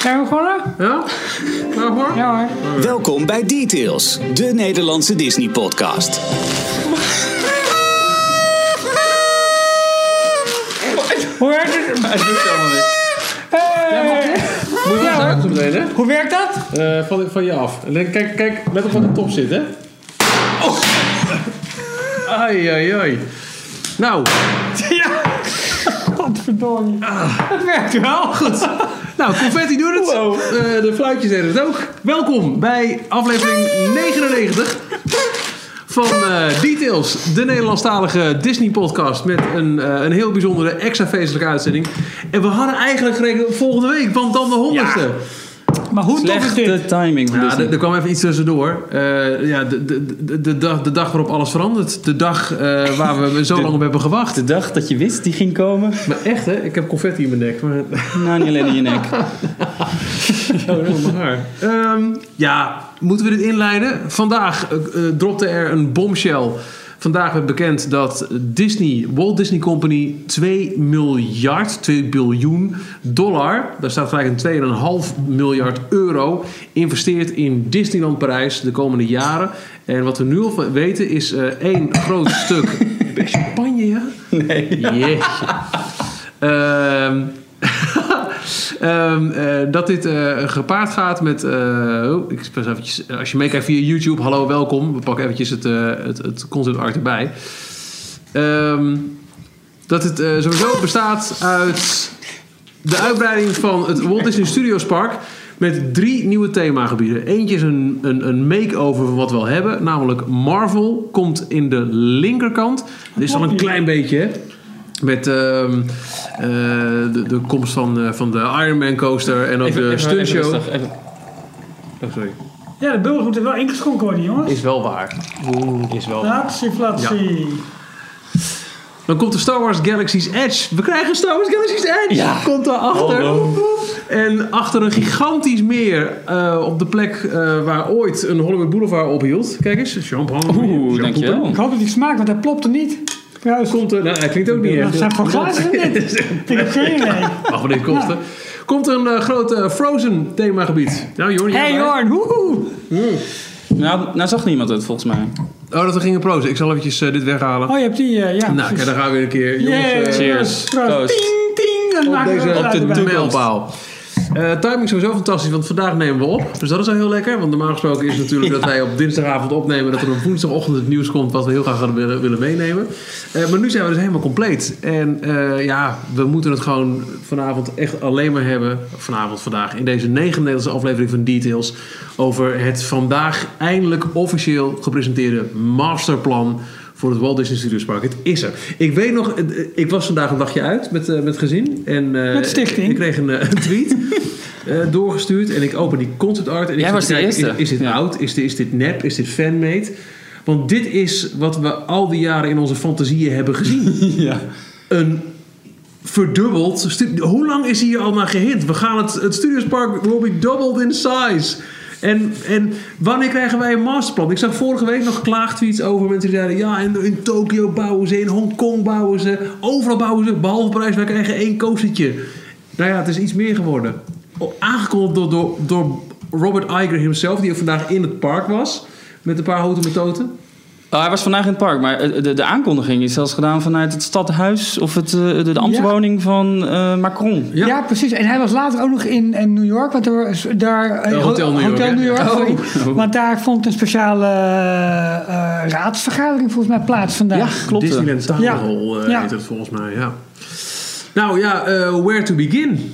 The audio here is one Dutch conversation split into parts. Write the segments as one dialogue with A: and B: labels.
A: Zijn we begonnen?
B: Ja? Nou hoor.
A: Ja hoor.
C: Welkom bij Details, de Nederlandse Disney-podcast.
A: Hoe werkt het?
B: Het lukt allemaal niet.
A: Hey!
B: Moet je wel
A: Ja.
B: uit doen, hè?
A: Hoe werkt dat?
B: Eh, van, van je af. En dan- Kijk, kijk, let op wat de top zit, hè? Oh. Ai, ai, ai. Nou,
A: Ja. Godverdomme. Het werkt wel. Goed.
B: Ah. nou, confetti doet het.
A: Wow.
B: Eh, de fluitjes deden het ook. Welkom bij aflevering 99 van eh, Details, de Nederlandstalige Disney-podcast met een, eh, een heel bijzondere extra feestelijke uitzending. En we hadden eigenlijk gerekend op volgende week, want dan de honderdste.
A: Maar hoe tof is dit?
D: Slechte timing van
B: Ja,
D: Disney.
B: er, er kwam even iets tussendoor. Eh, ja, de, de, de, de, dag, de dag waarop alles verandert. De dag eh, waar we zo lang op hebben gewacht.
D: De dag dat je wist die ging komen.
B: Maar echt, hè? Ik heb confetti in mijn nek. Maar
D: Nou, niet alleen in je nek.
B: Ehm, ja, moeten we dit inleiden? Vandaag eh, eh, dropte er een bombshell. Vandaag werd bekend dat Disney, Walt Disney Company 2 miljard, 2 biljoen dollar, daar staat gelijk een 2,5 miljard euro, investeert in Disneyland Parijs de komende jaren. En wat we nu al van weten is eh, één groot stuk champagne, ja?
D: Nee.
B: Jeetje. Ehm, ehm, eh, dat dit eh, gepaard gaat met. eh, oh, ik pas eventjes, als je meekijkt via YouTube, hallo, welkom. We pakken eventjes het, eh, het, het concept art erbij. Ehm, dat het eh, sowieso bestaat uit de uitbreiding van het Walt Disney Studios Park. Met drie nieuwe themagebieden. Eentje is een, een, een makeover van wat we al hebben. Namelijk Marvel komt in de linkerkant. Dit is al een klein beetje. hè. Met ehm, eh, de, de komst van, eh, van de Iron Man coaster en ook de stunt show.
D: rustig, even.
B: Oh, sorry.
A: Ja, de burgers moeten wel ingeschonken worden, jongens.
B: Is wel waar.
D: Is wel.
A: Flatsie, flatsie.
B: Dan komt de Star Wars Galaxy's Edge. We krijgen Star Wars Galaxy's Edge.
D: Ja.
B: Komt daarachter.
D: Hallo.
B: En achter een gigantisch meer eh, op de plek eh, waar ooit een Hollywood Boulevard ophield. Kijk eens, champagne.
D: Oeh,
B: Champagne.
D: dankjewel.
A: Ik hoop dat die smaakt, want hij plopte niet. Juist.
B: Komt er, nou, hij klinkt ook niet
A: Dat
B: echt.
A: zijn gewoon glazen net. Ik heb geen idee.
B: Mag maar dit kosten. Komt een eh, groot eh, Frozen themagebied. Nou, Jorn, jij
A: Hey
B: bij?
A: Jorn, woehoe.
D: Nou, nou zag niemand het volgens mij.
B: Oh, dat we gingen prozen. Ik zal eventjes eh, dit weghalen.
A: Oh, je hebt die, eh, ja.
B: nou, kijk,
A: precies.
B: daar gaan we weer een keer. Jongens,
A: Yay.
B: eh,
D: Cheers.
A: Proost.
D: Proost.
A: Ting, ting. En dan
B: op
A: maken we
B: deze
A: het
B: op
A: uit
B: de
A: elkaar.
D: toekomst.
B: mijlpaal. Eh, timing sowieso fantastisch, want vandaag nemen we op. Dus dat is al heel lekker. Want normaal gesproken is het natuurlijk dat wij op dinsdagavond opnemen. Dat er op woensdagochtend het nieuws komt wat we heel graag hadden willen, willen meenemen. Eh, maar nu zijn we dus helemaal compleet. En eh, ja, we moeten het gewoon vanavond echt alleen maar hebben. Vanavond, vandaag. In deze 99e aflevering van Details. Over het vandaag eindelijk officieel gepresenteerde masterplan voor het Walt Disney Studios Park. Het is er. Ik weet nog, eh, ik was vandaag een dagje uit met, eh, met gezin. En, eh,
A: Met stichting.
B: Ik kreeg een, eh, een tweet eh, doorgestuurd en ik open die concept art. En ik
D: Jij
B: zit
D: was
B: te
D: de
B: kijken,
D: eerste.
B: Is, is dit
D: Ja.
B: oud? Is dit, is dit nep? Is dit fanmade? Want dit is wat we al die jaren in onze fantasieën hebben gezien.
D: Ja.
B: een verdubbeld... stu- Hoe lang is hier al naar gehint? We gaan het, het Studios Park will be doubled in size. En, en wanneer krijgen wij een masterplan? Ik zag vorige week nog klaagtweets over mensen die zeiden... ja, in, in Tokio bouwen ze, in Hongkong bouwen ze... overal bouwen ze, behalve Parijs, wij krijgen één coastertje. Nou ja, het is iets meer geworden. O- Aangekondigd door, door, door Robert Iger himself... die ook vandaag in het park was... met een paar houten metoten.
D: Oh, hij was vandaag in het park, maar eh, de, de aankondiging is zelfs gedaan vanuit het stadhuis of het, eh, de, de ambtswoning van eh, Macron.
A: Ja. precies. En hij was later ook nog in, in New York. Want er, was- daar, eh,
B: Eh, Hotel New York, hè?
A: York,
B: Oh.
A: sorry. Want daar vond een speciale eh, eh, raadsvergadering volgens mij plaats vandaag.
D: Klopt, hè?
B: Disneyland
A: Ja.
B: Stadion eh
A: Ja.
B: heet het volgens mij, ja. Nou ja, eh, where to begin?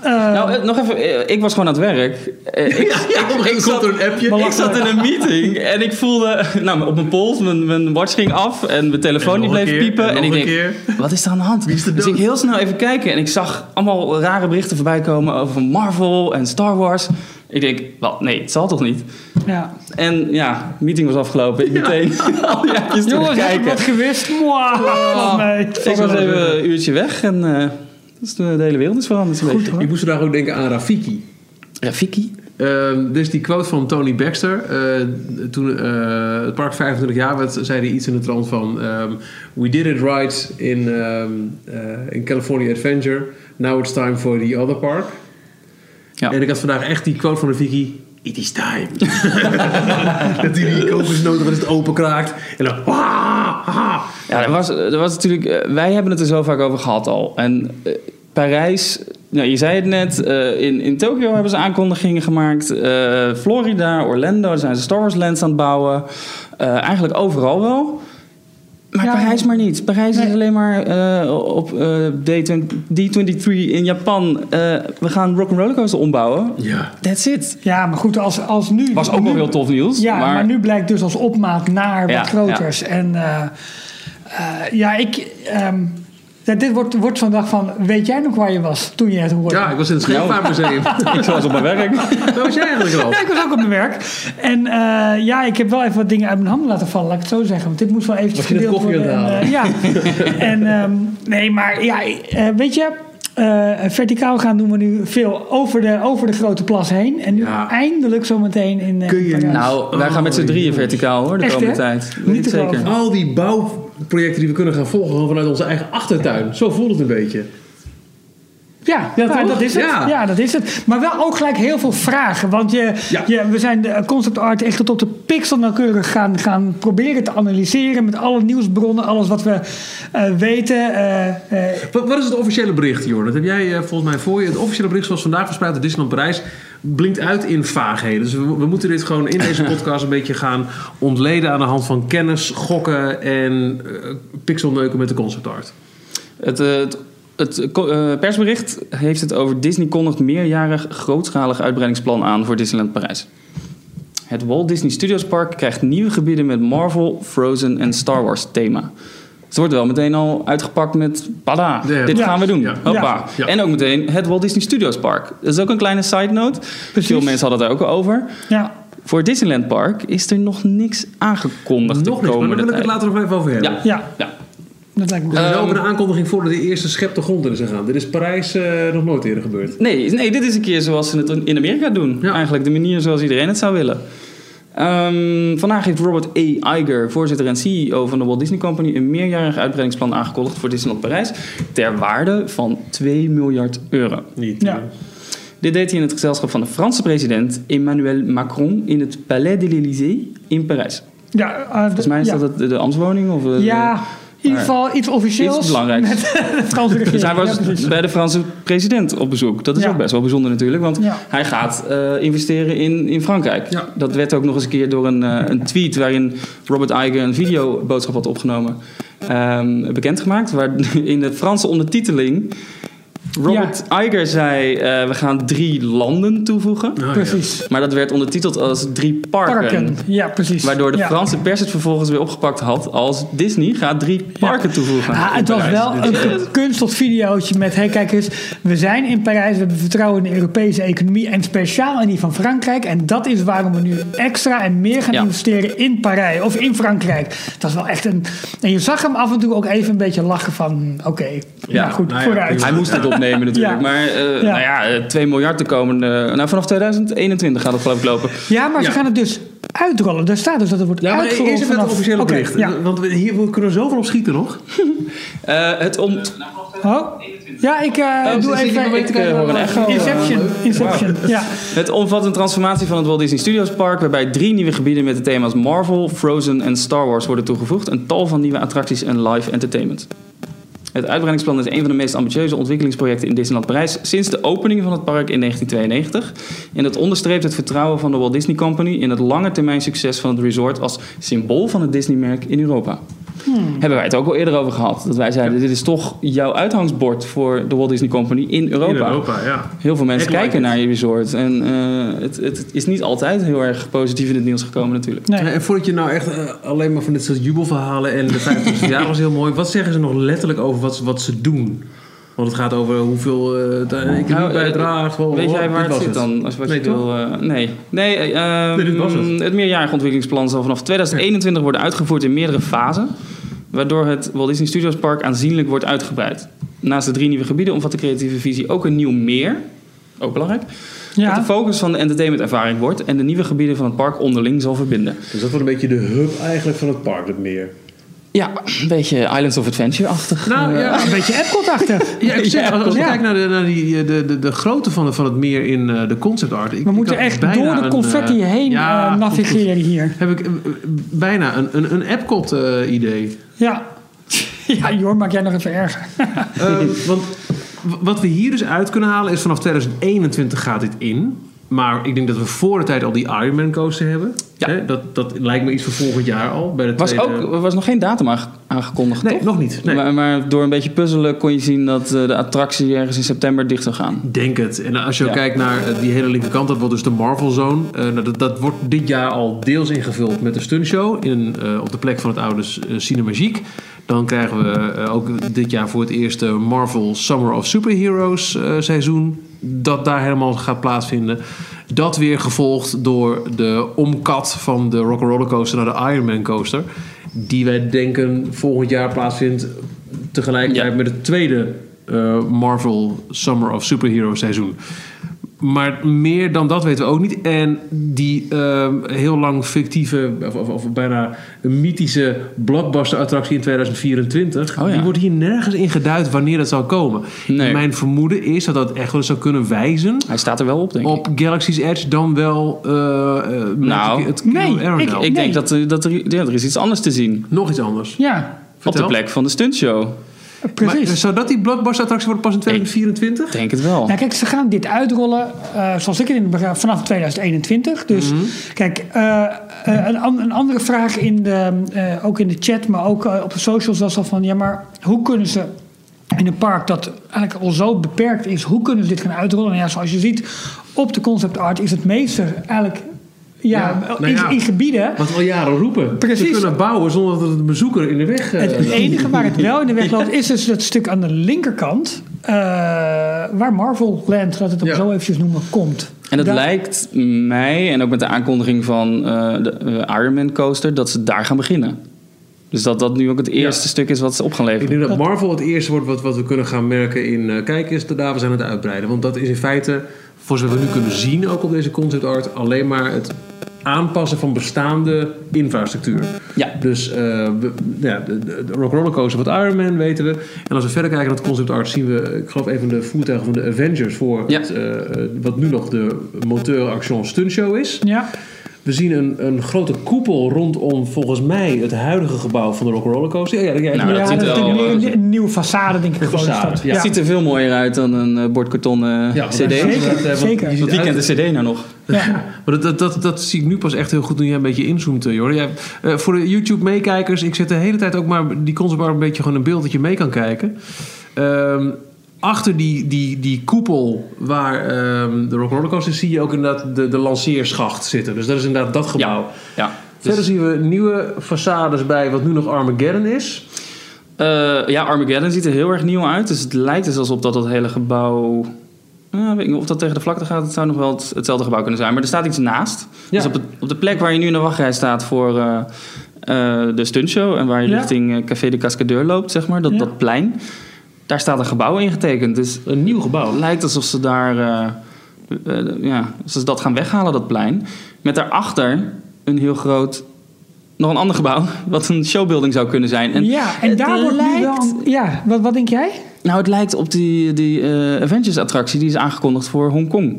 A: Eh,
D: Nou, eh, nog even, eh, ik was gewoon aan het werk. Eh, ik,
B: op een gegeven moment komt er een appje.
D: Ik zat in een meeting en ik voelde, nou, op mijn pols, mijn, mijn watch ging af en mijn telefoon
B: En
D: die
B: nog een
D: bleef
B: keer,
D: piepen.
B: en
D: En,
B: nog
D: ik
B: een
D: denk,
B: keer.
D: wat is er aan de hand?
B: is er
D: dus
B: dood?
D: ik heel snel even kijken en ik zag allemaal rare berichten voorbij komen over Marvel en Star Wars. Ik denk, wel, nee, het zal toch niet?
A: ja.
D: En ja, meeting was afgelopen. Ik meteen al die appjes
A: Jongens, heb ik
D: terugkijken.
A: wat gewist? Mwah, valt mee.
D: Ik was
A: Valt mee.
D: even een uurtje weg en eh, dat is de, de hele wereld is veranderd een beetje.
B: Ik moest vandaag ook denken aan Rafiki.
D: Rafiki?
B: Ehm, dus die quote van Tony Baxter. eh, toen eh, het park 25 jaar werd, zei hij iets in de trant van... ehm, We did it right in, ehm, eh, in California Adventure. Now it's time for the other park.
D: Ja.
B: En ik had vandaag echt die quote van de Vicky. It is time. dat hij die kokosnoot nog eens openkraakt. En dan... "Ah, ah."
D: Ja, er was, er was natuurlijk, eh, wij hebben het er zo vaak over gehad al. En eh, Parijs, nou, je zei het net, eh, in, in Tokio hebben ze aankondigingen gemaakt. Eh, Florida, Orlando, daar zijn ze Star Wars Lands aan het bouwen. Eh, eigenlijk overal wel. Maar
A: Ja.
D: Parijs maar niet. Parijs is
A: Nee.
D: alleen maar eh, op eh, D20 D23 in Japan. Eh, we gaan Rock'n'Roller Coaster ombouwen.
B: Ja.
D: That's it.
A: Ja, maar goed, als, als nu...
D: Was ook wel
A: nu-
D: heel tof nieuws.
A: Ja, maar,
D: maar,
A: nu blijkt dus als opmaat naar
D: Ja,
A: wat groters. En eh, eh, ja, ik... ehm, ja, dit wordt, wordt zo'n dag van, weet jij nog waar je was toen je het hoorde?
B: ja, ik was in het Scheepvaartmuseum.
D: ik was op mijn werk.
B: Waar was jij eigenlijk al?
A: Ja, ik was ook op mijn werk. En eh, ja, ik heb wel even wat dingen uit mijn handen laten vallen, laat ik het zo zeggen. Want dit moest wel eventjes
B: Was je net
A: gedeeld
B: koffie
A: worden.
B: aan
A: En,
B: het
A: eh, ja. en, ehm, nee, maar ja, eh, weet je, eh, verticaal gaan doen we nu veel over de, over de grote plas heen. En nu
B: Ja.
A: eindelijk zometeen in eh,
B: Kun je
A: Parijs.
D: Nou, wij gaan met z'n drieën verticaal hoor, de
A: Echt,
D: komende
A: hè?
D: tijd.
A: Niet
D: Weet ik
A: te
D: zeker.
A: geloven.
B: Al die bouwprojecten die we kunnen gaan volgen gewoon vanuit onze eigen achtertuin. Zo voelt het een beetje.
A: Ja,
B: Ja,
A: nou,
B: toch?
A: dat is het.
B: Ja.
A: Ja. dat is het. Maar wel ook gelijk heel veel vragen. Want je,
B: Ja.
A: je, we zijn de eh, concept art echt tot op de pixel nauwkeurig gaan, gaan proberen te analyseren. Met alle nieuwsbronnen, alles wat we eh, weten. eh, eh,
B: Wat, wat is het officiële bericht, Jor? Dat heb jij eh, volgens mij voor je. Het officiële bericht zoals vandaag verspreid door Disneyland Parijs blinkt uit in vaagheden. Dus we, we moeten dit gewoon in deze podcast een beetje gaan ontleden aan de hand van kennis, gokken en eh, pixelneuken met de concept art.
D: Het, eh, het, het ko- eh, persbericht heeft het over Disney kondigt meerjarig grootschalig uitbreidingsplan aan voor Disneyland Parijs. Het Walt Disney Studios Park krijgt nieuwe gebieden met Marvel, Frozen en Star Wars thema. Het wordt wel meteen al uitgepakt met pada,
B: Ja.
D: dit
A: Ja.
D: gaan we doen.
B: Ja.
D: Hoppa.
B: Ja.
D: En ook meteen het Walt Disney Studios Park. Dat is ook een kleine side note. Veel mensen hadden het daar ook al over.
A: ja.
D: Voor het Disneyland Park is er nog niks aangekondigd.
B: Nog niks, maar
D: de
B: daar
D: komende
B: wil ik het
D: tijd.
B: later nog even over hebben.
D: Ja.
A: ja,
D: Ja.
A: dat lijkt me
B: Er
A: goed.
B: is wel
D: Ehm,
B: een aankondiging voordat de eerste schep de grond in is gegaan. Dit is Parijs eh, nog nooit eerder gebeurd.
D: Nee, nee, dit is een keer zoals ze het in Amerika doen.
B: Ja.
D: Eigenlijk de manier zoals iedereen het zou willen. Ehm, vandaag heeft Robert A. Iger, voorzitter en CEO van de Walt Disney Company, een meerjarig uitbreidingsplan aangekondigd voor Disneyland Parijs ter waarde van 2 miljard euro.
B: Niet.
A: Ja.
D: Dit deed hij in het gezelschap van de Franse president Emmanuel Macron in het Palais de l'Élysée in Parijs.
A: Ja, eh,
D: Volgens mij is
A: ja.
D: dat het- de, de ambtswoning of eh,
A: Ja, in ieder
D: maar-
A: geval iets officieels.
D: Iets belangrijks.
A: Met de Franse regering.
D: Dus hij
A: Ja,
D: was
A: precies.
D: bij de Franse president op bezoek. Dat is
A: Ja.
D: ook best wel bijzonder natuurlijk, want
A: Ja.
D: hij gaat eh, investeren in, in Frankrijk.
B: Ja.
D: Dat werd ook nog eens een keer door een, eh, een tweet waarin Robert Iger een videoboodschap had opgenomen ehm, bekendgemaakt. Waar in de Franse ondertiteling Robert Iger zei: eh, We gaan drie landen toevoegen.
B: Nou, ja.
A: Precies.
D: Maar dat werd ondertiteld als drie Oh, parken.
A: Parken. Ja, precies.
D: Waardoor de
A: Ja.
D: Franse pers het vervolgens weer opgepakt had als Disney gaat drie parken toevoegen.
A: Ja,
D: in
A: Ah, het was
D: Parijs.
A: wel een gekunsteld videootje met... Hey, kijk eens, we zijn in Parijs, we hebben vertrouwen in de Europese economie... en speciaal in die van Frankrijk. En dat is waarom we nu extra en meer gaan
D: Ja.
A: investeren in Parijs of in Frankrijk. Dat is wel echt een... En je zag hem af en toe ook even een beetje lachen van... Oké,
D: Ja,
A: ja, goed,
B: nou ja,
A: vooruit.
B: prima.
D: Hij moest het opnemen natuurlijk.
A: Ja.
D: Maar eh,
A: Ja.
D: nou ja, eh, 2 miljard de komende... Nou, vanaf 2021 gaat het geloof ik lopen.
A: Ja, maar
B: Ja.
A: ze gaan het dus uitrollen. Daar staat dus dat het wordt
B: Ja, maar eerst
A: uitgerold
B: even het
A: vanaf-
B: officiële
A: Oké,
B: bericht.
A: ja.
B: Want we- hier we kunnen we zoveel op schieten nog.
D: Eh, het ont...
A: Oh. Ja, ik eh, doe
B: zit Oh, dus ik
A: even...
B: maar mee te kijken
D: hoor een echo.
A: Inception, Inception, ja.
D: Het omvat een transformatie van het Walt Disney Studios Park... waarbij drie nieuwe gebieden met de thema's Marvel, Frozen en Star Wars worden toegevoegd... een tal van nieuwe attracties en live entertainment. Het uitbreidingsplan is een van de meest ambitieuze ontwikkelingsprojecten in Disneyland Parijs... sinds de opening van het park in 1992. En het onderstreept het vertrouwen van de Walt Disney Company... in het lange termijn succes van het resort als symbool van het Disney-merk in Europa. Hebben wij het ook al eerder over gehad. Dat wij zeiden, dit is toch jouw uithangsbord voor de Walt Disney Company in Europa.
B: In Europa, ja.
D: Heel veel mensen
B: Headline
D: kijken
B: is.
D: naar je resort. En eh, het, het is niet altijd heel erg positief in het nieuws gekomen natuurlijk.
A: Nee.
B: En voordat je nou echt eh, alleen maar van dit soort jubelverhalen en de 50 jaar was heel mooi. Wat zeggen ze nog letterlijk over wat, ze- wat ze doen? Want het gaat over hoeveel eh de economie
D: Nou, eh,
B: bijdraagt. wel-
D: Weet
B: wel-
D: jij
B: dit
D: waar het
B: was
D: zit dan? Als wat
B: Nee,
D: je wil, eh, nee. Nee, eh, ehm,
B: Nee, dit was het.
D: meerjarig ontwikkelingsplan zal vanaf 2021 worden uitgevoerd in meerdere fasen. Waardoor het Walt Disney Studios Park aanzienlijk wordt uitgebreid. Naast de drie nieuwe gebieden omvat de creatieve visie ook een nieuw meer. Ook belangrijk. Dat de
A: Ja.
D: focus van de entertainmentervaring wordt en de nieuwe gebieden van het park onderling zal verbinden.
B: Dus dat wordt een beetje de hub eigenlijk van het park, dat meer.
D: Ja, een beetje Islands of Adventure-achtig.
B: Nou ja,
A: Een beetje Epcot-achtig.
B: Ja, ik zeg, als, als ik
A: Ja.
B: kijk naar, de, naar die, eh, de, de, de grootte van, het- van het meer in eh, de concept art. Ik,
A: We
B: ik
A: moeten
B: had
A: echt
B: bijna
A: door de
B: een,
A: confetti
B: eh,
A: heen
B: ja,
A: eh,
B: goed, goed.
A: navigeren hier.
B: Heb ik eh, bijna een, een, eh, een Epcot-idee.
A: Ja. Ja, Jor, maak jij nog even erger.
B: Ehm, want w- wat we hier dus uit kunnen halen is vanaf 2021 gaat dit in. Maar ik denk dat we voor de tijd al die Ironman coaster hebben.
D: Ja.
B: Hè, Dat, dat lijkt me iets van volgend jaar al. Bij de
D: Was
B: tweede-
D: ook, er was nog geen datum aange- aangekondigd,
B: Nee,
D: toch?
B: nog niet. Nee.
D: Maar, maar door een beetje puzzelen kon je zien dat eh, de attractie ergens in september dicht zou gaan.
B: Ik Denk het. En als je ook
D: Ja.
B: kijkt naar eh, die hele linkerkant, dat wordt dus de Marvel Zone. Eh, nou, dat, dat wordt dit jaar al deels ingevuld met de stuntshow in, eh, op de plek van het oude eh, Cinemagique. Dan krijgen we eh, ook dit jaar voor het eerst de Marvel Summer of Superheroes eh, seizoen. Dat daar helemaal gaat plaatsvinden. Dat weer gevolgd door de omkat van de Rock'n'Roller Coaster naar de Iron Man Coaster. Die wij denken volgend jaar plaatsvindt tegelijkertijd
D: Ja.
B: met het tweede eh, Marvel Summer of Superhero seizoen. Maar meer dan dat weten we ook niet. En die ehm, heel lang fictieve, of, of, of bijna een mythische blockbuster-attractie in 2024,
D: Oh ja.
B: die wordt hier nergens in geduid wanneer dat zal komen.
D: Nee.
B: Mijn vermoeden is dat dat echt wel zou kunnen wijzen
D: Hij staat er wel op, denk ik.
B: op Galaxy's Edge dan wel eh, eh,
D: Nou,
B: het Kilo
A: nee,
B: Aeronauts.
D: Ik
A: Nee.
D: denk dat, eh, dat er, ja, er is iets anders te zien.
B: Nog iets anders.
A: Ja,
D: Op de
B: Vertel.
D: plek van de stuntshow.
A: precies.
B: Maar dus- zou dat die blockbuster-attractie worden pas in 2024?
D: Ik denk het wel.
A: Nou, kijk, ze gaan dit uitrollen, eh, zoals ik het in het begrijp, vanaf 2021. Dus
B: Mhm.
A: kijk, eh, eh, een, an- een andere vraag in de, eh, ook in de chat, maar ook eh, op de socials was al van... ja, maar hoe kunnen ze in een park dat eigenlijk al zo beperkt is... hoe kunnen ze dit gaan uitrollen? Nou ja, zoals je ziet, op de concept art is het meeste eigenlijk... Ja,
B: Ja, nou
A: in,
B: ja.
A: in gebieden
B: Wat we al jaren roepen.
A: Precies.
B: Ze kunnen bouwen zonder dat het een bezoeker in de weg... eh,
A: Het enige waar het wel in de weg loopt, is dus dat stuk aan de linkerkant. eh, waar Marvel Land, laat het hem
B: Ja.
A: zo eventjes noemen, komt.
D: En het
A: Daar-
D: lijkt mij, en ook met de aankondiging van eh, de eh, Iron Man coaster, dat ze daar gaan beginnen. Dus dat dat nu ook het eerste stuk is wat ze op gaan
B: Ik
D: leveren.
B: denk dat Marvel het eerste wordt wat, wat we kunnen gaan merken in... eh, kijk eens, de dames aan het uitbreiden. Want dat is in feite, voor zover we nu kunnen zien... ook op deze concept art, alleen maar het aanpassen van bestaande infrastructuur.
D: Ja.
B: Dus eh, we- ja, de, de, de Rock Roller Coaster van Iron Man weten we. En als we verder kijken naar het concept art... zien we, ik geloof, een van de voertuigen van de Avengers... voor
D: Ja.
B: het, eh, eh, wat nu nog de moteur action stunt show is.
A: Ja,
B: We zien een, een grote koepel rondom volgens mij het huidige gebouw van de Rock'n'Roller Coaster. Ja, ja, ja,
D: Nou,
B: ja,
A: ja, dat is
D: ziet
B: dat-
D: er
A: natuurlijk
D: wel,
A: meer
D: eh,
A: een, een nieuwe façade, denk ik.
B: Een
A: gewoon is
B: façade,
A: dat.
B: ja.
D: Het ziet er veel mooier uit dan een eh, bord karton eh,
B: Ja,
D: CD.
A: zeker. zeker.
D: Want wie kent de CD nou nog?
A: Ja.
B: Maar dat, dat, dat, dat zie ik nu pas echt heel goed toen jij een beetje inzoomt, eh, Jordi. Jij, eh, voor de YouTube-meekijkers, ik zet de hele tijd ook maar die concept art een beetje gewoon een beeld dat je mee kan kijken. Ehm, achter die, die, die koepel waar ehm de Rock'n'Roller Coaster is, zie je ook inderdaad de, de lanceerschacht zitten. Dus dat is inderdaad dat gebouw.
D: Ja. ja. Dus,
B: Verder zien we nieuwe façades bij wat nu nog Armageddon is.
D: eh, ja, Armageddon ziet er heel erg nieuw uit. Dus het lijkt dus alsof dat, dat hele gebouw... eh, weet ik niet of dat tegen de vlakte gaat. Het zou nog wel het- hetzelfde gebouw kunnen zijn. Maar er staat iets naast. Dus op, het- op de plek waar je nu in de wachtrij staat voor eh, eh, de stuntshow... en waar je
A: Ja.
D: richting eh, Café de Cascadeur loopt, zeg maar. Dat,
A: Ja.
D: dat plein. Daar staat een gebouw ingetekend. Dus
B: Een nieuw gebouw.
D: Het lijkt alsof ze daar. eh, eh, ja, alsof ze dat gaan weghalen, dat plein. Met daarachter een heel groot. nog een ander gebouw. wat een showbuilding zou kunnen zijn. En,
A: ja, en
D: het
A: daar wordt nu wel... een- Ja, wat, wat denk jij?
D: Nou, het lijkt op die, die eh, Avengers-attractie. die is aangekondigd voor Hongkong.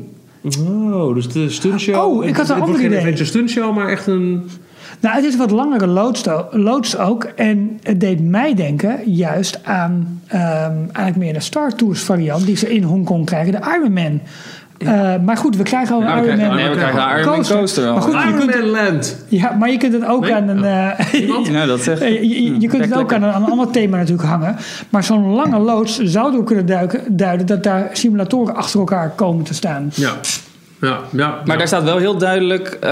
B: Oh, dus de stuntshow.
A: Oh, ik had een
B: Het
A: ander
B: wordt geen
A: idee.
B: Adventure stuntshow, maar echt een...
A: Nou, het is een wat langere loods, to- loods ook. En het deed mij denken juist aan ehm, eigenlijk meer de Star Tours variant... die ze in Hongkong krijgen, de Iron Man. Eh, maar goed, we krijgen al een
B: Ja, we
A: Iron
B: krijgen
A: Man.
B: Iron
D: Nee, we
B: Man
D: krijgen de Iron Man
A: Coaster.
D: Coaster. al.
A: Maar goed, je
B: Iron
A: kunt
B: Man Land.
A: Ja, maar je kunt het ook
B: Nee?
A: aan
D: Oh.
A: een. eh,
B: Iemand?
D: Nou, dat zegt.
A: je- je, je kunt het ook aan een, aan een ander thema natuurlijk hangen. Maar zo'n lange loods zou erop kunnen duiken, duiden dat daar simulatoren achter elkaar komen te staan.
B: Ja. Ja, ja.
D: Maar daar staat wel heel duidelijk ehm,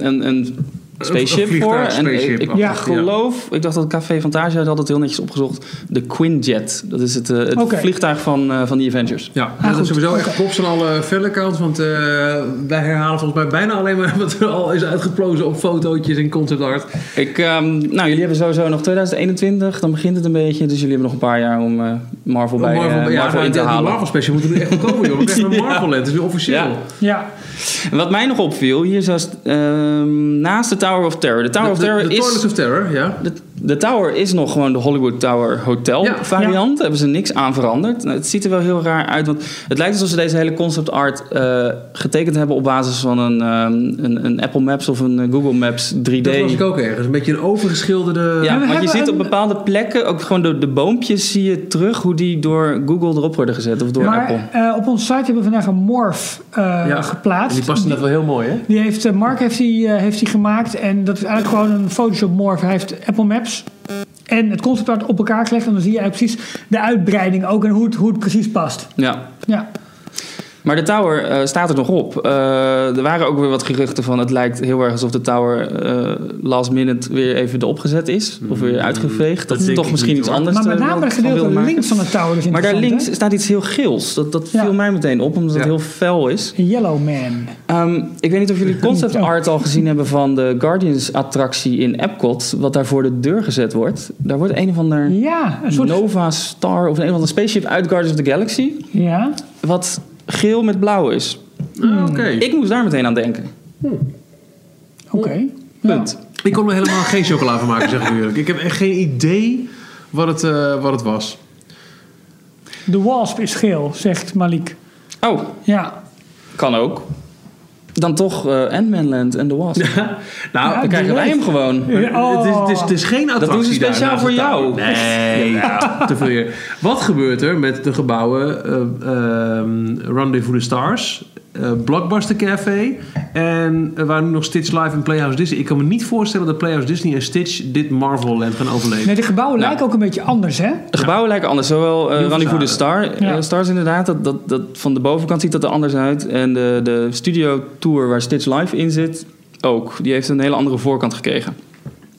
D: een, een spaceship
B: Een- een
D: voor.
B: vliegtuig,
D: En ik, ik
B: spaceship-achtig, ja.
D: geloof, ik dacht dat Café Fantasia had het heel netjes opgezocht. De Quinjet. Dat is het, eh, het
A: Oké.
D: vliegtuig van, eh, van die Avengers.
B: Ja, dat
A: goed,
B: is sowieso
A: oké.
B: echt props van alle fellencounts. Want eh, wij herhalen volgens mij bijna alleen maar wat er al is uitgeplozen op fotootjes en concept art.
D: Ik, ehm, nou, jullie hebben sowieso nog 2021. Dan begint het een beetje. Dus jullie hebben nog een paar jaar om eh, Marvel bij eh, Marvel,
B: ja,
D: in te
B: die- die
D: halen.
B: Marvel special moet er nu echt wel komen, joh. Want echt een
D: Ja.
B: Marvel Land is nu officieel.
D: Ja.
A: Ja,
D: Wat mij nog opviel, hier zat ehm, naast de Tower of Terror. De Tower
B: De,
D: of
B: de,
D: Terror
B: de
D: is...
B: Toilets of Terror, ja.
D: De De tower is nog gewoon de Hollywood Tower Hotel
B: Ja.
D: variant. Daar hebben ze niks aan veranderd. Nou, het ziet er wel heel raar uit. Want het lijkt alsof ze deze hele concept art eh, getekend hebben op basis van een, ehm, een, een Apple Maps of een eh, Google Maps 3D.
B: Dat was ik ook eh, ergens. Een beetje een overgeschilderde...
D: Ja,
A: Maar we
D: want je
A: hebben
D: ziet op
A: een-
D: bepaalde plekken, ook gewoon de, de boompjes zie je terug hoe die door Google erop worden gezet of door
A: maar
D: Apple.
A: eh, op onze site hebben we vandaag een morph eh,
B: Ja. En
A: geplaatst.
B: Die past net wel heel mooi, hè?
A: Die heeft, eh, Mark heeft die, eh, heeft die gemaakt. En dat is eigenlijk gewoon een Photoshop morph. Hij heeft Apple Maps en het concept art op elkaar gelegd. En dan zie je eigenlijk precies de uitbreiding ook en hoe het, hoe het precies past.
D: Ja.
A: Ja.
D: Maar de tower eh, staat er nog op. Eh, er waren ook weer wat geruchten van het lijkt heel erg alsof de tower eh, last minute weer even erop gezet is. Of weer uitgeveegd. Dat, is
B: Mm-hmm. denk
D: toch
B: ik
D: misschien
B: niet,
D: iets
B: hoor.
D: anders.
A: Maar met
D: eh,
A: name
D: van
A: het gedeelte
D: willen maken.
A: links van de tower is
D: Maar daar
A: interessant,
D: links staat iets heel geels. Dat, dat
A: Ja.
D: viel mij meteen op, omdat het
B: Ja.
D: heel fel is.
A: hè? Yellow Man.
D: Ehm, ik weet niet of jullie concept
A: Oh.
D: art al gezien hebben van de Guardians-attractie in Epcot. Wat daar voor de deur gezet wordt. Daar wordt een of ander
A: Ja, een soort...
D: Nova Star of een of ander spaceship uit Guardians of the Galaxy.
A: Ja.
D: Wat geel met blauw is. Mm.
B: Ah, Oké.
D: Ik moest daar meteen aan denken.
A: Oké. Ja.
D: Punt.
B: Ik kon er helemaal geen chocola van maken, zeg ik u eerlijk. Ik heb echt geen idee wat het, eh, wat het was.
A: De wasp is geel, zegt Malik.
D: Oh,
A: Ja.
D: kan ook. Dan toch eh Ant-Man Land en The Wasp.
B: Nou,
A: Ja,
D: Dan krijgen wij hem gewoon.
B: Het, is, het, is, het is geen attractie
D: doen ze
B: daar
D: speciaal
B: naast
D: voor
B: de
D: jou.
B: tower. Nee, ja, te veel eer. Wat gebeurt er met de gebouwen eh, ehm, Rendezvous de Stars, eh, Blockbuster Café en eh, waar nu nog Stitch Live en Playhouse Disney. Ik kan me niet voorstellen dat Playhouse Disney en Stitch dit Marvel Land gaan overleven.
A: Nee, de gebouwen
D: Nou.
A: lijken ook een beetje anders, hè? Oh,
D: De gebouwen lijken anders. Zowel eh
B: Heel
D: Rendezvous de Star,
A: Ja.
D: eh, Stars inderdaad. Dat, dat, dat, van de bovenkant ziet dat er anders uit. En de, de studio tour waar Stitch Live in zit, ook. Die heeft een hele andere voorkant gekregen.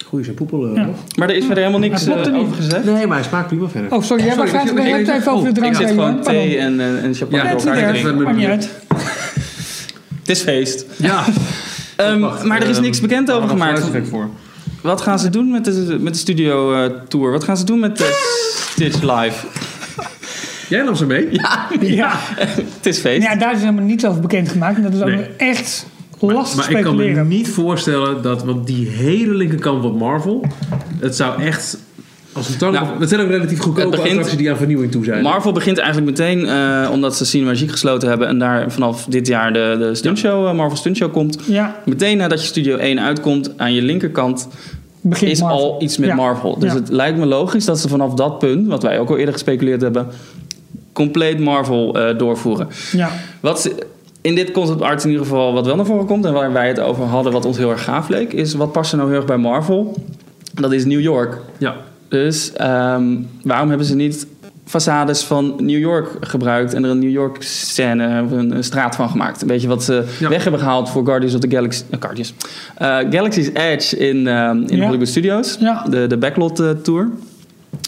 B: Goeie zijn poepel. eh,
A: Ja.
B: nog.
D: Maar er is verder helemaal niks
A: Hij klopt
D: eh,
A: er niet.
D: over gezegd.
B: Nee, maar hij smaakt prima verder.
A: Oh, sorry. Jij
B: Sorry,
A: gaat
B: ik-
A: we
B: ik-
A: hebben het even
B: oh,
A: over de
B: ik
A: drank.
D: Ik zit
A: heen,
D: gewoon
A: hoor. Pardon.
D: thee en, eh, en, en
B: Ja,
D: champagne door
A: Het is
D: elkaar
A: niet
D: te
B: erg.
D: drinken.
A: erg. Maakt niet uit.
D: Het is feest.
B: Ja.
D: Ehm,
B: Wacht,
D: maar er is
B: ehm,
D: niks bekend
B: daar
D: over
B: had ik een
D: gemaakt.
B: geluidseffect voor.
D: Wat gaan ze doen met de, met de studio eh, tour? Wat gaan ze doen met de Stitch Live?
B: Jij nam ze mee?
A: Ja. Nou
D: Het is feest.
A: ja, daar is helemaal niets over bekend gemaakt. En dat is ook
B: Nee.
A: echt lastig
B: Maar ik kan
A: speculeren.
B: me niet voorstellen dat, want die hele linkerkant van Marvel, het zou echt als een tang.
D: Nou,
B: het zijn ook relatief goedkope
D: het begint-
B: attracties die aan vernieuwing toe zijn.
D: Marvel begint eigenlijk meteen, eh, omdat ze Cinemagique gesloten hebben en daar vanaf dit jaar de, de stuntshow, eh, Marvel stuntshow komt.
A: Ja,
D: Meteen nadat je Studio 1 uitkomt, aan je linkerkant
A: begint
D: is
A: Marvel.
D: al iets met
A: Ja.
D: Marvel. Dus
A: Ja.
D: het lijkt me logisch dat ze vanaf dat punt, wat wij ook al eerder gespeculeerd hebben, compleet Marvel eh, doorvoeren.
A: Ja.
D: Wat ze- in dit concept art in ieder geval wat wel naar voren komt en waar wij het over hadden, wat ons heel erg gaaf leek, is wat past er nou heel erg bij Marvel? Dat is New York.
B: Ja,
D: Dus ehm, waarom hebben ze niet façades van New York gebruikt en er een New York scène, of een, een straat van gemaakt? Een beetje wat ze
B: Ja.
D: weg hebben gehaald voor Guardians of the Galaxy, eh, Guardians, Eh, Galaxy's Edge in, ehm, in
A: Ja.
D: Hollywood Studios,
A: Ja.
D: de, de backlot eh, tour.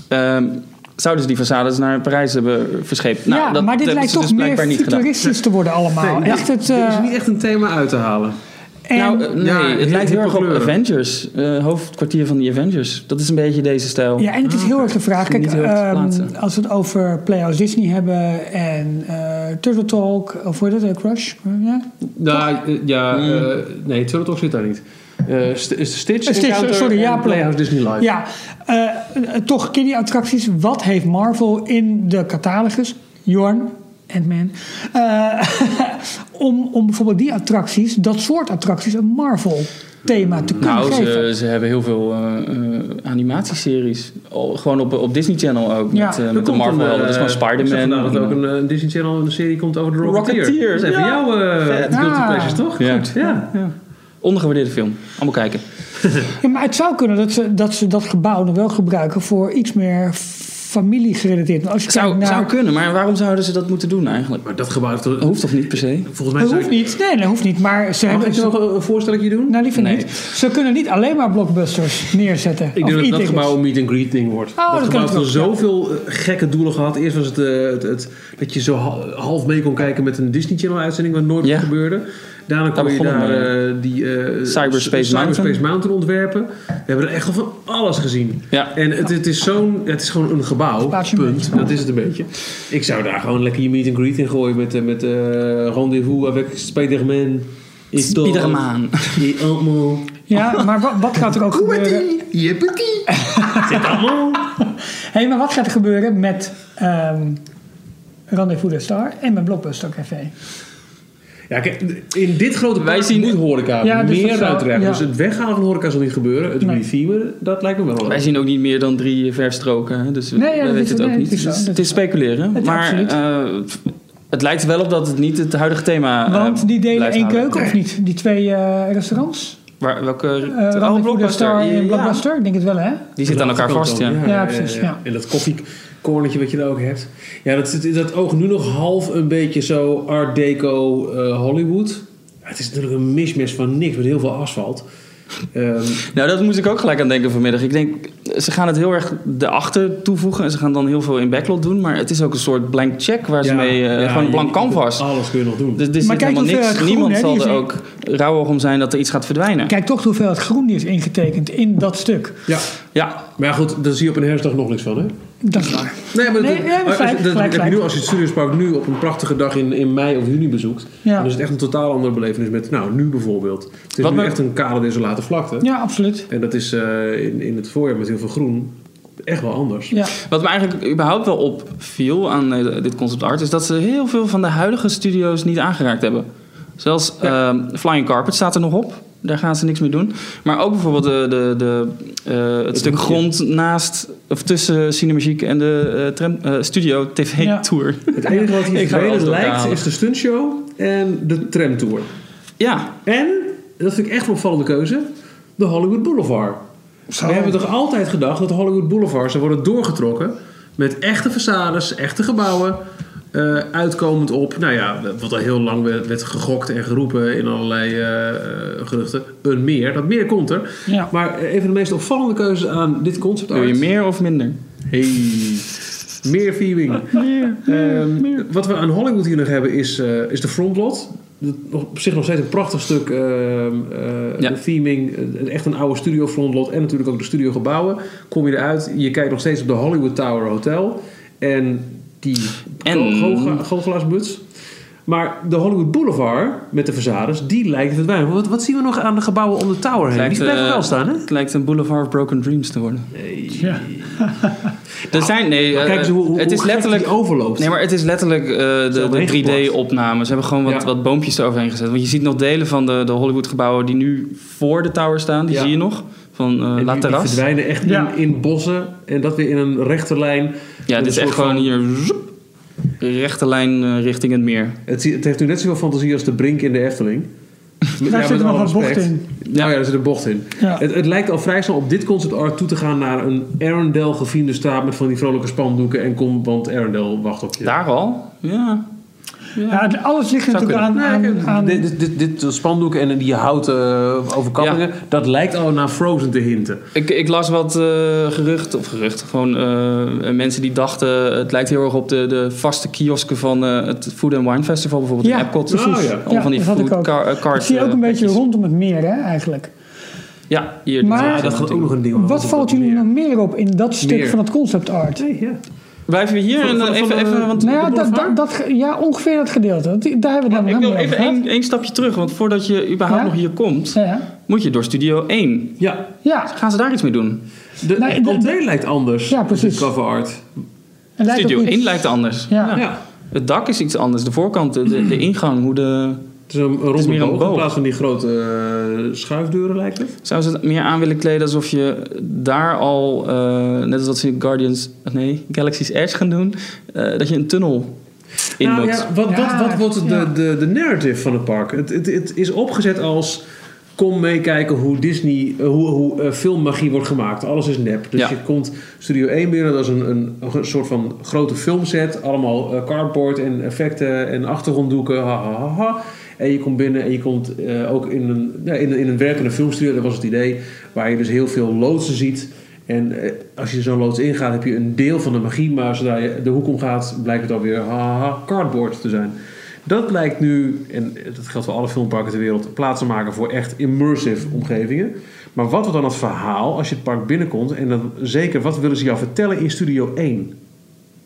D: Ehm, zouden ze die façades naar Parijs hebben verscheept? Nou,
A: ja,
D: dat
A: maar dit
D: hebben
A: lijkt
D: ze
A: toch
D: dus
A: meer
D: blijkbaar niet gedaan.
A: futuristisch te worden allemaal.
B: Nee,
A: echt het...
B: er is
A: eh,
B: niet echt een thema uit te halen.
A: en,
D: nou, eh, nee,
B: Ja,
D: het
B: heel
D: lijkt heel erg op
B: kleuren.
D: Avengers. eh, hoofdkwartier van de Avengers. Dat is een beetje deze stijl.
A: ja, en het is heel erg de vraag.
D: Misschien
A: Kijk,
D: niet heel erg te
A: ehm,
D: plaatsen.
A: als we het over Playhouse Disney hebben en eh, Turtle Talk, of hoe heet het, eh, Crush? Eh, ja?
B: Nou, eh, ja,
A: Hmm.
B: eh, nee, Turtle Talk zit daar niet. Eh, St- is Stitch,
A: Eh, Stitch,
B: Encounter
A: sorry, ja,
B: en Playhouse Disney Live.
A: Ja, eh, eh, toch kiddie-attracties. Wat heeft Marvel in de catalogus? Jorn, Ant-Man. eh, om, om bijvoorbeeld die attracties, dat soort attracties, een Marvel-thema te kunnen
D: Nou,
A: geven.
D: ze, ze hebben heel veel eh, eh, animatieseries. Al- gewoon op, op Disney Channel ook.
A: Ja,
D: met, eh,
A: er
D: met de Marvel.
B: eh,
D: helden. dus gewoon
B: ik zag
D: Spider-Man.
A: nou
B: vandaag dat ook een eh, Disney Channel een serie komt over de Rocketeer.
D: Rocketeer,
B: Dat is even
D: ja.
B: jouw eh
A: Ja.
B: guilty pleasures, toch?
D: Ja.
B: Goed, ja.
D: Ondergewaardeerde film. Allemaal kijken.
A: Ja, maar het zou kunnen dat ze, dat ze dat gebouw nog wel gebruiken voor iets meer familiegerelateerd. Want Als je
D: Zou,
A: kijkt naar,
D: zou kunnen, maar waarom zouden ze dat moeten doen eigenlijk?
B: Maar dat gebouw heeft toch-
D: Dat hoeft toch niet per se?
B: Volgens mij
A: dat
B: zou
A: hoeft
B: je-
A: niet. Nee, dat hoeft niet. Maar ze
B: Mag
A: hebben
B: ik nog een een voorstelletje doen?
A: Nou, liever
D: Nee.
A: niet. Ze kunnen niet alleen maar blockbusters neerzetten.
B: Ik
A: of
B: denk dat dat
A: e-tickets. Oh,
B: gebouw een meet and greet ding
A: dat
B: wordt. dat
A: kan
B: gebouw heeft al
A: natuurlijk ook,
B: zoveel eh, gekke doelen gehad. Eerst was het, eh, het, het dat je zo ha- half mee kon kijken met een Disney Channel uitzending wat nooit
D: Ja.
B: gebeurde. Daarna kon
D: Daar
B: je
D: begon het
B: daar
D: mee.
B: eh, die eh,
D: Cyberspace Mountain.
B: Mountain ontwerpen. We hebben er echt al van alles gezien.
D: Ja.
B: En het, het, is zo'n, het is gewoon een gebouw.
A: Plaats je een
B: punt. Dat is het een beetje. Ik zou daar gewoon lekker je meet and greet in gooien met, eh, met eh, rendezvous avec Spider-Man.
D: Spider-Man.
B: Die Ant-Man.
A: Ja, maar wa- wat gaat er ook gebeuren?
E: Jeppity.
A: Hé, maar wat gaat er gebeuren met ehm Rendezvous de Star en met Blockbuster Café?
B: Ja, kijk, in dit grote
D: Wij
B: park
D: zien-
B: moet horeca
A: Ja, dus dat
B: meer
A: zou-
B: uitrekken.
A: ja.
B: Dus het weghalen van horeca zal niet gebeuren. Het
A: Nee.
B: reviewen, dat lijkt me wel.
D: Wij zien ook niet meer dan drie eh, verstroken, hè, dus we-
A: Nee, ja,
D: wij
A: dat
D: weten
A: is-
D: het ook
A: nee,
D: niet.
A: het is zo,
D: Dus
A: dat
D: het
A: is
D: is speculeren,
A: Het-
D: maar
A: absoluut.
D: eh, het lijkt er wel op dat het niet het huidige thema
B: Ehm,
D: eh,
A: Want die delen
D: blijft
B: nou
A: één
D: houden.
A: keuken of niet? Die twee eh, restaurants?
D: Waar, welke?
A: Eh
D: oh,
A: Rendezvous de
D: Blockbuster.
A: Star
D: Ja,
A: en Blockbuster? Ik denk het wel, hè?
D: Die zit aan elkaar vast, ja.
A: Ja, precies, ja.
B: En dat koffiekornetje wat je daar ook hebt. Ja, dat, zit- dat oog nu nog half een beetje zo Art Deco eh, Hollywood. Ja, het is natuurlijk een mismatch van niks met heel veel asfalt. Ehm,
D: Nou, dat moest ik ook gelijk aan denken vanmiddag. Ik denk, ze gaan het heel erg erachter toevoegen en ze gaan dan heel veel in backlog doen. Maar het is ook een soort blank check waar ze
B: ja,
D: mee, eh,
B: ja,
D: gewoon
B: je-
D: blank canvas.
B: Alles kun je nog doen.
D: Dus er is
A: Oh. Maar kijk
D: helemaal
A: hoeveel
D: niks.
A: het groen,
D: Niemand
A: hè,
D: zal
A: die
D: er
A: is-
D: ook rauwig om zijn dat er iets gaat verdwijnen.
A: Kijk toch hoeveel het groen is ingetekend in dat stuk.
B: ja.
D: Ja,
B: Maar ja, goed, daar zie je op een herfstdag nog niks van, hè?
A: Dat is waar.
B: Nee, maar,
A: Nee,
B: dat,
A: ja, maar
B: als, je-
A: gelijk,
B: dat
A: gelijk,
B: heb je
A: gelijk.
B: nu als je het Studiospark nu op een prachtige dag in, in mei of juni bezoekt.
A: Ja.
B: Dan is het echt een totaal andere belevenis met, nou, nu bijvoorbeeld. Het is
D: Wat
B: nu
D: me-
B: echt een kale desolate vlakte.
A: Ja, absoluut.
B: En dat is eh, in, in het voorjaar met heel veel groen echt wel anders.
A: Ja.
D: Wat me eigenlijk überhaupt wel opviel aan eh, dit concept art... is dat ze heel veel van de huidige studio's niet aangeraakt hebben. Zelfs ehm, Flying Carpet staat er nog op. Daar gaan ze niks mee doen. Maar ook bijvoorbeeld de, de, de, eh, het stuk
B: hoekje.
D: grond naast... of tussen Cinemagiek en de eh, tram- eh, Studio TV
A: Ja.
D: Tour.
B: Het enige wat hier
D: Ik ga
B: vervelend
D: alles
B: lijkt
D: doorhalen.
B: is de stuntshow en de tramtour.
D: ja,
B: En, dat vind ik echt een opvallende keuze, de Hollywood Boulevard. We hebben toch altijd gedacht dat de Hollywood Boulevards zou worden doorgetrokken met echte façades, echte gebouwen. eh, uitkomend op, nou ja, wat al heel lang werd, werd gegokt en geroepen in allerlei eh, eh, geruchten. Een meer, dat meer komt er.
A: Ja.
B: Maar eh, een van de meest opvallende keuzes aan dit concept
D: wil je
B: art-
D: meer of minder?
B: Hey. Meer viewing. Ehm, Wat we aan Hollywood hier nog hebben is, eh, is de frontlot. Dat nog- Op zich nog steeds een prachtig stuk ehm eh,
D: Ja.
B: de theming. eh, Echt een oude studio frontlot. En natuurlijk ook de studiogebouwen. Kom je eruit. Je kijkt nog steeds op de Hollywood Tower Hotel. En die
D: En-
B: goochela- goochelaarsmuts. Maar de Hollywood Boulevard met de façades, die lijkt het weinig. Wat, wat zien we nog aan de gebouwen om de tower heen?
D: Lijkt,
B: die blijven
D: eh,
B: wel staan, hè?
D: Het lijkt een Boulevard of Broken Dreams te worden.
A: Ja.
D: Er zijn, nee, eh,
B: Ah. Kijk eens hoe, hoe,
D: het is
B: hoe gek
D: letterlijk
B: die overloopt.
D: Nee, maar het is letterlijk eh, de,
B: hebben
D: de
B: meegeplakt.
D: 3D-opnames. Ze hebben gewoon wat,
B: Ja.
D: wat boompjes eroverheen gezet. Want je ziet nog delen van de, de Hollywood-gebouwen die nu voor de tower staan. Die
B: Ja.
D: zie je nog. Van eh
B: En
D: La
B: die, die
D: Terrasse.
B: verdwijnen echt
A: Ja.
B: in, in bossen en dat weer in een rechte lijn.
D: Ja, dit
B: Een
D: is
B: soort
D: echt gewoon
B: van-
D: hier... zoep, rechte lijn eh, richting het meer.
B: Het, zie- het heeft nu net zoveel fantasie als de brink in de Efteling. Met-
A: Daar
B: met
A: zit nog
B: alle
A: een bocht
B: respect.
A: in.
B: Nou ja, er zit een bocht in.
A: Ja.
B: Het, het lijkt al vrij snel op dit concept art toe te gaan naar een Arendelle gevierde straat met van die vrolijke spandoeken en kom, want Arendelle wacht op je.
D: Daar al? Ja.
A: Ja, het- alles ligt er
D: Zou
A: natuurlijk aan,
B: Nee,
A: aan,
B: kijk,
A: aan-
B: Dit, dit, dit, dit spandoek en die houten eh, overkappingen, dat lijkt al naar Frozen te hinten.
D: Ik, ik las wat eh, gerucht, of gerucht, gewoon eh, mensen die dachten... het lijkt heel erg op de, de vaste kiosken van eh, het Food and Wine Festival bijvoorbeeld
A: Ja,
D: in Epcot.
B: precies. Oh, ja.
D: Allemaal
A: Ja,
D: van die
A: dat had ik
D: food
A: ook.
D: car, eh,
A: Ik
D: carts,
A: zie je ook
D: eh,
A: een beetje
D: pakjes.
A: rondom het meer, hè, eigenlijk.
D: Ja, hier.
A: Maar-
D: dit is
B: Ja, dat gaat ook
D: natuurlijk.
B: nog een ding worden.
A: Wat valt jullie nou- nog meer op in dat stuk
B: Meer.
A: van het concept art?
D: Blijven we hier
B: Van-
D: en
B: van-
D: eh, even,
B: van de-
D: even, want
A: Nou ja,
B: de
A: dat,
B: boulevard?
A: dat, dat ge- ja, ongeveer dat gedeelte. Want die- Daar hebben we dan
D: ik wil
A: helemaal
D: even
A: over
D: één, één stapje terug, want voordat je überhaupt
A: Ja?
D: nog hier komt,
A: gehad. Ja,
D: moet je door Studio 1.
B: Ja,
A: ja.
D: Gaan ze daar iets mee doen?
B: de,
A: Nee, Nou,
B: het
A: de-
B: entree lijkt anders.
A: Ja,
B: op dit
A: precies.
B: Cover art.
A: En lijkt
D: Studio
A: ook iets-
D: 1 lijkt anders.
A: Ja.
B: ja.
D: Het dak is iets anders, de voorkant, de, de, de ingang, hoe de...
B: Het is een, een ronde
D: meer een
B: boog
D: boog.
B: in plaats van die grote eh, schuifdeuren lijkt het.
D: Zou ze het meer aan willen kleden alsof je daar al, eh, net als dat ze in Guardians, nee, Galaxy's Edge gaan doen, eh, dat je een tunnel in
B: nou,
D: moet.
B: ja, wat,
A: Ja,
B: dat, wat wordt het
A: ja.
B: de, de, de narrative van het park? Het, het, het is opgezet als... Kom meekijken hoe Disney, eh, hoe, hoe eh, filmmagie wordt gemaakt. Alles is nep. Dus
D: Ja.
B: je komt Studio 1 binnen, dat is een, een, een soort van grote filmset. Allemaal eh, cardboard en effecten en achtergronddoeken. Ha, ha, ha, ha. En je komt binnen en je komt eh, ook in een, ja, in, een- in een werkende filmstudio, dat was het idee. Waar je dus heel veel loodsen ziet. En eh, als je zo'n loods ingaat, heb je een deel van de magie. Maar zodra je de hoek om gaat, blijkt het alweer ha, ha, ha, cardboard te zijn. Dat lijkt nu, en dat geldt voor alle filmparken ter wereld, plaats te maken voor echt immersive omgevingen. Maar wat wordt dan het verhaal als je het park binnenkomt? En dan zeker, wat willen ze jou vertellen in Studio 1?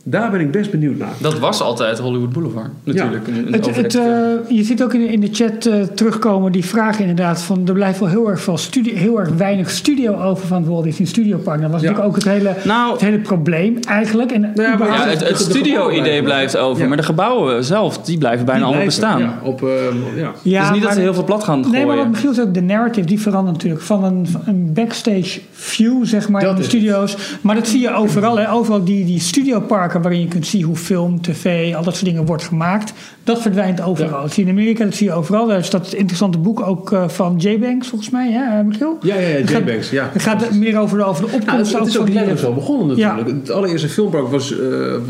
B: Daar ben ik best benieuwd naar.
D: Dat was altijd Hollywood Boulevard, natuurlijk. Een, een
A: Het, het,
D: overhekte-
A: eh, je ziet ook in de, in de chat eh, terugkomen die vragen inderdaad van er blijft wel heel erg, veel studio, heel erg weinig studio over van het Walt Disney Studio Park. Dat was
B: Ja.
A: natuurlijk ook het hele,
D: nou,
A: het hele probleem eigenlijk. En
B: maar-
A: überhaupt-
D: ja, het, het
B: de- de gebouwen
D: studio-idee
B: blijven.
D: blijft over,
B: Ja.
D: maar de gebouwen zelf, die blijven bijna
B: Die
D: allemaal
B: blijven,
D: bestaan.
B: Ja, op, eh, ja.
A: Ja,
D: dus niet dat
A: maar-
D: ze heel veel plat gaan gooien.
A: Nee, maar wat Michiel zei ook, de narrative die verandert natuurlijk. Van een, van een backstage view, zeg maar,
B: Dat
A: in de
B: is
A: studio's. Maar dat zie je overal. Hè. Overal die, die studioparken waarin je kunt zien hoe film, tv, al dat soort dingen wordt gemaakt. Dat verdwijnt overal. Dat zie je in Amerika, dat zie je overal. Daar is dat interessante boek ook eh, van J. Banks, volgens mij, hè, eh, Michiel?
B: Ja, ja, ja,
A: Het
B: J.
A: gaat-
B: Banks, ja.
A: Het gaat meer over de, over de opkomst.
B: Nou, het, het is
A: van
B: ook
A: die-
B: letterlijk zo begonnen
A: Ja.
B: natuurlijk. Het allereerste filmpark was, eh,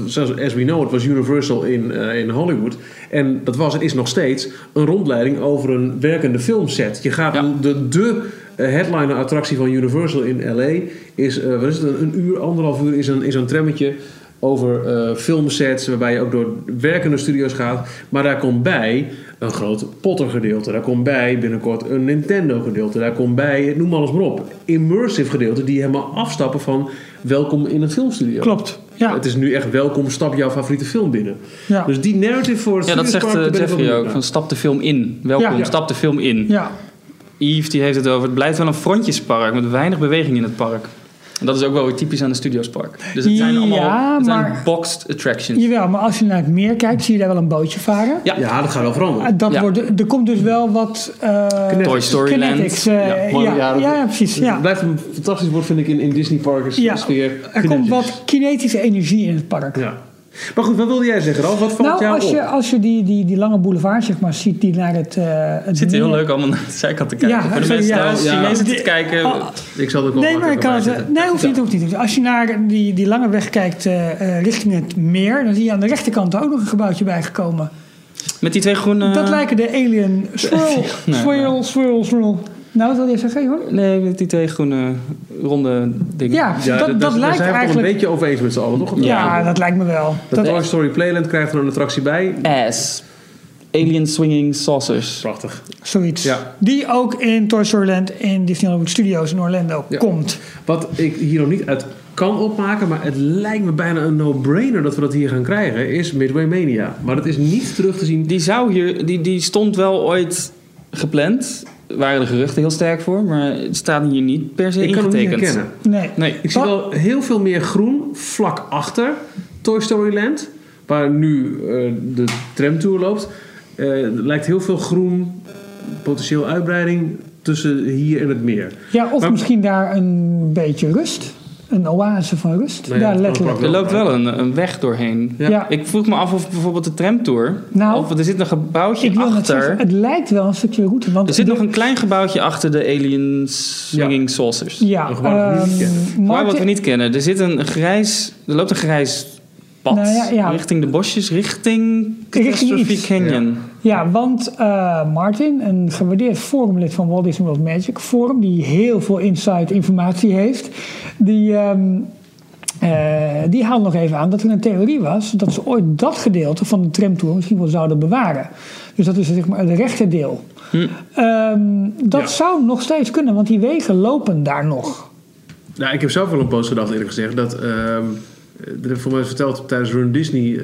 B: zoals as we know it, was Universal in, eh, in Hollywood. En dat was en is nog steeds een rondleiding over een werkende filmset. Je gaat
D: Ja.
B: de, de eh, headliner attractie van Universal in L.A. is, eh, wat is het, een, een uur, anderhalf uur is een, is een trammetje over eh, filmsets waarbij je ook door werkende studio's gaat. Maar daar komt bij een groot Potter gedeelte. Daar komt bij binnenkort een Nintendo gedeelte. Daar komt bij, noem alles maar op, immersive gedeelte die helemaal afstappen van welkom in een filmstudio.
A: Klopt, ja.
B: Het is nu echt welkom, stap jouw favoriete film binnen.
A: Ja.
B: Dus die narrative voor het
D: ja, dat zegt
B: Studiospark,
D: eh,
B: daar ben ik wel
D: Jeffrey ook.
B: benieuwd
D: Van stap de film in. Welkom,
A: Ja.
D: stap de film in.
A: ja.
D: Yves die heeft het over. Het blijft wel een frontjespark met weinig beweging in het park. En dat is ook wel weer typisch aan een studiospark. Dus het zijn allemaal
A: Ja,
D: het zijn
A: maar-
D: boxed attractions.
A: Jawel, maar als je naar het meer kijkt, zie je daar wel een bootje varen.
D: Ja.
B: naar. Ja, dat gaat wel veranderen.
A: Ah, Dat
D: Ja.
A: wordt, er komt dus wel wat... eh,
D: Toy Story Land.
A: Kinetics, eh,
D: Ja,
B: mooi,
A: ja,
B: ja,
A: ja,
B: dat-
A: precies. dus Ja.
B: Het blijft een fantastisch woord, vind ik, in, in Disney Parks
A: Ja,
B: sfeer.
A: Er komt
B: Kinetics.
A: wat kinetische energie in het park.
B: Ja. Maar goed, wat wilde jij zeggen, Ralf? Wat valt
A: Nou,
B: jou
A: als
B: op?
A: je, als je die, die, die lange boulevard zeg maar, ziet die naar het... eh het
D: Het zit heel
A: meer-
D: leuk allemaal naar de zijkant te kijken.
A: Ja,
D: Voor de
A: sorry,
D: mensen
A: ja.
D: thuis,
B: Ja.
D: Chinezen
A: Ja.
D: te kijken.
A: Oh,
B: Ik zal het ook wel
A: Nee, maar ik
B: makkelijk
A: kan
B: erbij
A: het, eh,
B: zetten.
A: nee, hoeft niet, hoeft niet. hoeft niet. Als je naar die, die lange weg kijkt eh, eh, richting het meer... dan zie je aan de rechterkant ook nog een gebouwtje bijgekomen.
D: Met die twee groene...
B: Eh.
A: Dat lijken de alien swirl,
D: Nee,
A: swirl, swirl, swirl. Nou, wat wil je zeggen, Johan?
D: Nee, met die twee groene ronde dingen.
A: Ja,
B: Ja, dus-
A: dat,
B: dat,
A: dat,
B: daar
A: lijkt
B: zijn we toch
A: eigenlijk...
B: een beetje over eens met z'n allen, toch?
A: ja, dat lijkt me wel.
B: Dat Toy Story Playland krijgt er een attractie bij.
D: Ass. Alien swinging saucers.
B: Prachtig.
A: Zoiets.
B: Ja.
A: Die ook in Toy Story Land in Disney Hollywood Studios in Orlando
B: Ja.
A: komt.
B: Wat ik hier nog niet uit kan opmaken, maar het lijkt me bijna een no-brainer dat we dat hier gaan krijgen, is Midway Mania. Maar dat is niet terug te zien.
D: Die zou hier... Die, die stond wel ooit gepland. Waren de geruchten heel sterk voor. Maar het staat hier niet per se
B: Ik kan hem niet
D: ingetekend.
B: herkennen.
A: Nee.
D: Nee.
B: Ik zie wel heel veel meer groen vlak achter Toy Story Land, waar nu eh, de tramtour loopt. Eh, Er lijkt heel veel groen, potentieel uitbreiding tussen hier en het meer.
A: Ja, of
B: Maar-
A: misschien daar een beetje rust. Een oase van rust.
B: Nou ja,
A: daar
B: dat kan
A: letterlijk.
B: ook
D: Er loopt wel een, een weg doorheen.
B: Ja.
A: Ja.
D: Ik vroeg me af of bijvoorbeeld de tramtour...
A: Nou,
D: of er zit een gebouwtje
A: Ik wil net zeggen,
D: achter...
A: het lijkt wel een stukje route. Want
D: Er zit nog een klein gebouwtje achter de alien swinging saucers.
A: Ja,
B: Een gebouw dat we niet
A: ehm,
B: kennen.
D: Maar
A: Martin,
D: wat we niet kennen, er zit een grijs, er loopt een grijs pad
A: Nou ja, ja.
D: richting de bosjes, richting
A: Richting
D: Catastrophe
A: iets.
D: Canyon.
A: ja, want eh, Martin, een gewaardeerd forumlid van Walt Disney World Magic Forum, die heel veel insight informatie heeft, die, ehm, eh, die haalt nog even aan dat er een theorie was dat ze ooit dat gedeelte van de tramtour misschien wel zouden bewaren. Dus dat is zeg maar het rechterdeel.
D: Hm.
A: Ehm, dat
B: Ja.
A: zou nog steeds kunnen, want die wegen lopen daar nog.
B: Nou, ik heb zelf wel een post gedacht, eerlijk gezegd. Dat, ehm dat heb ik voor mij verteld, tijdens Run Disney eh,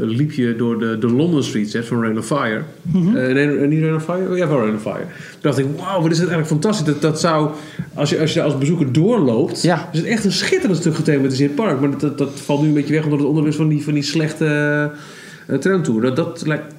B: liep je door de, de London Street set van Rain on Fire.
D: Mhm.
B: Eh, nee, niet Rain on Fire? Oh, ja, wel Rain on Fire. Toen dacht ik, wauw, wat is het eigenlijk fantastisch. Dat, dat zou, als je, als je daar als bezoeker doorloopt,
D: Ja.
B: is het echt een schitterend stuk gethematiseerd park. Maar dat, dat, dat valt nu een beetje weg omdat het onderdeel is van die, van die slechte eh, tramtour. Dat, dat lijkt...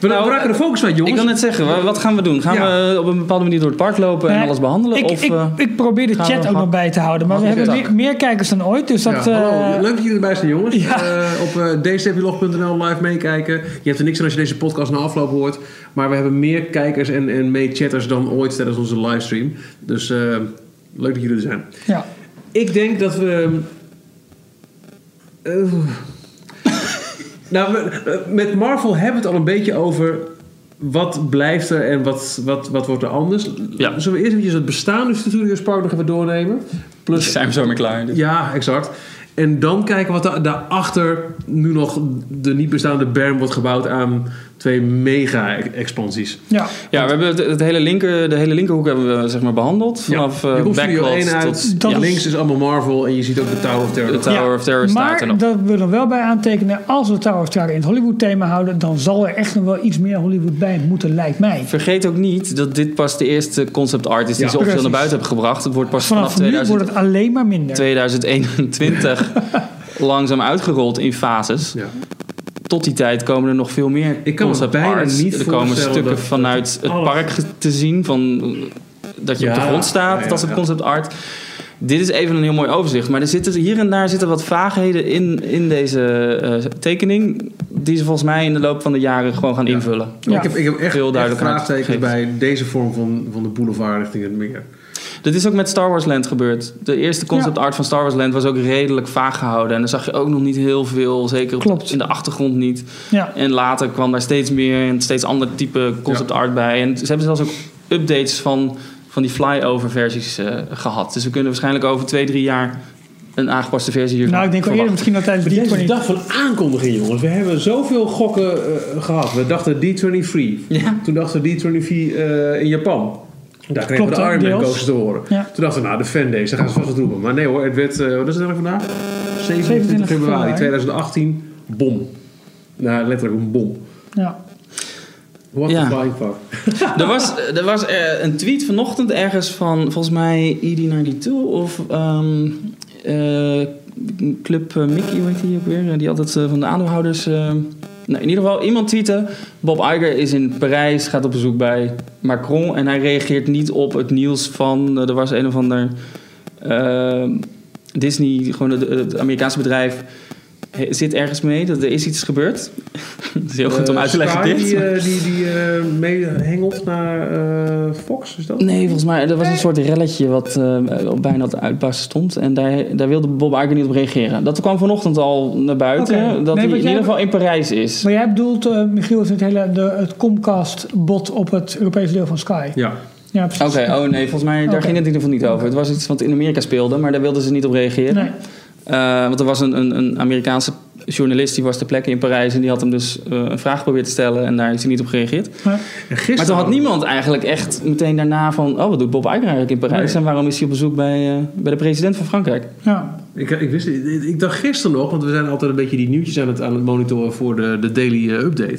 B: We,
D: Nou,
B: we raken de focus uit, jongens.
D: Ik wil net zeggen, wa- wat gaan we doen? Gaan
B: Ja.
D: we eh, op een bepaalde manier door het park lopen en
A: Nee,
D: alles behandelen?
A: Ik,
D: of,
A: ik,
D: eh,
A: ik probeer de
D: gaan we
A: chat ook
D: hak-
A: nog bij te houden, maar we hebben
D: hakken?
A: meer, meer kijkers dan ooit. Dus dat,
B: Ja,
A: eh,
B: hallo, leuk dat jullie erbij zijn, jongens.
A: Ja.
B: Eh, op eh dstplog.nl live meekijken. Je hebt er niks aan als je deze podcast na afloop hoort. Maar we hebben meer kijkers en, en meechatters dan ooit tijdens onze livestream. Dus eh, leuk dat jullie er zijn.
A: ja.
B: Ik denk dat we. eh, nou, we- eh, met Marvel hebben we het al een beetje over. Wat blijft er en wat, wat, wat wordt er anders?
D: Ja.
B: Zullen we eerst eventjes het bestaande Studios Park nog even doornemen?
D: Plus zijn we zo mee klaar.
B: Ja, exact. En dan kijken wat da- daarachter nu nog de niet bestaande berm wordt gebouwd aan 2,5 twee e-, mega-expansies.
A: Ja.
D: Ja, we hebben het, het hele linker, de hele linkerhoek hebben we zeg maar, behandeld. Vanaf
B: je
D: eh
B: komt Studio
D: Backlot
B: 1
D: tot
B: uit,
A: Dat is-
B: links is allemaal Marvel en je ziet ook de Tower of Terror.
D: de Tower
A: Ja,
D: of Terror staat er
A: maar
D: nog.
A: dat we er wel bij aantekenen, als we Tower of Terror in het Hollywood thema houden, dan zal er echt nog wel iets meer Hollywood bij moeten, lijkt mij.
D: Vergeet ook niet dat dit pas de eerste concept art is die
B: Ja,
D: ze officieel naar
A: precies.
D: buiten hebben gebracht. Het wordt pas vanaf,
A: Vanaf nu
D: 2000
A: wordt het alleen maar minder.
D: 2021 langzaam uitgerold in fases.
B: Ja.
D: Tot die tijd komen er nog veel meer
B: Ik kan me
D: concept
B: bijna
D: arts.
B: niet
D: er komen
B: voorstellen
D: stukken
B: dat- dat
D: vanuit het
B: alles-
D: park ge- te zien. Van, eh, dat je op de
B: Ja,
D: grond staat.
B: ja, ja,
D: dat soort
B: ja.
D: concept art. Dit is even een heel mooi overzicht. Maar er zitten, hier en daar zitten wat vaagheden in, in deze eh, tekening. Die ze volgens mij in de loop van de jaren gewoon gaan invullen.
A: Ja.
B: Ik, heb, ik heb echt,
D: Veel
B: heel echt
D: duidelijkheid
B: vraagtekens
D: gegeven.
B: bij deze vorm van, van de boulevard richting het meer.
D: Dat is ook met Star Wars Land gebeurd. De eerste concept art van Star Wars Land was ook redelijk vaag gehouden. En dan zag je ook nog niet heel veel. Zeker op-
A: Klopt.
D: in de achtergrond niet.
A: Ja.
D: En later kwam daar steeds meer en steeds ander type concept art bij. En ze hebben zelfs ook updates van, van die flyover versies eh, gehad. Dus we kunnen waarschijnlijk over twee, drie jaar een aangepaste versie hiervan
A: Nou, ik denk wel eerder misschien
D: verwachten.
A: dat tijdens die
B: Deze
A: 20
B: dag van aankondiging, jongens. We hebben zoveel gokken eh, gehad. We dachten D23.
D: Ja.
B: Toen dachten we D23 eh, in Japan. Daar kregen
A: Klopt,
B: we de
A: hè,
B: Iron Man
A: deels.
B: coaches te horen.
A: Ja.
B: Toen dachten we, nou, de fan days, daar gaan ze vast wat roepen. Maar nee hoor, het werd, eh, wat is het eigenlijk vandaag? 27 februari
A: februari.
B: 2018. Bom. Nou, letterlijk een bom.
A: Ja.
B: What
D: Ja.
B: the flying fuck.
D: Er was, er was eh, een tweet vanochtend ergens van volgens mij E ED92 of ehm, eh, Club eh, Mickey, hoe heet die ook weer? eh, die altijd eh, van de aandeelhouders. eh, nou, in ieder geval, iemand tweette. Bob Iger is in Parijs, gaat op bezoek bij Macron. En hij reageert niet op het nieuws van. eh, er was een of ander. eh, Disney, gewoon het, het Amerikaanse bedrijf. he- Zit ergens mee, dat er is iets gebeurd. Het is heel goed om
B: Eh,
D: uit te leggen.
B: Sky,
D: dit.
B: Die, eh, die, die eh, meehengelt naar eh, Fox, is dat?
D: Nee, volgens mij er was een soort relletje wat eh, op bijna het uitbarsten stond. En daar, daar wilde Bob Iger niet op reageren. Dat kwam vanochtend al naar buiten.
A: Oké. Nee,
D: Dat hij
A: want
D: in
A: jij-
D: ieder geval in Parijs is.
A: Maar jij bedoelt, eh, Michiel, is het hele de, het Comcast-bot op het Europese deel van Sky.
B: Ja.
A: Ja, precies.
D: Oké, oh nee, volgens mij daar
A: Oké.
D: ging het in ieder geval niet over. Het was iets wat in Amerika speelde, maar daar wilden ze niet op reageren.
A: Nee.
D: Eh, want er was een, een, een Amerikaanse journalist die was ter plekke in Parijs en die had hem dus eh, een vraag geprobeerd te stellen en daar is hij niet op gereageerd.
A: Maar-
B: En gisteren
D: Maar toen had niemand eigenlijk echt meteen daarna van, oh wat doet Bob Iger eigenlijk in Parijs
B: Nee.
D: en waarom is hij op bezoek bij, eh, bij de president van Frankrijk?
A: ja.
B: Ik, ik, wist, ik, ik dacht gisteren nog, want we zijn altijd een beetje die nieuwtjes aan het, aan het monitoren voor de, de daily eh, update.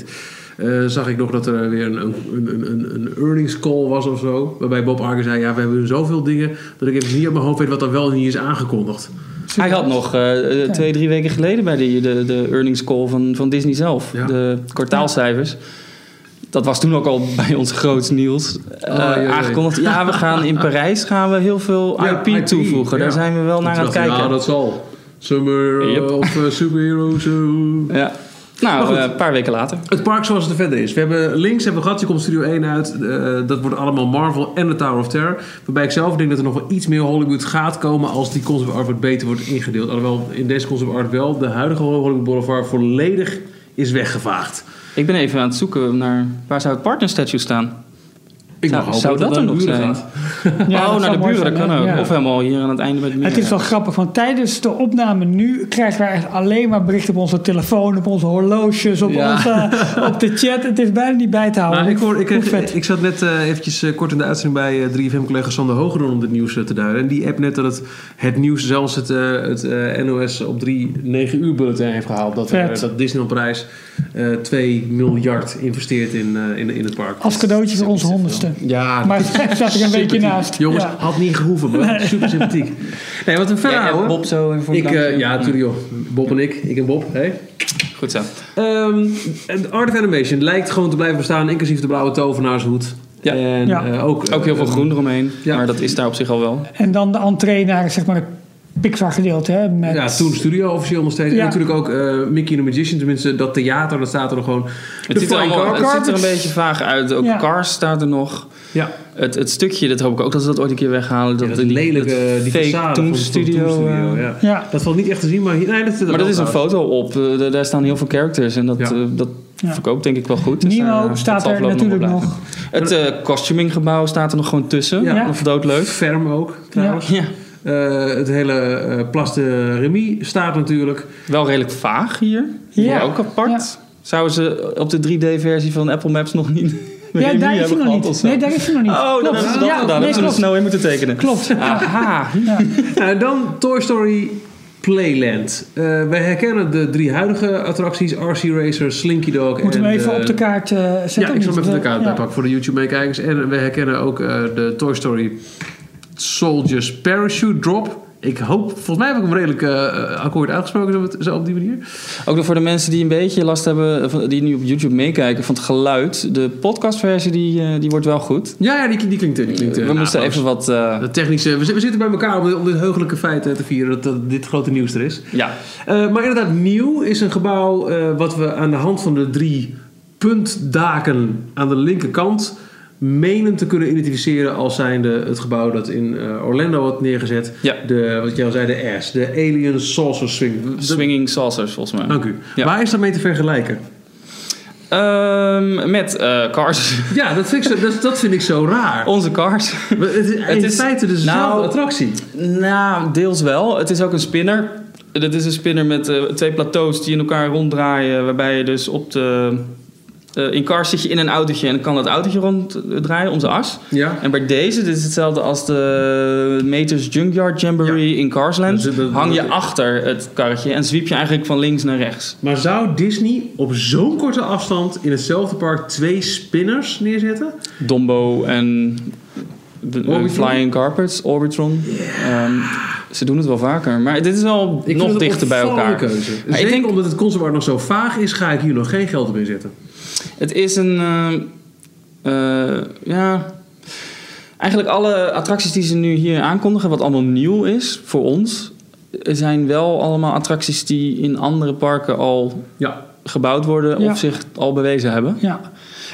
B: Eh, zag ik nog dat er weer een, een, een, een- een earnings call was of zo. Waarbij Bob Arger zei: Ja, we hebben zoveel dingen. dat ik even niet op mijn hoofd weet wat er wel en niet is aangekondigd.
D: Hij had nog eh, eh, twee, drie weken geleden bij die, de, de earnings call van, van Disney zelf,
B: Ja.
D: de kwartaalcijfers. Dat was toen ook al bij ons groot nieuws eh,
B: Oh, jee, jee.
D: aangekondigd. Ja, we gaan in Parijs gaan we heel veel
B: Ja,
D: IP, toevoegen. Daar
B: ja.
D: zijn we wel naar
B: Toen
D: aan het
B: dacht ik,
D: kijken.
B: Nou, dat zal. Summer eh,
D: Yep.
B: of eh, superheroes. eh.
D: ja. Nou,
B: goed.
D: eh, een paar weken later.
B: Het park zoals het er verder is. We hebben links hebben we gehad, die komt Studio 1 uit. Eh, dat wordt allemaal Marvel en de Tower of Terror. Waarbij ik zelf denk dat er nog wel iets meer Hollywood gaat komen als die concept art wat beter wordt ingedeeld. Alhoewel in deze concept art wel de huidige Hollywood Boulevard volledig is weggevaagd.
D: Ik ben even aan het zoeken naar waar zou het partner statue staan.
B: Ik
D: Zou-
B: mag hopen
D: zou dat
B: naar
D: er
B: de
D: nog
B: buren
D: zijn?
B: gaat.
A: Ja,
D: oh,
A: dat
D: naar
A: zou
D: de
A: mooi
D: buren, dat
A: zijn,
D: kan ook.
A: ja.
D: Of helemaal hier aan het einde bij het meer.
A: Het is wel grappig, want tijdens de opname nu krijgen wij echt alleen maar berichten op onze telefoon, op onze horloges, op,
D: Ja.
A: onze, eh, op de chat. Het is bijna niet bij te houden.
B: Maar Nou, ik, hoor,
A: Hoe-
B: ik, kreeg-
A: hoe vet.
B: ik zat net eh, eventjes eh, kort in de uitzending bij eh, 3FM-collega Sander Hogedoorn om dit nieuws eh, te duiden. En die app net dat het, het nieuws zelfs het, eh, het eh, NOS op 3 9 uur bulletin heeft gehaald. Dat, eh,
A: Vet.
B: dat Disneyland Parijs eh 2 miljard investeert in, eh, in, in het park.
A: Als cadeautje voor onze honderdste.
B: Ja,
A: Maar daar zat ik een beetje naast.
B: jongens,
A: Ja.
B: had niet gehoeven, maar super sympathiek. Nee, wat een verhaal
D: Jij appt
B: hoor.
D: Bob zo even voor
B: ik,
D: het
B: eh,
D: dankje?
B: ja, natuurlijk joh. Bob en ik. Ik en Bob. Hey.
D: Goed zo.
B: Ehm, het Art of Animation lijkt gewoon te blijven bestaan, inclusief de blauwe tovenaarshoed.
D: Ja.
B: En
A: Ja.
B: eh, ook,
D: Ook heel veel
B: eh,
D: groen eromheen.
B: ja.
D: Maar dat is daar op zich al wel.
A: En dan de entree naar zeg maar, het Pixar gedeelte. Hè, met
B: Ja, toen studio officieel nog steeds.
A: Ja.
B: En natuurlijk ook eh, Mickey and the Magician, tenminste dat theater, dat staat er nog gewoon.
D: Het
B: De
D: ziet, er
B: Flying
D: allemaal, het
B: Carpet.
D: ziet er een beetje vaag uit. Ook
A: Ja.
D: Cars staat er nog.
B: Ja,
D: Het, het stukje, dat hoop ik ook dat ze dat ooit een keer weghalen. Dat,
B: dat lelijke, die
D: fake
B: façade
D: Toon
B: van- van
D: Studio. eh.
B: Studio, ja.
A: Ja.
B: Dat valt niet echt te zien, maar hier, nee, dat zit er
D: Maar
B: wel
D: dat is een
B: trouwens.
D: foto op. Eh, daar- daar staan heel veel characters. En dat,
B: Ja.
D: eh, dat
A: Ja.
D: verkoopt denk ik wel goed.
A: Nemo
D: daar, eh, dat
A: staat
D: zal
A: er
D: voorlopig
A: natuurlijk
D: wel
A: nog.
D: blijven. Het eh, costuminggebouw staat er nog gewoon tussen.
B: Ja.
D: Nog doodleuk.
B: Ferm ook, trouwens.
D: Ja,
B: Eh, het hele eh Place de Remy staat natuurlijk.
D: wel redelijk vaag hier.
A: Ja.
D: Maar ook apart.
A: Ja.
D: Zouden ze op de 3D-versie van Apple Maps nog niet...
A: Ja,
D: review
A: daar is hij
D: hebben
A: nog
D: gehad of
A: niet.
D: zo?
A: Nee, daar is hij nog niet.
D: Oh, dan
A: Klopt.
D: hebben ze dat
A: Ja,
D: gedaan.
A: nee,
D: hebben ze er
A: klopt.
D: snel in moeten tekenen. Ah.
A: Klopt. Aha. Ja.
B: Nou, en dan Toy Story Playland. Eh, wij herkennen de drie huidige attracties: RC Racer, Slinky Dog
A: Moeten we
B: en...
A: even
B: eh,
A: op de kaart eh, zetten?
E: Ja, ik zal hem even de kaart
A: Ja.
E: bijpakken voor de YouTube-meekijkers. En we herkennen ook eh, de Toy Story Soldiers Parachute Drop. Ik hoop, volgens mij heb ik hem redelijk eh, akkoord uitgesproken zo, met- zo op die manier.
D: Ook nog voor de mensen die een beetje last hebben, eh, van- die nu op YouTube meekijken van het geluid. De podcastversie die, eh, die wordt wel goed.
E: Ja, ja die, die klinkt... Die klinkt eh,
D: we moesten
E: naadloos.
D: even wat. eh,
E: De technische, we, zi- we zitten bij elkaar om, dit- om dit heugelijke feit eh, te vieren dat, dat dit grote nieuws er is.
D: ja,
B: Eh, maar inderdaad, nieuw is een gebouw eh, wat we aan de hand van de drie puntdaken aan de linkerkant menen te kunnen identificeren als zijnde het gebouw dat in eh, Orlando had neergezet.
D: Ja.
B: De, wat jij al zei, de S, de Alien Saucer Swing. De-
D: swinging saucers volgens mij.
B: Dank u.
D: Ja.
B: Waar is dat mee te vergelijken?
D: Ehm, met eh, cars.
B: Ja, dat vind ik zo, dat, dat vind ik zo raar.
D: Onze cars.
B: Maar Het is in
D: is-
B: feite dezelfde
D: nou,
B: attractie.
D: nou, deels wel. Het is ook een spinner. Dat is een spinner met eh, twee plateaus die in elkaar ronddraaien. Waarbij je dus op de. eh, in cars zit je in een autootje en dan kan dat autootje ronddraaien om zijn as.
B: Ja.
D: En bij deze, dit is hetzelfde als de Meters Junkyard Jamboree in Carsland.
B: Dus dat-
D: hang je achter het karretje en zwiep je eigenlijk van links naar rechts.
B: Maar zou Disney op zo'n korte afstand in hetzelfde park twee spinners neerzetten?
D: Dombo en de, eh,
B: Orbitron?
D: Flying Carpets, Orbitron. Ehm, ze doen het wel vaker, maar dit is wel
B: Ik vind
D: nog
B: het een
D: dichter bij elkaar.
B: opvallende Keuze.
D: Maar
B: Zeker
D: ik denk,
B: omdat het conceptart nog zo vaag is, ga ik hier nog geen geld op inzetten.
D: het is een... ehm, eh, ja... Eigenlijk alle attracties die ze nu hier aankondigen, wat allemaal nieuw is voor ons, zijn wel allemaal attracties die in andere parken al
B: Ja.
D: gebouwd worden
A: Ja.
D: of zich al bewezen hebben.
A: Ja.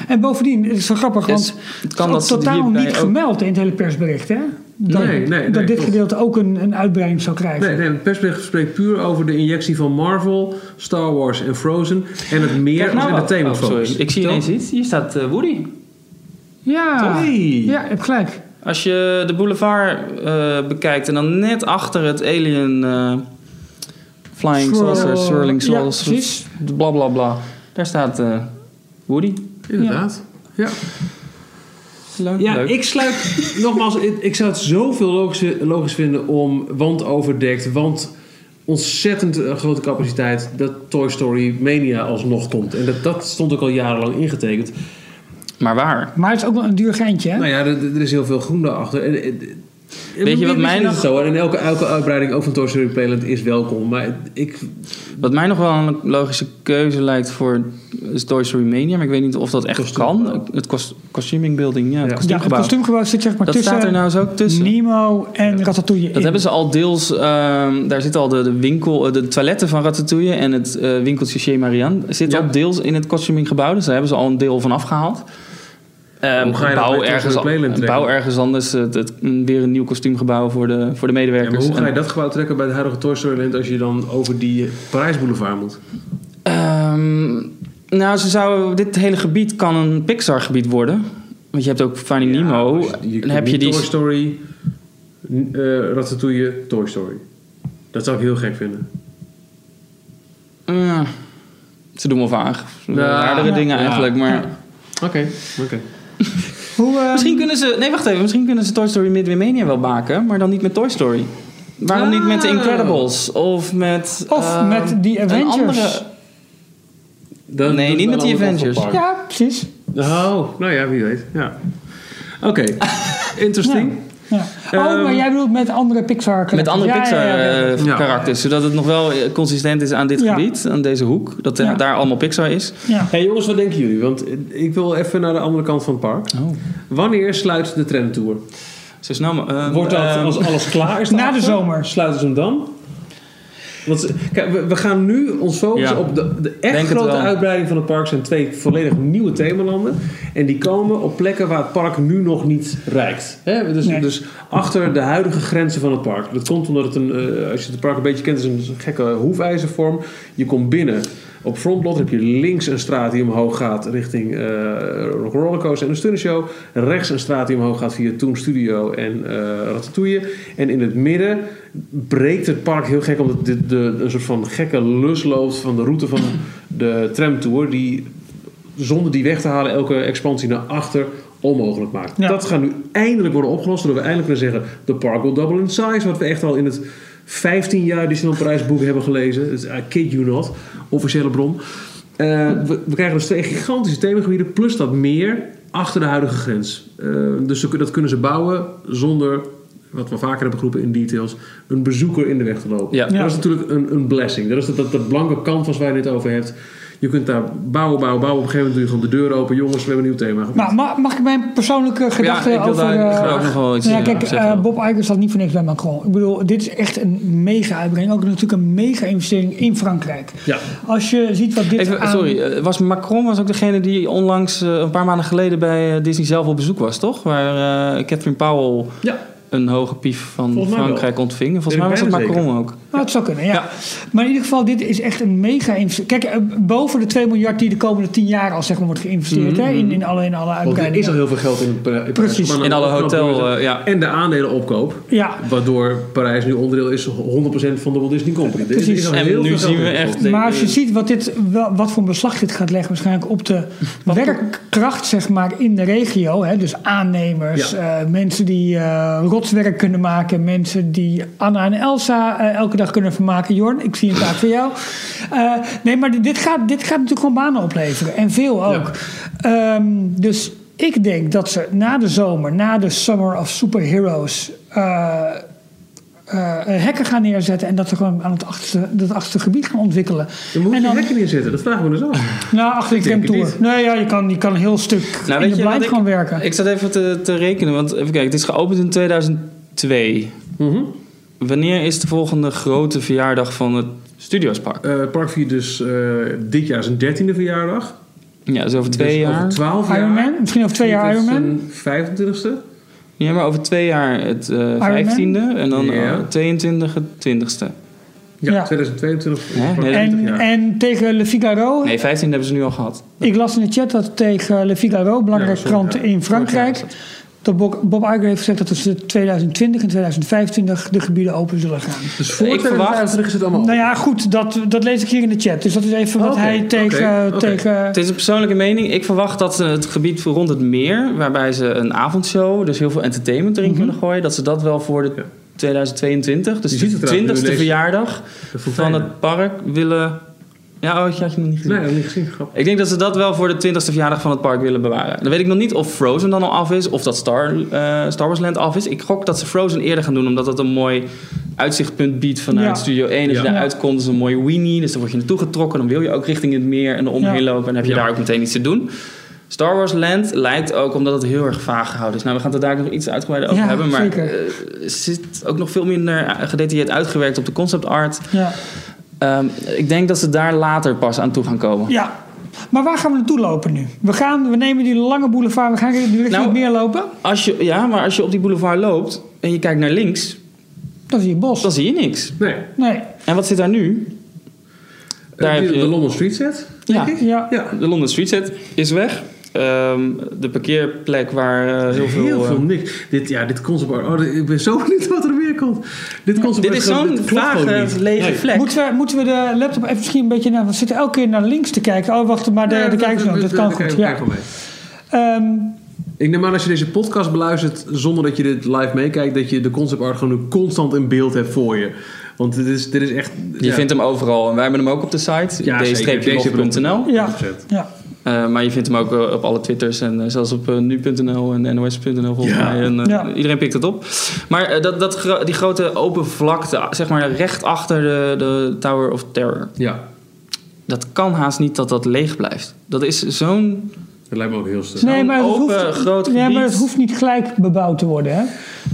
A: En bovendien, het is zo grappig,
D: Dus
A: want
D: het kan
A: het
D: dat
A: is
D: ze
A: ook totaal
D: hierbij
A: niet
D: ook-
A: gemeld in het hele persbericht, hè? Dat,
B: Nee, nee, nee,
A: dat dit
B: klopt.
A: gedeelte ook een, een uitbreiding zou krijgen.
B: Nee, nee, het persbericht spreekt puur over de injectie van Marvel, Star Wars en Frozen. En het meer
D: Kijk
B: als
D: nou wat-
B: entertainment
D: oh, sorry.
B: focus.
D: Ik zie ineens iets. Hier staat eh, Woody.
A: Ja,
B: Hey.
A: ja, je hebt gelijk.
D: Als je de boulevard eh, bekijkt en dan net achter het alien eh, flying
A: Swirl-
D: saucer, swirling
A: ja,
D: saucer,
A: precies.
D: bla bla bla. Daar staat eh, Woody.
E: Inderdaad. Ja.
D: Leuk.
B: Ja,
D: leuk.
B: ik sluit nogmaals, ik, ik zou het zoveel logisch, logisch vinden om want overdekt, want ontzettend eh, grote capaciteit dat Toy Story Mania alsnog komt. En dat, dat stond ook al jarenlang ingetekend.
D: Maar waar?
A: Maar het is ook wel een duur geintje, hè?
B: Nou ja, er, er is heel veel groen daarachter. En, en- en-
D: Weet je wat
B: misschien
D: mij
B: is
D: nog-
B: het zo, en elke, elke uitbreiding ook van Toy Story Playland is welkom. Maar ik...
D: Wat mij nog wel een logische keuze lijkt voor is Toy Story Mania, maar ik weet niet of dat echt kan. Het kost, costume building, ja,
B: Ja.
D: het
A: Ja, het
D: kostuumgebouw.
A: kostuumgebouw zit zeg maar
D: dat
A: tussen
D: staat er nou eens ook tussen.
A: Nemo en Ratatouille
D: Dat hebben ze al deels. ehm, daar zitten al de, de winkel, eh, de toiletten van Ratatouille en het eh, winkeltje Chez Marianne zit
B: Ja.
D: al deels in het costuminggebouw. Dus daar hebben ze al een deel van afgehaald. Ehm
B: Hoe ga je dat bij
D: bouw,
B: Toy
D: ergens,
B: Story Playland
D: an-
B: trekken?
D: bouw ergens anders het, het- mm, weer een nieuw kostuumgebouw voor de, voor de
B: Ja, maar
D: medewerkers.
B: hoe ga je
D: En,
B: dat gebouw trekken bij de huidige Toy Story Land als je dan over die eh, Parijsboulevard moet?
D: ehm, nou, ze zouden, dit hele gebied kan een Pixar-gebied worden. Want je hebt ook Finding Nemo.
B: Ja, je- je
D: dan
B: kunt
D: heb je
B: niet
D: die.
B: Toy Story, eh Ratatouille, Toy Story. Dat zou ik heel gek vinden.
D: Ja, ze doen wel vaag. Ze doen
B: Ja.
D: Raardere dingen
B: Ja.
D: eigenlijk, maar.
B: Oké. oké.
A: Hoe, eh,
D: Misschien kunnen ze. Nee, wacht even. Misschien kunnen ze Toy Story Midway Mania wel maken, maar dan niet met Toy Story. Waarom niet met The Incredibles? Of met.
A: Ah. Of
D: eh,
A: met die
D: een
A: Avengers.
D: andere-
B: Dan-
D: Nee,
B: dan-
D: niet
B: dan
D: met die
B: allemaal
D: Avengers.
B: van park.
A: Ja, precies.
B: Oh, nou ja, wie weet. Ja. Oké. Interesting.
A: Ja.
B: Ehm,
A: oh, maar jij bedoelt met andere Pixar
D: Met andere eh,
A: Ja, ja.
E: Ja.
D: Pixar-karakters. Zodat het nog wel eh, consistent is aan dit
A: Ja.
D: gebied, aan deze hoek. Dat eh,
A: Ja.
D: daar allemaal Pixar is.
A: ja.
B: Hey jongens, wat denken jullie? Want eh, ik wil even naar de andere kant van het park.
A: Oh.
B: Wanneer sluit de trendtour?
D: Zo snel mo- ehm,
B: Wordt dat
D: ehm,
B: als alles klaar is?
A: Na de
B: daarachter?
A: zomer.
B: Sluiten ze hem dan? Want ze- kijk, we, we gaan nu ons focussen
D: Ja.
B: op de, de
D: Denk
B: echt
D: het
B: grote
D: wel.
B: uitbreiding van het park. zijn twee volledig nieuwe themalanden. En die komen op plekken waar het park nu nog niet reikt. Hè? Dus,
A: Nee.
B: dus achter de huidige grenzen van het park. Dat komt omdat het een, eh, als je het park een beetje kent, is het een gekke hoefijzervorm. Je komt binnen Op Frontblot heb je links een straat die omhoog gaat richting eh Rock Rollercoaster en de Stunner Show. Rechts een straat die omhoog gaat via Toon Studio en eh Ratatouille. En in het midden breekt het park heel gek omdat dit de, een soort van gekke lus loopt van de route van de tramtour. Die zonder die weg te halen elke expansie naar achter onmogelijk maakt.
A: Ja.
B: Dat gaat nu eindelijk worden opgelost. Zodat we eindelijk kunnen zeggen, de park will double in size. Wat we echt al in het 15 jaar Disneyland Parijs boek hebben gelezen. Dus I kid you not. Officiële bron. Eh, we, we krijgen dus twee gigantische themagebieden. Plus dat meer achter de huidige grens. Eh, dus ze kun- dat kunnen ze bouwen zonder, wat we vaker hebben geroepen in details, een bezoeker in de weg te lopen.
D: Ja.
B: Dat is natuurlijk een, een blessing. Dat is dat, dat, dat blanke canvas waar je het over hebt. Je kunt daar bouwen, bouwen, bouwen. Op een gegeven moment doe je gewoon de deur open. Jongens, we hebben een nieuw thema.
A: Maar ma- Nou, mag ik mijn persoonlijke gedachte
D: ik wil
A: over...
D: daar
A: eh,
D: graag nog wel iets
A: nou ja,
D: eh,
A: kijk,
D: zeggen.
A: eh, Bob Iger staat niet voor niks bij Macron. Ik bedoel, dit is echt een mega uitbrenging. Ook natuurlijk een mega investering in Frankrijk.
B: Ja.
A: Als je ziet wat dit
D: Even,
A: aan...
D: Sorry, eh, was Macron was ook degene die onlangs eh, een paar maanden geleden bij eh, Disney zelf op bezoek was, toch? Waar eh, Catherine Powell
B: Ja,
D: een hoge pief van
B: Volgens mij wel.
D: Frankrijk ontving.
B: Ben ik
D: En volgens mij was dat
B: bijna
D: Macron ook.
A: Nou, het zou kunnen, ja.
D: Ja.
A: Maar in ieder geval, dit is echt een mega investering. Kijk, eh, boven de 2 miljard die de komende 10 jaar al zeg maar, wordt geïnvesteerd
D: Mhm,
A: hè, in, in alle, in alle
B: want er is
A: uitbreidingen.
B: al heel veel geld in, Parij-
A: Precies.
B: Maar dan
D: In alle
B: ook nog
D: hotel,
B: door-
D: eh, ja.
B: En de aandelenopkoop.
A: Ja,
B: Waardoor Parijs nu onderdeel is 100% van de Walt Disney Company. Dit is-
A: Precies.
B: is al
D: En
B: heel
D: nu
B: veel geld
D: zien we
B: in
D: echt-
B: gestopt.
A: maar als je ziet wat, dit, wel- wat voor een beslag dit gaat leggen, waarschijnlijk op de werkkracht zeg maar, in de regio. Hè, dus aannemers, eh, mensen die eh, rotswerk kunnen maken, mensen die Anna en Elsa eh, elke dag kunnen vermaken. Jorn, ik zie een taak voor jou. Eh, nee, maar dit dit gaat, dit gaat natuurlijk gewoon banen opleveren. En veel ook. Ehm, dus ik denk dat ze na de zomer, na de Summer of Superheroes. eh, eh, hekken gaan neerzetten en dat ze gewoon aan het achterste, dat achterste gebied gaan ontwikkelen.
B: Dan moet je
A: en
B: die
A: dan,
B: hekken neerzetten. Dat vragen we dus af.
A: nou, achter die
B: denk het
A: tramtour. Nee, ja, je kan, je kan een heel stuk
D: Nou,
A: in
D: weet
A: de
D: je wat
A: blind
D: ik-
A: gaan werken.
D: Ik zat even te, te rekenen, want even kijken, het is geopend in 2002.
B: Mhm.
D: Wanneer is de volgende grote verjaardag van het Studiospark?
B: Eh, Park viert dus eh, dit jaar zijn 13e verjaardag.
D: Ja, dus over twee
B: dus
D: jaar.
B: Over 12 jaar.
A: Ironman, misschien over twee jaar Ironman.
B: 25e.
D: Ja, maar over twee jaar het eh, vijftiende en dan
B: Ja.
D: eh, 22 het 20ste.
B: Ja,
A: Ja.
B: 2022.
D: Hè?
B: Park
D: Nee,
B: 20
A: En,
B: jaar.
A: en tegen Le Figaro,
D: Nee, 15 hebben ze nu al gehad.
A: ik las in de chat dat tegen Le Figaro, belangrijke
B: Ja, sorry,
A: krant
B: ja.
A: in
D: Vorig
A: Frankrijk,
D: jaar was
A: dat Bob, Bob Iger heeft gezegd dat tussen 2020 en 2025 de gebieden open zullen gaan.
B: dus voor
D: Ik verwacht-
B: 2025 is het allemaal.
A: Nou ja, goed, dat, dat lees ik hier in de chat. Dus dat is even wat
B: Oké,
A: hij
B: oké,
A: tegen...
B: oké.
A: tegen
D: Het is een persoonlijke mening. Ik verwacht dat ze het gebied rond het meer, waarbij ze een avondshow, dus heel veel entertainment erin kunnen gooien, dat ze dat wel voor de
B: Mhm. Ja.
D: 2022, dus
B: Je ziet
D: de
B: het trouwens nu
D: 20ste
B: ineens.
D: verjaardag van het park willen. Ja, oh, je had je nog niet gezien.
B: Nee, dat heb ik niet gezien. Grappig.
D: Ik denk dat ze dat wel voor de 20ste verjaardag van het park willen bewaren. Dan weet ik nog niet of Frozen dan al af is of dat Star, eh, Star Wars Land af is. Ik gok dat ze Frozen eerder gaan doen, omdat dat een mooi uitzichtpunt biedt vanuit
A: Ja.
D: Studio 1. Als
B: Ja.
D: je daaruit komt, is een mooie weenie. Dus dan word je naartoe getrokken. Dan wil je ook richting het meer en eromheen
A: Ja.
D: lopen. En dan heb je
B: Ja.
D: daar ook meteen iets te doen. Star Wars Land lijkt ook, omdat het heel erg vaag gehouden is. Nou, we gaan het er daar nog iets uitgebreider over
A: Ja,
D: hebben. Maar
A: zeker.
D: eh, zit ook nog veel minder eh, gedetailleerd uitgewerkt op de concept art.
A: ja.
D: Ehm, ik denk dat ze daar later pas aan toe gaan komen.
A: Ja. Maar waar gaan we naartoe lopen nu? We, gaan, we nemen die lange boulevard, we gaan richting
D: Nou-
A: het meer lopen.
D: Als je, ja, maar als je op die boulevard loopt en je kijkt naar links,
A: Dat is hier bos.
D: dan zie je niks.
B: Nee.
A: Nee.
D: En wat zit daar nu? Daar
B: Eh,
D: heb
B: de
D: je-
B: London Street Set.
D: Ja.
B: denk ik?
A: Ja.
B: ja.
D: De London Street Set is weg. Ehm, de parkeerplek waar eh, heel veel...
B: Heel
D: eh,
B: veel niks. Dit, ja, dit concept art. Oh, dit- ik ben zo benieuwd wat er weer komt. Dit concept
D: dit
B: art
D: is
B: gaat-
D: zo'n
B: dit klopt gewoon niet.
D: vage, lege
B: Nee.
D: vlek.
A: Moeten, we, moeten we de laptop even misschien een beetje naar... We zitten elke keer naar links te kijken. Oh, wacht, maar de,
B: Ja,
A: de kijkers
B: dat-
A: nog. Dat kan
B: dat- dat
A: goed,
B: kan
A: ja.
B: je gewoon mee.
A: Ehm,
B: Ik neem aan als je deze podcast beluistert zonder dat je dit live meekijkt, dat je de concept art gewoon nu constant in beeld hebt voor je. Want dit is, dit is echt.
D: Je vindt hem overal. En wij hebben hem ook op de site.
B: Ja, zeker.
D: d-log.nl.
A: ja.
B: 100%.
A: ja.
D: Eh, maar je vindt hem ook eh, op alle twitters en eh, zelfs op eh, nu.nl en nos.nl volgens
B: Ja.
D: mij. En, eh,
A: Ja.
D: Iedereen pikt het op. Maar eh, dat, dat, gro- die grote open vlakte, zeg maar recht achter de, de Tower of Terror.
B: Ja,
D: Dat kan haast niet dat dat leeg blijft. Dat is zo'n...
B: dat lijkt me ook heel stil.
A: Nee, maar het,
D: open,
A: hoeft,
D: groot
A: nee, maar
D: gebied.
A: het hoeft niet gelijk bebouwd te worden. Hè?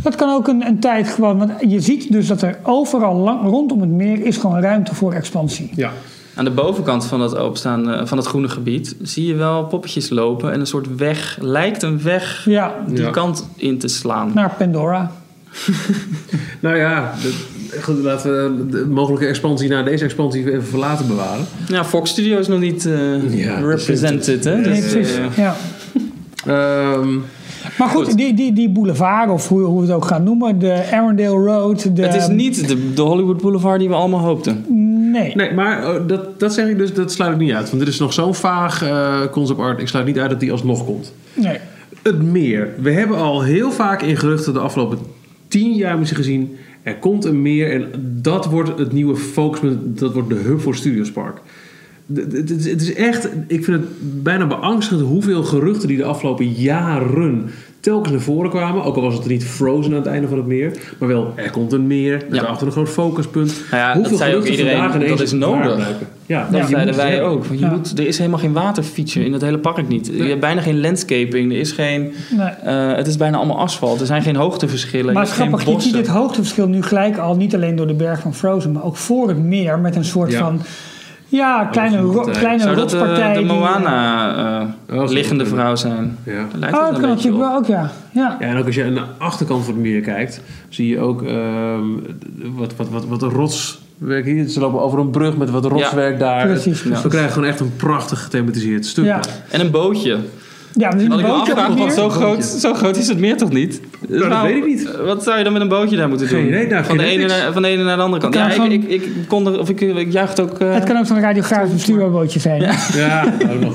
A: Dat kan ook een, een tijd gewoon... Want je ziet dus dat er overal lang, rondom het meer is gewoon ruimte voor expansie.
B: Ja.
D: Aan de bovenkant van dat openstaan eh, van het groene gebied zie je wel poppetjes lopen en een soort weg, lijkt een weg
A: Ja,
D: die
B: Ja.
D: kant in te slaan.
A: naar Pandora.
B: Nou ja, dat- Goed, laten we de mogelijke expansie naar deze expansie even voor later bewaren.
D: Ja, Fox Studio is nog niet eh,
B: Ja,
D: represented, hè?
A: Nee,
D: Dus,
A: precies.
D: eh,
A: Ja.
B: Ehm,
A: Maar goed,
D: Goed.
A: Die, die, die boulevard, of hoe, hoe we het ook gaan noemen, de Arendale Road. De,
D: het is niet de, de Hollywood Boulevard die we allemaal hoopten. Nou
A: Nee.
B: nee, maar eh, dat, dat zeg ik dus, dat sluit ik niet uit. Want dit is nog zo'n vaag eh, concept art. Ik sluit niet uit dat die alsnog komt.
A: nee.
B: Het meer. We hebben al heel vaak in geruchten de afgelopen tien jaar misschien gezien. Er komt een meer en dat wordt het nieuwe focuspunt. Dat wordt de hub voor Studios Park. D- d- Het is- het is echt, ik vind het bijna beangstigend hoeveel geruchten die de afgelopen jaren telkens naar voren kwamen. Ook al was het niet Frozen aan het einde van het meer, maar wel er komt een meer,
D: Ja.
B: daarachter een groot focuspunt.
D: Nou ja, dat
B: hoeveel
D: zei ook
B: geruchten
D: iedereen,
B: vandaag ineens
D: dat is nodig.
B: waar blijken. Ja,
D: Dat
B: je moet
D: zeiden
B: het
D: wij
B: hebben.
D: ook. want Je
A: Ja.
D: moet, er is helemaal geen waterfeature in dat hele park niet. Je hebt bijna geen landscaping. Er is geen,
A: nee.
D: eh, het is bijna allemaal asfalt. Er zijn geen hoogteverschillen.
A: Maar
D: je
A: het is
D: hebt
A: grappig,
D: geen
A: je ziet dit
D: bossen.
A: hoogteverschil nu gelijk al niet alleen door de berg van Frozen, maar ook voor het meer met een soort
B: Ja.
A: van
D: Oh,
A: ja, kleine,
B: goed,
A: ro-
B: eh,
A: kleine
D: Zou dat eh,
A: rotspartij.
D: de
A: die-
D: Moana eh,
B: Oh, zo.
D: liggende vrouw zijn?
B: Ja.
D: Daar lijkt
A: Oh,
D: het
A: dat
D: een
A: kan
D: beetje
A: natuurlijk
D: op.
A: wel ook, ja. ja.
B: Ja, en ook als je aan de achterkant van het meer kijkt, zie je ook ehm, wat, wat, wat, wat rotswerk hier. Ze lopen over een brug met wat rotswerk daar.
A: Precies,
B: Dus
A: precies.
B: we krijgen gewoon echt een prachtig gethematiseerd stuk.
A: Ja.
D: En een bootje.
A: Ja, we zien
D: Wat
A: een
D: ik me
A: bootje op
D: afvraag,
A: het
D: want
A: meer.
D: zo
B: Een
D: groot,
B: bootje.
D: zo groot is het meer toch niet?
B: dat
D: Nou,
B: weet ik niet.
D: eh, Wat zou je dan met een bootje daar moeten doen?
B: Geen idee, daar
D: van, de
B: vind ik
D: ene
B: niks.
D: naar, van de ene naar de andere kant.
A: Het
D: Ja,
A: kan
D: ik, ik, ik, kon er, of ik, ik juich het ook... eh,
A: Het kan ook zo'n radiografisch stuurbootje zijn.
B: Ja, ook nog.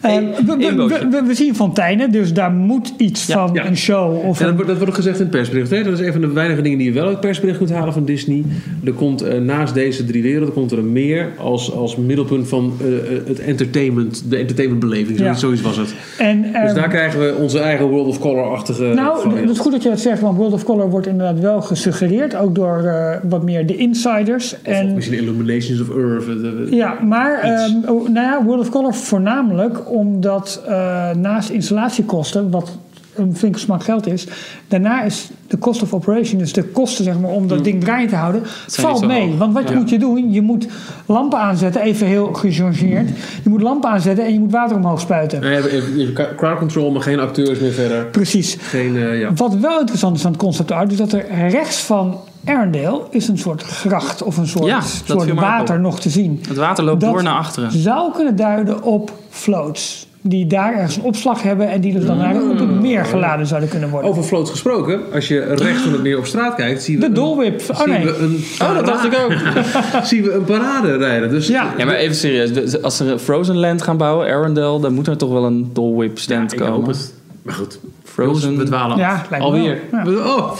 A: Eh,
D: Eén-
A: we, we-
D: één bootje.
A: we- we- we zien fonteinen, dus daar moet iets
D: Ja,
A: van
B: ja.
A: een show of
B: En dat
A: een...
B: wordt, dat wordt ook gezegd in het persbericht. Hè? Dat is een van de weinige dingen die je wel uit het persbericht kunt halen van Disney. Er komt eh, naast deze drie werelden komt er een meer als, als middelpunt van eh, eh, het entertainment, de entertainmentbeleving. Zo-
A: Ja.
B: Zoiets was het.
A: En,
B: dus
A: ehm,
B: daar krijgen we onze eigen World of Color-achtige...
D: Eh,
A: nou,
B: variant.
A: het is goed dat je dat zegt, want World of Color wordt inderdaad wel gesuggereerd. Ook door eh, wat meer de insiders.
B: Of
A: En
B: misschien Illuminations of Earth. eh, de- de-
A: Ja, maar
B: Iets.
A: ehm, oh, nou ja, World of Color voornamelijk omdat eh, naast installatiekosten, wat een flinke smak geld is, daarna is de cost of operation, dus de kosten zeg maar, om dat ding draaiend te houden, valt
D: niet zo
A: mee.
D: hoog.
A: Want wat
B: Ja.
A: moet je doen? Je moet lampen aanzetten, even heel gechargeerd. Je moet lampen aanzetten en je moet water omhoog spuiten.
B: Nee, even- even- even crowd control, maar geen acteurs meer verder.
A: Precies.
B: Geen, eh, ja.
A: Wat wel interessant is aan het concept art, is dat er rechts van Arendale is een soort gracht of een soort,
D: Ja, dat
A: soort
D: viel mij ook
A: water nog te zien.
D: Het water loopt
A: Dat-
D: door naar achteren.
A: zou kunnen duiden op floats. Die daar ergens een opslag hebben en die dus dan naar
D: Mm.
A: op het meer geladen zouden kunnen worden.
D: Oh,
B: Over floats gesproken, als je recht van het meer op straat kijkt, zien we,
A: de
B: een,
A: dolwip. Oh
B: zien
A: nee.
B: we een
D: Oh, dat dacht ik ook.
B: ook. zien we een parade rijden. Dus
A: Ja.
D: Ja, maar even serieus. de- Als ze Frozen Land gaan bouwen, Arendelle, dan moet er toch wel een Dolwhip stand
B: ik hoop
D: komen.
B: het. Maar goed,
D: Frozen.
B: jongens, we dwalen af.
A: Ja, lijkt me
B: Alweer.
A: wel.
B: Oh,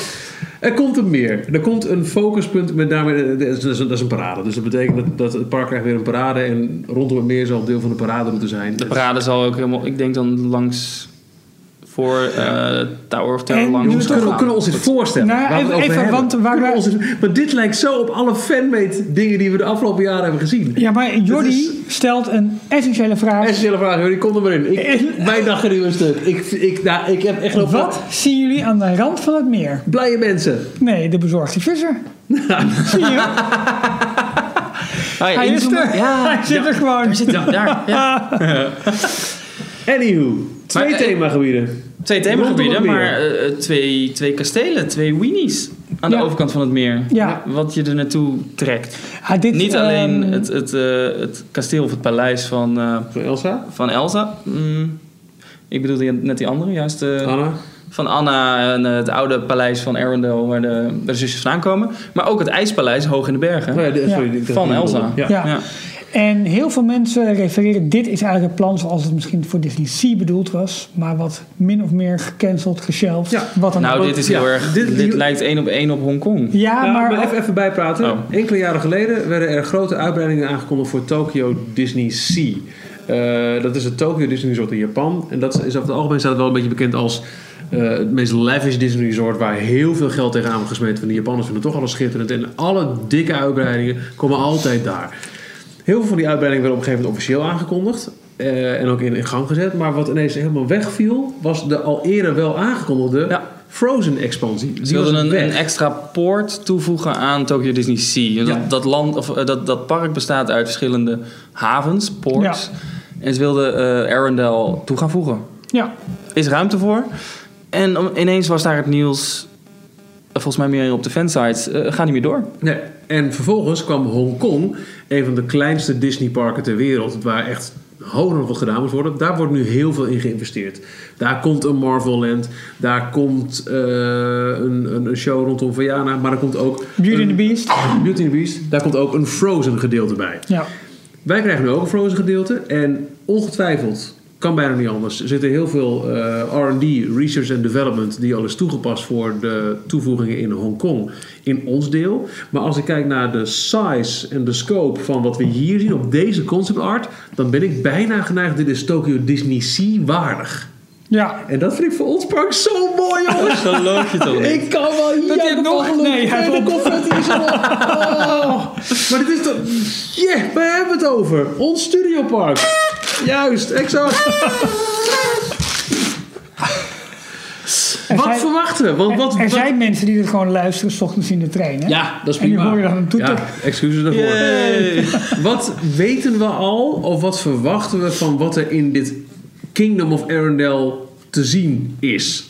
B: er komt een meer. Er komt een focuspunt met daarmee. Dat is, dat is een- dat is een parade. Dus dat betekent dat, dat het park krijgt weer een parade. En rondom het meer zal deel van de paraderoute zijn.
D: De parade zal ook helemaal, ik denk dan langs voor eh, Tower of Terror
A: En
D: langs.
B: Jongens, kunnen, we- kunnen we ons dit voorstellen?
A: Nou ja,
B: Waar we het
A: even-
B: over
A: even,
B: hebben?
A: want waar
B: Kunnen we
A: we-
B: ons dit- maar dit lijkt zo op alle fanmade dingen die we de afgelopen jaren hebben gezien.
A: Ja, maar Jordi
B: is-
A: stelt een essentiële vraag.
B: Essentiële vraag, die komt er maar in. Ik, mijn dag ging nu een stuk. Ik, ik, nou, ik heb echt nog
A: Wat zien jullie aan de rand van het meer?
B: Blije mensen.
A: Nee, de bezorgde visser. Zie je?
D: Ah,
A: Hij is
D: inzoomen.
A: er.
D: Ja,
A: Hij zit er gewoon.
D: ja, daar. Ja.
B: Anywho, twee
D: Maar, eh,
B: themagebieden.
D: Twee
B: Rondom
D: themagebieden,
B: het
D: maar
B: meer.
D: eh, eh, twee, twee kastelen, twee weenies aan
A: Ja.
D: de overkant van het meer.
A: Ja.
D: Wat je er naartoe trekt.
A: Ah, dit,
D: Niet
A: ehm,
D: alleen het, het, eh, het kasteel of het paleis van, eh,
B: Van Elsa,
D: van Elsa. Mm, ik bedoel die, net die andere, juist. eh,
B: Anna.
D: Van Anna en eh, het oude paleis van Arendelle, waar de, waar de zusjes vandaan komen. Maar ook het ijspaleis hoog in de bergen.
B: Oh ja, de-
A: Ja.
B: sorry, ik dacht
D: Van
B: die
D: Elsa.
B: Ja.
A: Ja. En heel veel mensen refereren, dit is eigenlijk het plan zoals het misschien voor Disney C bedoeld was, maar wat min of meer gecanceld, geshelved,
B: Ja.
A: wat dan ook.
D: Nou, dit is
B: Ja,
D: heel erg.
B: dit-
D: Dit,
B: die-
D: lijkt één op één op Hongkong.
A: Ja,
B: Nou,
A: maar,
B: maar even, even bijpraten.
D: Oh.
B: Enkele jaren geleden werden er grote uitbreidingen aangekondigd voor Tokyo Disney Sea. Eh, dat is het Tokyo Disney Resort in Japan. En dat is over het algemeen staat het wel een beetje bekend als eh, het meest lavish Disney Resort. Waar heel veel geld tegenaan wordt gesmeten. Van de Japanners vinden toch alles schitterend. En alle dikke uitbreidingen komen altijd daar. Heel veel van die uitbreidingen werden op een gegeven moment officieel aangekondigd. eh, en ook in, in gang gezet. Maar wat ineens helemaal wegviel, was de al eerder wel aangekondigde
D: Ja.
B: Frozen-expansie. Die
D: Ze
B: was
D: wilden een,
B: weg.
D: een extra poort toevoegen aan Tokyo Disney Sea. Dat,
B: Ja.
D: dat, land, of, eh, dat, dat park bestaat uit verschillende havens, ports. En ze wilden eh, Arendelle toe gaan voegen.
A: ja.
D: Is ruimte voor. En om- ineens was daar het nieuws... eh, volgens mij meer op de fansites, eh gaan niet meer door.
B: Nee. En vervolgens kwam Hongkong, een van de kleinste Disneyparken ter wereld, waar echt hoger wat gedaan moet worden. Daar wordt nu heel veel in geïnvesteerd. Daar komt een Marvel Land, daar komt eh, een, een, een show rondom Vajana, maar er komt ook
A: Beauty
B: een-
A: and the Beast.
B: Beauty and the Beast. Daar komt ook een Frozen gedeelte bij.
A: Ja.
B: Wij krijgen nu ook een Frozen gedeelte. En ongetwijfeld, kan bijna niet anders, er zitten heel veel eh, RD, research and development, die al is toegepast voor de toevoegingen in Hongkong in ons deel. Maar als ik kijk naar de size en de scope van wat we hier zien op deze concept art, dan ben ik bijna geneigd, dit is Tokyo Disney Sea waardig.
A: ja.
B: En dat vind ik voor ons park zo mooi, jongens!
D: Geloof je toch
B: Ik kan wel hier
A: hij het nog- nee, hij
B: de confetti is al. Oh. Maar dit is toch... Yeah, waar hebben we het over? Ons studiopark. Juist, exact. wat
A: zijn-
B: verwachten? Want wat...
A: er
B: wat-
A: zijn mensen die dit gewoon luisteren, s ochtends in de trein. Hè?
B: Ja, dat is
A: En die
B: prima.
A: hoor je dan een toeter.
B: Ja, excuses daarvoor.
D: Yay.
B: Wat weten we al of wat verwachten we van wat er in dit Kingdom of Arendelle te zien is?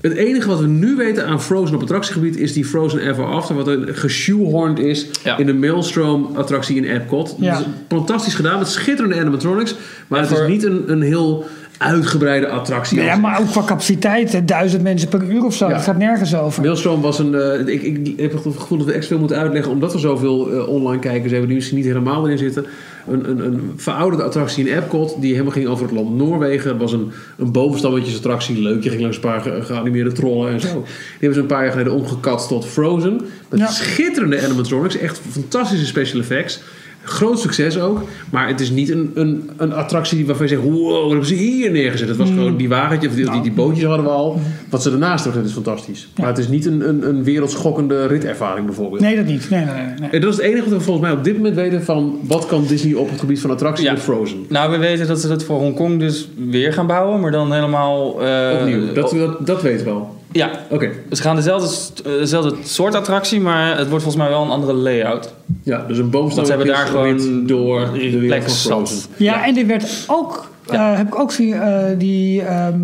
B: Het enige wat we nu weten aan Frozen op attractiegebied is die Frozen Ever After, wat een geshoehorned is
D: Ja.
B: in de Maelstrom attractie in Epcot.
A: Ja.
B: Dat is fantastisch gedaan met schitterende animatronics, maar het
D: voor-
B: is niet een, een heel uitgebreide attractie.
A: Nou ja,
B: als-
A: maar ook qua capaciteit, hè, duizend mensen per uur of zo.
B: Ja.
A: Dat gaat nergens over.
B: Maelstrom was een. eh, ik, ik heb het gevoel dat we extra veel moeten uitleggen, omdat we zoveel eh, online kijkers hebben die misschien niet helemaal erin zitten. Een, een, een verouderde attractie in Epcot, die helemaal ging over het land Noorwegen. Het was een, een bovenstammetjesattractie, leuk. Je ging langs een paar ge- geanimeerde trollen en zo. Die hebben ze een paar jaar geleden omgekat tot Frozen. Met
A: Ja.
B: schitterende animatronics, echt fantastische special effects. Groot succes ook, maar het is niet een, een, een attractie die- waarvan je zegt: wow, wat hebben ze hier neergezet? Het was gewoon die wagentje, of die, die, die bootjes hadden we al. Wat ze daarnaast hebben gezet is fantastisch. Maar het is niet een, een, een wereldschokkende ritervaring bijvoorbeeld.
A: Nee, dat niet. Nee, nee, nee, nee.
B: En dat is het enige wat we volgens mij op dit moment weten van wat kan Disney op het gebied van attracties
D: Ja.
B: met Frozen.
D: Nou, we weten dat ze dat voor Hongkong dus weer gaan bouwen, maar dan helemaal... eh,
B: Opnieuw, dat,
D: op-
B: dat, dat weten we al.
D: Ja,
B: Oké,
D: ze gaan dezelfde, st- eh, dezelfde soort attractie, maar het wordt volgens mij wel een andere layout.
B: ja, dus een boomstam
D: Want ze hebben daar
B: gebied
D: gewoon
B: door de wereld
D: plek
B: van Frozen.
D: zat.
A: Ja, en die werd ook, eh, heb ik ook zien, eh, die, ehm,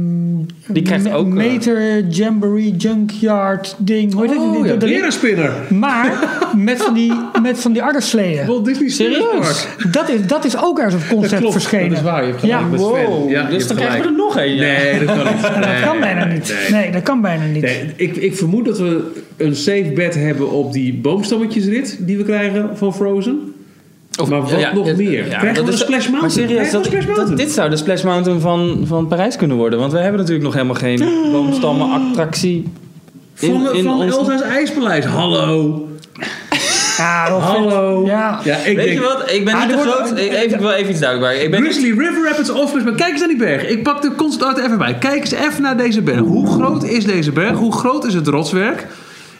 D: Die krijgt
A: me-
D: ook, eh,
A: Meter Jamboree Junkyard ding. Hoe heet dat?
B: Oh
A: Die-
B: ja,
A: dat-
B: weer een spinner!
A: Maar met van die, met van die addersleeën.
B: Walt Disney Serieus?
A: Dat is, dat is ook ergens op concept
B: klopt,
A: verschenen.
B: dat is waar, je hebt gelijk
A: Ja,
B: met Sven. Ja, je hebt
D: dus dan
B: gelijk.
D: krijgen we er nog een. ja.
B: Nee, dat kan niet.
A: dat kan bijna niet. Nee, dat kan bijna niet.
B: Nee, ik, ik vermoed dat we een safe bet hebben op die boomstammetjesrit die we krijgen van Frozen. maar wat nog meer? Krijgen we een Splash Mountain?
D: Maar serieus,
B: Krijgen we
D: dat,
B: een Splash
D: dat-
B: Mountain?
D: dit zou de Splash Mountain van, van Parijs kunnen worden. Want we hebben natuurlijk nog helemaal geen boomstammen-attractie.
B: Van,
D: in- in
B: van
D: ons-
B: Elsa's IJspaleis. Hallo.
A: Ja, wel vet.
B: Hallo.
A: Ja.
B: Ja, ik
D: Weet
B: denk,
D: je wat? Ik ben
A: Ah,
D: niet
A: er
D: te
A: wordt-
D: groot. Ik, even, ik wil even iets duidelijk maken. Ik ben
B: Grizzly River Rapids Office. Maar kijk eens naar die berg. Ik pak de concept art er even bij. Kijk eens even naar deze berg. Hoe groot is deze berg? Hoe groot is het rotswerk?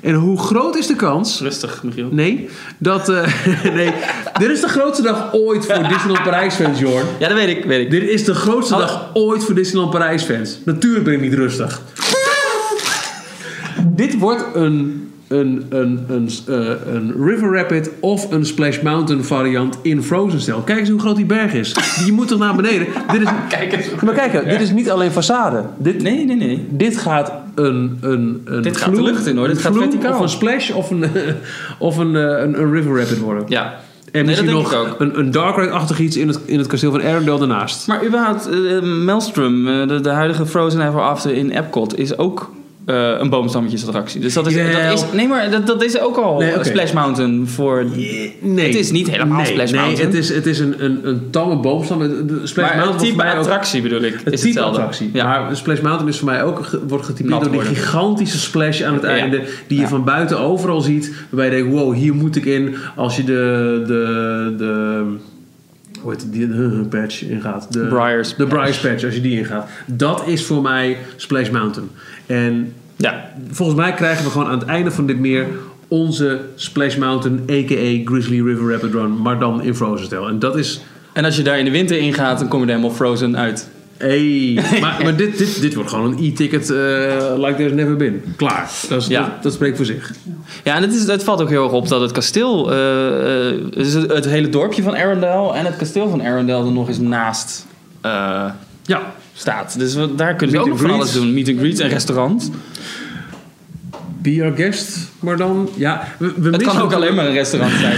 B: En hoe groot is de kans
D: Rustig, Michiel.
B: Nee, dat. eh, nee. Dit is de grootste dag ooit voor Disneyland Parijs fans, Jorn.
D: Ja, dat weet ik, weet ik.
B: Dit is de grootste dag ooit voor Disneyland Parijs fans. Natuurlijk ben ik niet rustig. Dit wordt een, een, een, een, eh, een River Rapid of een Splash Mountain variant in Frozen stijl. Kijk eens hoe groot die berg is. Je moet toch naar beneden. Dit is,
D: Kijk eens.
B: maar kijk, dit is niet alleen façade. Dit,
D: Nee, nee, nee.
B: dit gaat een, een, een
D: Dit gaat de lucht in, hoor. Dit
B: een
D: gaat
B: vloem
D: verticaal.
B: Of een splash of een, of een, eh, een, een River Rapid worden.
D: Ja.
B: En
D: nee, dat
B: misschien
D: denk
B: nog
D: ik ook.
B: een, een Dark Ride-achtig iets in het, in het kasteel van Arendelle daarnaast.
D: Maar überhaupt, eh, Maelstrom, eh, de, de huidige Frozen Ever After in Epcot, is ook eh, een boomstammetjesattractie. Dus dat is,
B: Jawel.
D: dat is... Nee, maar dat, dat is ook al
B: Nee, oké.
D: Splash Mountain voor...
B: Nee.
D: Eh, Het is niet helemaal
B: nee,
D: Splash
B: nee,
D: Mountain.
B: het is, het is een, een, een tamme boomstam. De- de Splash
D: Maar het
B: Mountain
D: type
B: voor mij ook-
D: attractie bedoel ik,
B: Het
D: is
B: type
D: hetzelfde.
B: attractie.
D: Ja.
B: Maar Splash Mountain is voor mij ook ge- wordt getypeerd
D: Nat
B: door die
D: worden.
B: gigantische splash aan het
D: Ja.
B: einde. Die je
D: Ja.
B: van buiten overal ziet. Waarbij je denkt, wow, hier moet ik in. Als je de... de, de hoe heet het, die de patch ingaat. De
D: Briar's
B: De Briar's patch, als je die ingaat. Dat is voor mij Splash Mountain. En
D: Ja.
B: volgens mij krijgen we gewoon aan het einde van dit meer onze Splash Mountain, a.k.a. Grizzly River Rapid Run, maar dan in Frozen stijl. En dat is...
D: En als je daar in de winter ingaat, dan kom je er helemaal Frozen uit.
B: Hey. maar maar dit, dit, dit wordt gewoon een e-ticket eh, like there's never been. Klaar. Dat, is,
D: Ja.
B: dat, dat spreekt voor zich.
D: Ja, en het, is, het valt ook heel erg op dat het kasteel... eh, eh, dus het, het hele dorpje van Arendelle en het kasteel van Arendelle er nog eens naast eh,
B: Ja.
D: staat. Dus we- daar kunnen ze
B: Meet
D: ook nog
B: and
D: van alles
B: greets.
D: doen. Meet and greet en restaurant.
B: Be our guest, maar dan... Ja, we, we
D: Het kan ook alleen maar een restaurant zijn.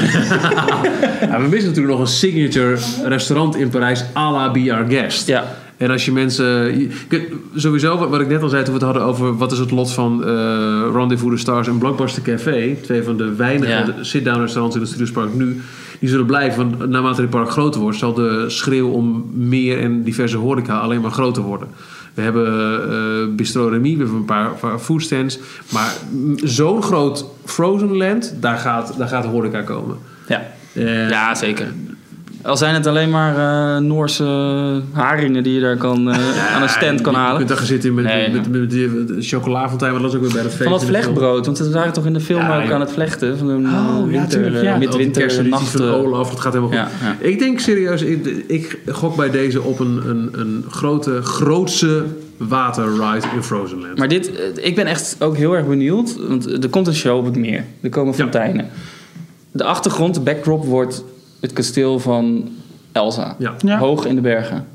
B: Ja, we missen natuurlijk nog een signature restaurant in Parijs à la Be Our Guest.
D: ja.
B: En als je mensen... je- kijk, Sowieso, wat, wat ik net al zei toen we het hadden over... wat is het lot van eh Rendezvous de Stars en Blockbuster Café... twee van de weinige
D: Ja.
B: sit-down restaurants in het Studiospark nu... die zullen blijven, want naarmate het park groter wordt... zal de schreeuw om meer en diverse horeca alleen maar groter worden. We hebben eh, Bistro Remy, we hebben een paar, paar foodstands... maar mm, zo'n groot Frozen Land, daar gaat, daar gaat horeca komen.
D: Ja.
B: Eh,
D: ja, zeker. Al zijn het alleen maar eh, Noorse haringen die je daar kan, eh, aan een stand kan
B: je, Je
D: halen.
B: kunt daar gaan zitten met,
D: Nee, ja.
B: met, met, met die met de chocolafontein, maar dat is ook weer bij dat feest.
D: Van dat
B: in de film.
D: vlechtbrood, want ze waren toch in de film
B: Ja,
D: ook
B: ja.
D: aan het vlechten. Van een
A: ja,
D: oh, winter,
A: tuurlijk,
D: ja,
A: ja.
B: Al die kerstedities van
D: midwinternachten.
B: Olaf, het gaat helemaal
D: Ja,
B: goed.
D: ja.
B: Ik denk serieus, ik, ik gok bij deze op een, een, een grote, grootse waterride in Frozenland.
D: Maar dit, eh, ik ben echt ook heel erg benieuwd, want er komt een show op het meer. Er komen fonteinen. De achtergrond, de backdrop, wordt het kasteel van Elsa.
B: ja.
A: Ja.
D: Hoog in de bergen.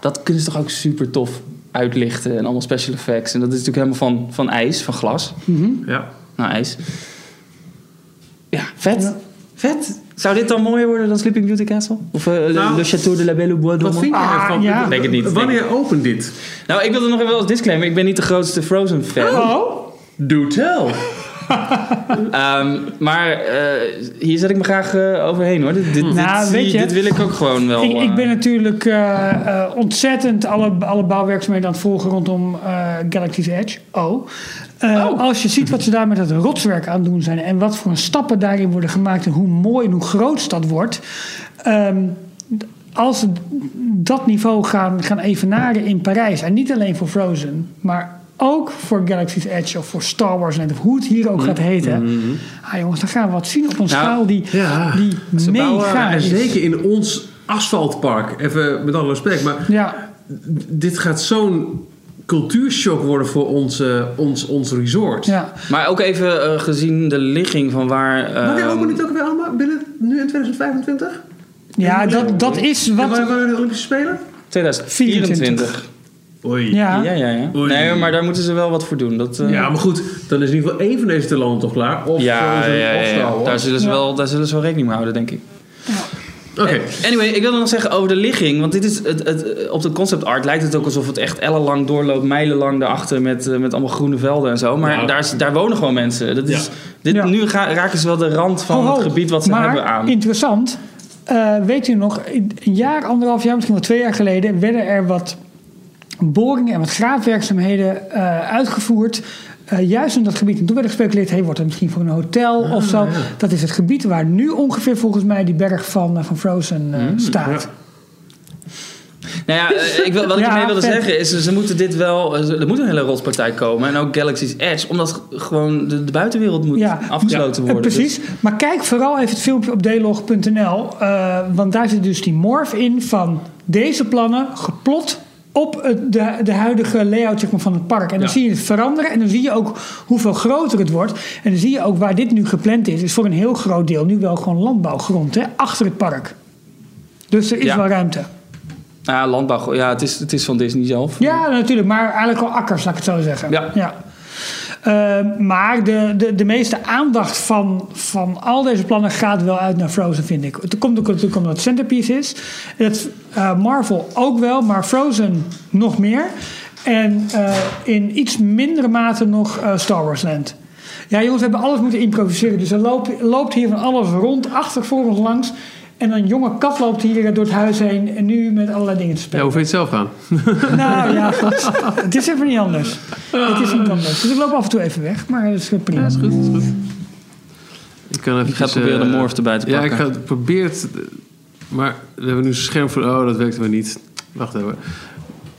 D: Dat kunnen ze toch ook super tof uitlichten en allemaal special effects. En dat is natuurlijk helemaal van, van ijs, van glas.
B: ja.
D: Nou, ijs. Ja, vet. Vet. Zou dit dan mooier worden dan Sleeping Beauty Castle? Of eh, Le-
B: Nou,
D: Le Château de la Belle au Bois
B: Wat
D: dormant?
B: vind jij
A: Ah,
B: ervan?
A: ja.
D: Denk het niet, denk
B: Wanneer opent dit?
D: Nou, ik wil er nog even als disclaimer. Ik ben niet de grootste Frozen fan.
A: Oh,
B: Do tell.
D: Ehm, maar eh, hier zet ik me graag eh, overheen hoor. Dit, dit, dit-
A: Nou,
D: zie-
A: weet je-
D: dit wil ik ook gewoon wel.
A: ik, ik
D: eh,
A: ben natuurlijk eh, eh, ontzettend alle, alle bouwwerkzaamheden aan het volgen rondom eh, Galaxy's Edge. Oh. Eh, Als je ziet wat ze daar met het rotswerk aan het doen zijn en wat voor stappen daarin worden gemaakt en hoe mooi en hoe groot dat wordt. ehm, d- als ze d- dat niveau gaan, gaan evenaren in Parijs, en niet alleen voor Frozen, maar ook voor Galaxy's Edge of voor Star Wars Land, of hoe het hier ook gaat heten. Ah jongens, dan gaan we wat zien op een schaal die,
B: ja.
A: die mega
B: en
A: is.
B: zeker in ons asfaltpark, even met alle respect, maar
A: Ja,
B: dit gaat zo'n cultuurshock worden voor ons, eh, ons, ons resort.
A: ja.
D: Maar ook even eh, gezien de ligging van waar.
B: Maar
D: ehm,
B: jij opent dit ook weer allemaal binnen nu in 2025?
A: Ja, dat, dat is
B: En waar
A: wat.
B: waren de Olympische Spelen?
D: 2024.
B: Oei. Ja.
D: Ja,
A: Ja,
D: ja, ja.
B: Oei.
D: Nee, maar daar moeten ze wel wat voor doen. Dat, eh,
B: maar goed, dan is in ieder geval één van deze twee landen toch klaar. Of eh,
D: ja,
B: Frozen,
D: ja, ja,
B: of
D: ja.
B: Star Wars.
D: Daar, zullen ze
A: Ja.
D: wel, daar zullen ze wel rekening mee houden, denk ik.
B: Oké.
D: Anyway, ik wilde nog zeggen over de ligging. Want dit is het, het, op de concept art lijkt het ook alsof het echt ellenlang doorloopt, mijlenlang daarachter met, eh, met allemaal groene velden en zo. Maar
B: Ja.
D: daar, is- daar wonen gewoon mensen. Dat is,
B: Ja.
D: dit,
A: Ja.
D: Nu ga- raken ze wel de rand van
A: Ho, ho.
D: het gebied wat ze
A: maar,
D: hebben aan.
A: Interessant. Eh, weet u nog, een jaar, anderhalf jaar, misschien wel twee jaar geleden, werden er wat boringen en wat graafwerkzaamheden eh, uitgevoerd. eh, juist in dat gebied. En toen werd er gespeculeerd, hey, wordt het misschien voor een hotel
D: Ah,
A: of zo. Dat is het gebied waar nu ongeveer volgens mij die berg van, eh, van Frozen eh,
D: Mm,
A: staat.
D: Nou ja, eh, ik wil, wat ik
A: Ja,
D: ermee wilde
A: vet.
D: zeggen is, ze moeten dit wel, eh, ze- er moet een hele rotspartij komen. En ook Galaxy's Edge, omdat g- gewoon de, de buitenwereld moet
A: Ja.
D: afgesloten
A: Eh,
D: worden. dus-
A: precies. Maar kijk vooral even het filmpje op delog.nl. eh, want daar zit dus die morf in van deze plannen geplot op het, de, de huidige layout zeg maar, van het park. En dan
B: Ja.
A: zie je het veranderen en dan zie je ook hoeveel groter het wordt. En dan zie je ook waar dit nu gepland is. Is voor een heel groot deel nu wel gewoon landbouwgrond hè, achter het park. Dus er is
D: Ja.
A: wel ruimte.
D: Dus, nou ja, landbouw, ja, het is, het is van Disney zelf.
A: Ja, natuurlijk. Maar eigenlijk wel akkers, laat ik het zo zeggen.
D: Ja.
A: Eh, maar de, de, de meeste aandacht van, van al deze plannen gaat wel uit naar Frozen, vind ik. Het komt ook natuurlijk omdat het centerpiece is. Het, eh, Marvel ook wel, maar Frozen nog meer. En eh, in iets mindere mate nog eh, Star Wars Land. Ja, jongens, we hebben alles moeten improviseren. Dus er loopt, loopt hier van alles rond, achter, voor ons langs. En een jonge kat loopt hier door het huis heen. En nu met allerlei dingen te spelen.
B: Ja, hoe vind je het zelf aan?
A: Nou ja, gast. het is even niet anders. Het is niet anders. Dus ik loop af en toe even weg, maar dat is prima.
B: Ja, is goed, is goed. Ik kan even
D: Ik ga proberen de morf erbij te
B: dus, eh, Ja,
D: pakken.
B: ik ga dus het proberen. te- Maar we hebben nu een scherm voor. Oh, dat werkt weer niet. Wacht even.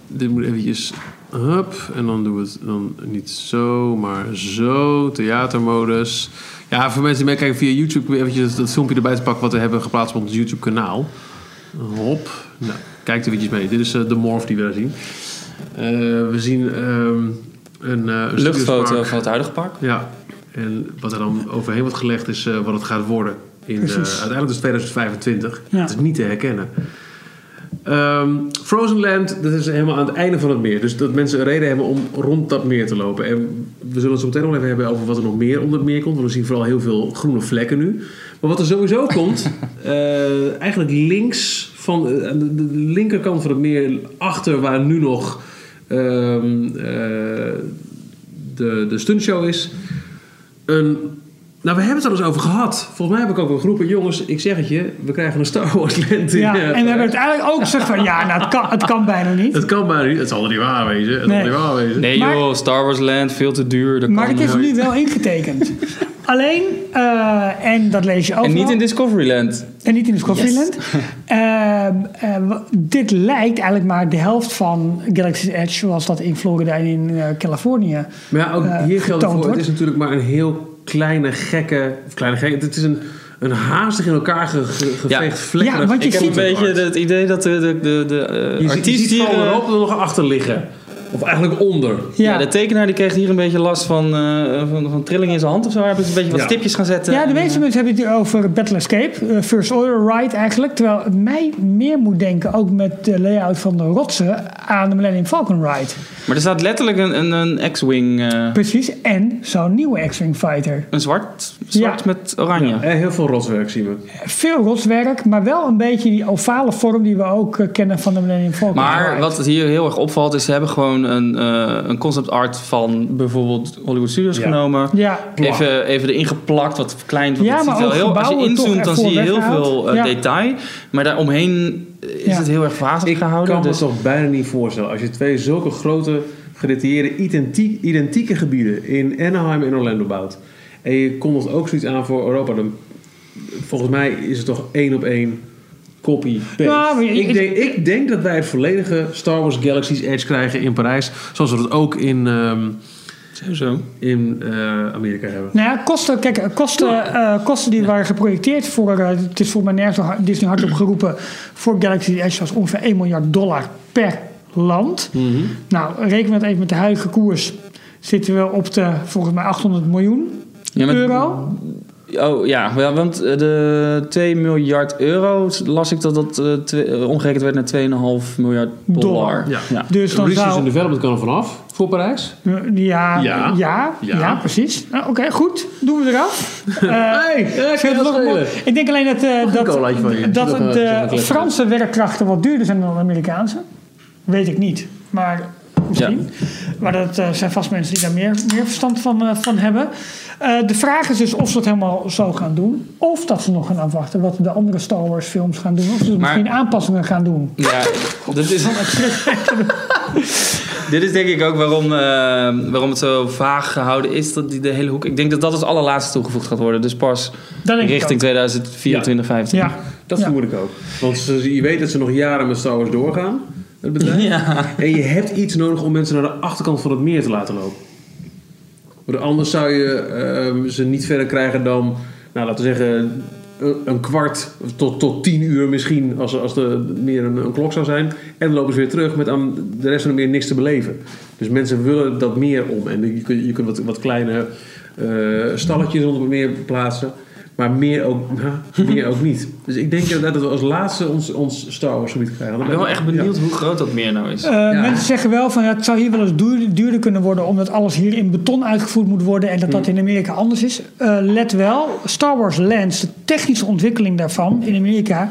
B: Dit moet eventjes. Hup. En dan doen we het dan niet zo, maar zo. Theatermodus. Ja, voor mensen die meekijken via YouTube, probeer eventjes dat, dat filmpje erbij te pakken wat we hebben geplaatst op ons YouTube-kanaal. Hop. Nou, kijk er eventjes mee. Dit is eh, de morf die we daar zien. Eh, we zien ehm een eh, een
D: Luchtfoto
B: studiospark.
D: van het huidige park.
B: Ja, en wat er dan overheen wordt gelegd is eh, wat het gaat worden. In, eh,
A: Precies.
B: uiteindelijk is 2025.
A: Ja.
B: Het is niet te herkennen. Ehm Frozen Land, dat is helemaal aan het einde van het meer. Dus dat mensen een reden hebben om rond dat meer te lopen. En we zullen het zo meteen nog even hebben over wat er nog meer onder het meer komt. Want we zien vooral heel veel groene vlekken nu. Maar wat er sowieso komt, eh, eigenlijk links van eh, aan de, de linkerkant van het meer, achter waar nu nog ehm, eh, de, de stuntshow is. Een, nou, we hebben het er al eens over gehad. Volgens mij heb ik ook een groepen jongens. Ik zeg het je, we krijgen een Star Wars land in.
A: Ja,
B: eh,
A: en we hebben uiteindelijk ook gezegd van ja, nou, het, kan, het kan bijna niet.
B: het kan maar niet. Het zal er niet waar wezen. Het
A: Nee.
B: zal er niet waar wezen.
D: Nee
A: Maar-
D: joh, Star Wars Land, veel te duur. dat
A: Maar
D: kan
A: het is
D: nooit.
A: nu wel ingetekend. Alleen, eh, en dat lees je ook.
D: En niet in Discoveryland.
A: En niet in Discoveryland. Ehm, eh, wa- dit lijkt eigenlijk maar de helft van Galaxy's Edge, zoals dat in Florida en in eh, Californië.
B: Maar ja, ook
A: eh,
B: hier geldt het
A: getoond
B: voor. Het
A: wordt.
B: is natuurlijk maar een heel kleine gekke... Of kleine gekke... Het is een, een haastig in elkaar ge, ge- geveegd
D: Ja.
B: vlekkerig
A: Ja, want je
D: Ik heb
A: ziet-
D: een beetje het idee dat de, de, de, de eh,
B: Je ziet-
D: artiest
B: je ziet
D: hier...
B: gewoon
D: eh,
B: erop dat er nog achter liggen. Of eigenlijk onder.
D: ja. de tekenaar die kreeg hier een beetje last van, eh, van, van trilling in zijn hand of zo. Hij heeft dus een beetje wat
B: Ja.
D: stipjes gaan zetten.
A: Ja, de meeste mensen hebben het hier over Battle Escape, eh, First Order Ride eigenlijk. Terwijl het mij meer moet denken, ook met de layout van de rotsen, aan de Millennium Falcon Ride.
D: Maar er staat letterlijk een, een, een X-Wing. eh,
A: Precies, en zo'n nieuwe X-Wing Fighter.
D: een zwart, zwart
A: Ja.
D: met oranje.
B: En heel veel rotswerk zien we.
A: Veel rotswerk, maar wel een beetje die ovale vorm die we ook eh, kennen van de Millennium Falcon
D: Maar
A: Ride.
D: wat hier heel erg opvalt is, ze hebben gewoon een, eh, een concept art van bijvoorbeeld Hollywood Studios
B: Ja.
D: genomen.
A: Ja,
D: Even, even erin geplakt, wat verkleind. Want
A: Ja,
D: het
A: maar
D: ziet wel
A: ook
D: heel, als je
A: gebouwen
D: inzoomt,
A: toch
D: dan
A: ervoor
D: zie je heel
A: weggehaald.
D: veel eh,
A: Ja.
D: detail. Maar daaromheen eh, is
A: Ja.
D: het heel erg wazig
B: Ik
D: gehouden.
B: kan
D: dus-
B: me Oh, toch bijna niet voorstellen. Als je twee zulke grote, gedetailleerde, identiek, identieke gebieden in Anaheim en Orlando bouwt. En je kondigt ook zoiets aan voor Europa. Dan, volgens mij is het toch één op één copy. paste.
A: Ja, maar je-
B: ik, denk, ik denk dat wij het volledige Star Wars Galaxy's Edge krijgen in Parijs. Zoals we dat ook in, ehm,
D: Sowieso.
B: in eh, Amerika hebben.
A: Nou ja, kosten, kijk, kosten, eh, kosten die waren geprojecteerd voor, eh, het is voor mij nergens door hard- Disney hardop geroepen, voor Galaxy Edge was ongeveer 1 miljard dollar per land.
B: Mhm.
A: Nou, reken we dat even met de huidige koers, zitten we op de, volgens mij, 800 miljoen
D: Ja, maar-
A: euro.
D: Oh ja, wel, want eh, de 2 miljard euro las ik dat dat eh, twee- eh, omgerekend werd naar 2,5 miljard dollar.
A: Dollar.
B: Ja.
A: Dus dan
B: Research and
A: zou...
B: Development kan er vanaf voor Parijs.
A: Ja, ja,
B: Ja.
A: ja,
B: Ja.
A: precies. Nou, Oké, goed. Doen we eraf. Eh,
B: Hey, eh,
A: scheelt
B: kan
A: nog een
B: spelen.
A: mooi- ik denk alleen dat, eh, dat,
B: colaatje van je?
A: dat
B: Nog een- nog een
A: de
B: kletsen.
A: Franse werkkrachten wat duurder zijn dan de Amerikaanse. Weet ik niet, maar misschien. Maar dat eh, zijn vast mensen die daar meer, meer verstand van, eh, van hebben. Eh, de vraag is dus of ze dat helemaal zo gaan doen. Of dat ze nog gaan afwachten wat de andere Star Wars films gaan doen. Of ze
D: Maar-
A: misschien aanpassingen gaan doen.
D: Ja, dat is, dit is denk ik ook waarom, eh, waarom het zo vaag gehouden is. Dat die de hele hoek. Ik denk dat dat als allerlaatste toegevoegd gaat worden. Dus pas
A: Dat denk ik
D: richting
A: ook.
D: 2024, 2025.
A: Ja.
B: Dat
A: Ja.
B: vermoed ik ook. Want ze- je weet dat ze nog jaren met Star Wars doorgaan. Het bedrijf.
D: Ja.
B: En je hebt iets nodig om mensen naar de achterkant van het meer te laten lopen. Want anders zou je ehm, ze niet verder krijgen dan, nou, laten we zeggen, een, een kwart tot, tot tien uur misschien, als, als er meer een, een klok zou zijn. En dan lopen ze weer terug met aan de rest van het meer niks te beleven. Dus mensen willen dat meer om. En je kunt, je kunt wat, wat kleine eh, stalletjes onder het meer plaatsen. Maar meer ook, nou, meer ook niet. Dus ik denk inderdaad dat we als laatste ons, ons Star Wars gebied krijgen.
D: Ik ben wel echt benieuwd hoe groot dat meer nou is.
A: Eh, Mensen zeggen wel van ja, het zou hier wel eens duur- duurder kunnen worden, omdat alles hier in beton uitgevoerd moet worden en dat dat
B: Mm.
A: in Amerika anders is. Eh, let wel, Star Wars Lands, de technische ontwikkeling daarvan in Amerika,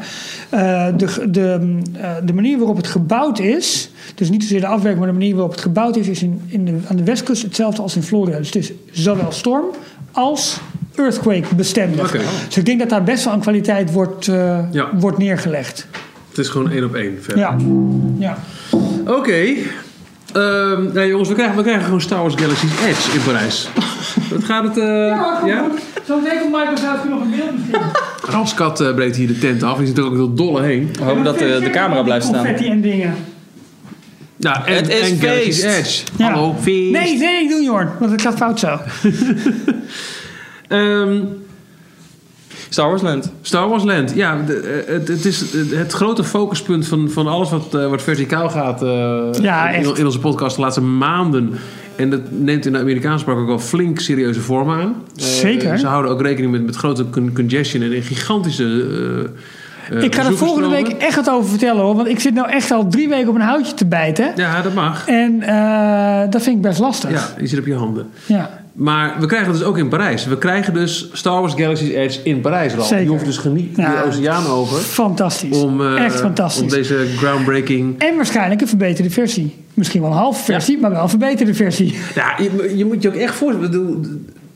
A: eh, de, ge- de, mm, eh, de manier waarop het gebouwd is, dus niet zozeer de afwerking, maar de manier waarop het gebouwd is, is in, in de, aan de westkust hetzelfde als in Florida. Dus het is zowel storm als earthquake bestendig.
B: Oké.
A: Dus ik denk dat daar best wel een kwaliteit wordt, eh,
B: Ja.
A: wordt neergelegd.
B: Het is gewoon één op één verder.
A: Ja. ja.
B: Oké. Ehm, nou jongens, we krijgen, we krijgen gewoon Star Wars Galaxy's Edge in Parijs. Wat gaat het? eh ja?
A: Zo meteen Microsoft nog een beeld misschien.
B: Ramskat eh, breekt hier de tent af. Die zit er ook heel dolle heen.
D: We hopen dat eh, de, de camera blijft staan.
A: Confetti en dingen.
B: Nou, en,
D: Het is
B: en Galaxy's
D: feest.
B: Edge.
A: Ja.
B: Hallo, feest.
A: Nee, nee, ik doe niet hoor. Want het gaat fout zo.
B: Ehm,
D: Star Wars Land.
B: Star Wars Land. Ja, de- eh, het, het is het- het grote focuspunt van, van alles wat, eh, wat verticaal gaat eh,
A: Ja,
B: in,
A: echt.
B: in onze podcast de laatste maanden. En dat neemt in de Amerikaanse spraak ook al flink serieuze vorm aan. Eh,
A: Zeker.
B: Ze houden ook rekening met, met grote con- congestion en een gigantische eh, eh,
A: ik ga er
B: bezoekers
A: volgende
B: komen.
A: week echt wat over vertellen hoor. Want ik zit nou echt al drie weken op een houtje te bijten.
B: Ja, dat mag.
A: En eh, dat vind ik best lastig.
B: Ja, je zit op je handen.
A: Ja.
B: Maar we krijgen het dus ook in Parijs. We krijgen dus Star Wars Galaxy's Edge in Parijs, Ralf.
A: Zeker.
B: Je hoeft dus geniet
A: Ja.
B: de oceaan over
A: Fantastisch.
B: om, eh,
A: echt fantastisch.
B: om deze groundbreaking...
A: En waarschijnlijk een verbeterde versie. Misschien wel een halve versie, maar wel een verbeterde versie.
B: Ja,
E: Je, je moet je ook echt voorstellen. ik bedoel,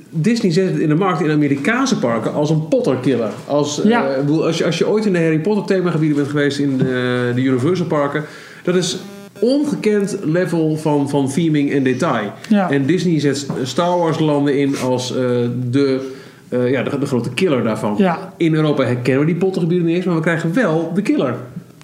E: Disney zet het in de markt in Amerikaanse parken als een Potter-killer. Als, eh,
A: Ja.
E: ik bedoel, als, je, als je ooit in de Harry Potter themagebieden bent geweest in eh, de, de Universal parken, dat is ongekend level van, van theming en detail.
A: Ja.
E: En Disney zet Star Wars landen in als eh, de, eh, ja, de, de grote killer daarvan.
A: Ja.
E: In Europa herkennen we die Pottergebieden niet eens, maar we krijgen wel de killer.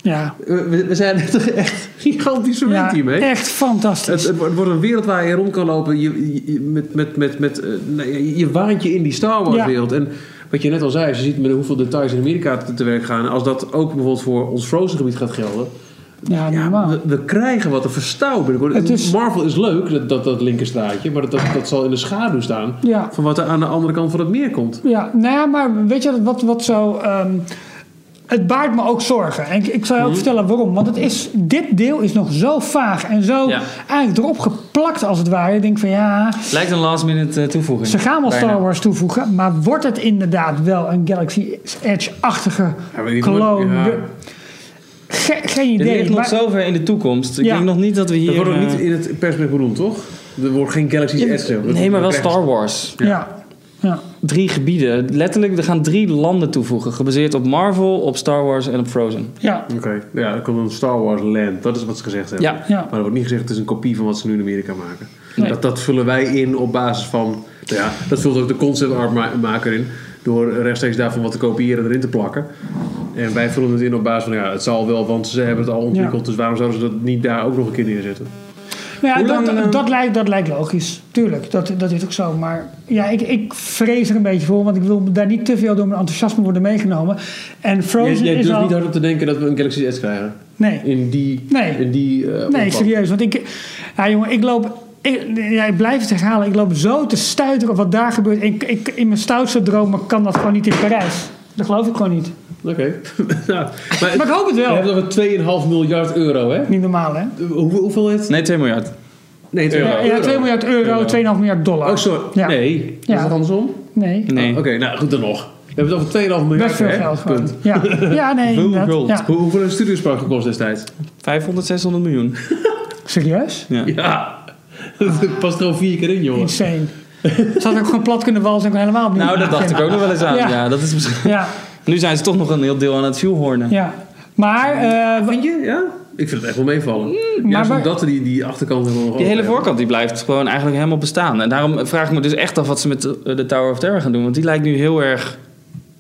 A: Ja,
E: We, we- we zijn er echt gigantisch verwend
A: ja
E: hiermee.
A: echt fantastisch.
E: Het, het wordt- het wordt een wereld waar je rond kan lopen. Je, je- je- met, met, met, met, eh, nou ja, je- je waant je in die Star Wars
A: Ja.
E: wereld. En wat je net al zei, als je ziet met hoeveel details in Amerika te, te werk gaan. Als dat ook bijvoorbeeld voor ons Frozen gebied gaat gelden.
A: ja, normaal.
E: We, we krijgen wat te verstouwen binnenkort.
A: Het is-
E: Marvel is leuk, dat, dat, dat linkerstraatje. Maar dat, dat, dat zal in de schaduw staan
A: Ja.
E: van wat er aan de andere kant van het meer komt.
A: Ja, nou ja, maar weet je wat, wat zo. ehm, het baart me ook zorgen. En ik, ik zal je ook
D: Mhm.
A: vertellen waarom. Want het is, dit deel is nog zo vaag en zo
D: Ja.
A: eigenlijk erop geplakt als het ware. Ik denk van ja,
D: Lijkt een last minute eh, toevoeging.
A: ze gaan wel
D: Bijna.
A: Star Wars toevoegen. Maar wordt het inderdaad wel een Galaxy Edge-achtige
E: Ja, weet ik niet,
A: kloon?
E: ja.
A: Ge- geen
D: Dit
A: idee.
D: ligt nog
A: maar-
D: zover in de toekomst. Ik
A: Ja.
D: denk nog niet dat we hier...
E: Dat wordt ook
D: eh,
E: niet in het persbericht beroemd, toch? Er wordt geen Galaxy's
A: Ja,
E: Edge. We-
D: Nee, maar
E: we
D: wel
E: krijgen-
D: Star Wars.
A: ja. Ja.
D: Drie gebieden. Letterlijk, er gaan drie landen toevoegen. Gebaseerd op Marvel, op Star Wars en op Frozen.
A: Ja.
E: Oké, ja, er komt een Star Wars Land. Dat is wat ze gezegd hebben.
D: Ja.
A: Ja.
E: Maar er wordt niet gezegd, het is een kopie van wat ze nu in Amerika maken.
A: Nee.
E: Dat, dat vullen wij in op basis van... nou Ja, dat vult ook de concept art ma- maker in. Door rechtstreeks daarvan wat te kopiëren en erin te plakken. En wij vullen het in op basis van... nou Ja, het zal wel, want ze hebben het al ontwikkeld. Dus waarom zouden ze dat niet daar ook nog een keer neerzetten?
A: Nou ja,
D: Hoe
A: dat,
D: lang, eh,
A: dat, lijkt, dat lijkt logisch. Tuurlijk, dat, dat is ook zo. Maar ja, ik, ik vrees er een beetje voor, want ik wil daar niet te veel door mijn enthousiasme worden meegenomen. En
E: Jij,
A: Frozen
E: jij
A: is
E: durft
A: al.
E: niet hardop te denken dat we een Galaxy S krijgen.
A: Nee.
E: In die...
A: Nee.
E: In die eh,
A: Nee,
E: omvang.
A: serieus. Want ik, ja, jongen, ik loop. Ik, ja, ik blijf het herhalen. Ik loop zo te stuiteren op wat daar gebeurt. Ik, ik, in mijn stoutste dromen kan dat gewoon niet in Parijs. Dat geloof ik gewoon niet.
E: Oké. Nou, maar,
A: Maar ik hoop het
E: we
A: wel.
E: hebben over 2,5 miljard euro, hè?
A: Niet normaal, hè?
E: Hoe, hoeveel is het?
D: Nee, 2 miljard.
E: Nee, 2
A: Ja, ja, 2 miljard euro, 2,5 miljard dollar.
E: Oh, sorry.
A: Ja.
E: Nee.
A: Ja.
E: Is dat andersom?
A: Nee.
D: Nee.
E: Oké, nou goed dan nog. We hebben het over 2,5 miljard.
A: Best veel
E: hè?
A: geld gewoon.
E: Punt.
A: Ja, ja nee. inderdaad.
D: guld.
A: Ja.
E: Hoe, hoeveel heeft een studiospark gekost destijds?
D: 500, 600 miljoen.
A: Serieus?
D: Ja.
E: Ja. Dat past er al vier keer in, jongen.
A: Insane. Ze hadden ook gewoon plat kunnen walsen en gewoon helemaal opnieuw
D: Nou, dat dacht ik ook nog wel eens aan.
A: Ja.
D: Ja. dat is misschien...
A: Ja,
D: Nu zijn ze toch nog een heel deel aan het vuurhoornen.
A: ja. Maar, eh,
E: Vind je? Ja? Ik vind het echt wel meevallen. Juist
A: waar-
E: omdat we die, die achterkant helemaal nog
D: Die hele
E: open hebben.
D: voorkant die blijft gewoon eigenlijk helemaal bestaan. En daarom vraag ik me dus echt af wat ze met de, de Tower of Terror gaan doen. Want die lijkt nu heel erg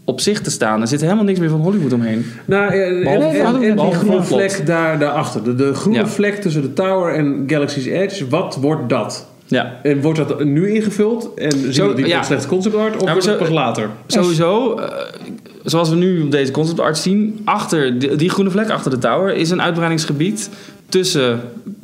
D: op zich te staan. Er zit helemaal niks meer van Hollywood omheen.
E: Nou, ja, en,
D: Behalve-
E: en- en die
D: behalve
E: groene
D: grondplot.
E: vlek daar, daarachter. De, de groene
D: Ja.
E: vlek tussen de tower en Galaxy's Edge. Wat wordt dat?
D: Ja.
E: En wordt dat nu ingevuld? En zien
D: Zo-
E: we die
D: ja. Nou,
E: ja. slechte concept art? Of
D: maar
E: wordt
D: zo-
E: het pas later?
D: Sowieso, eh, zoals we nu op deze concept art zien, achter die, die groene vlek achter de tower is een uitbreidingsgebied tussen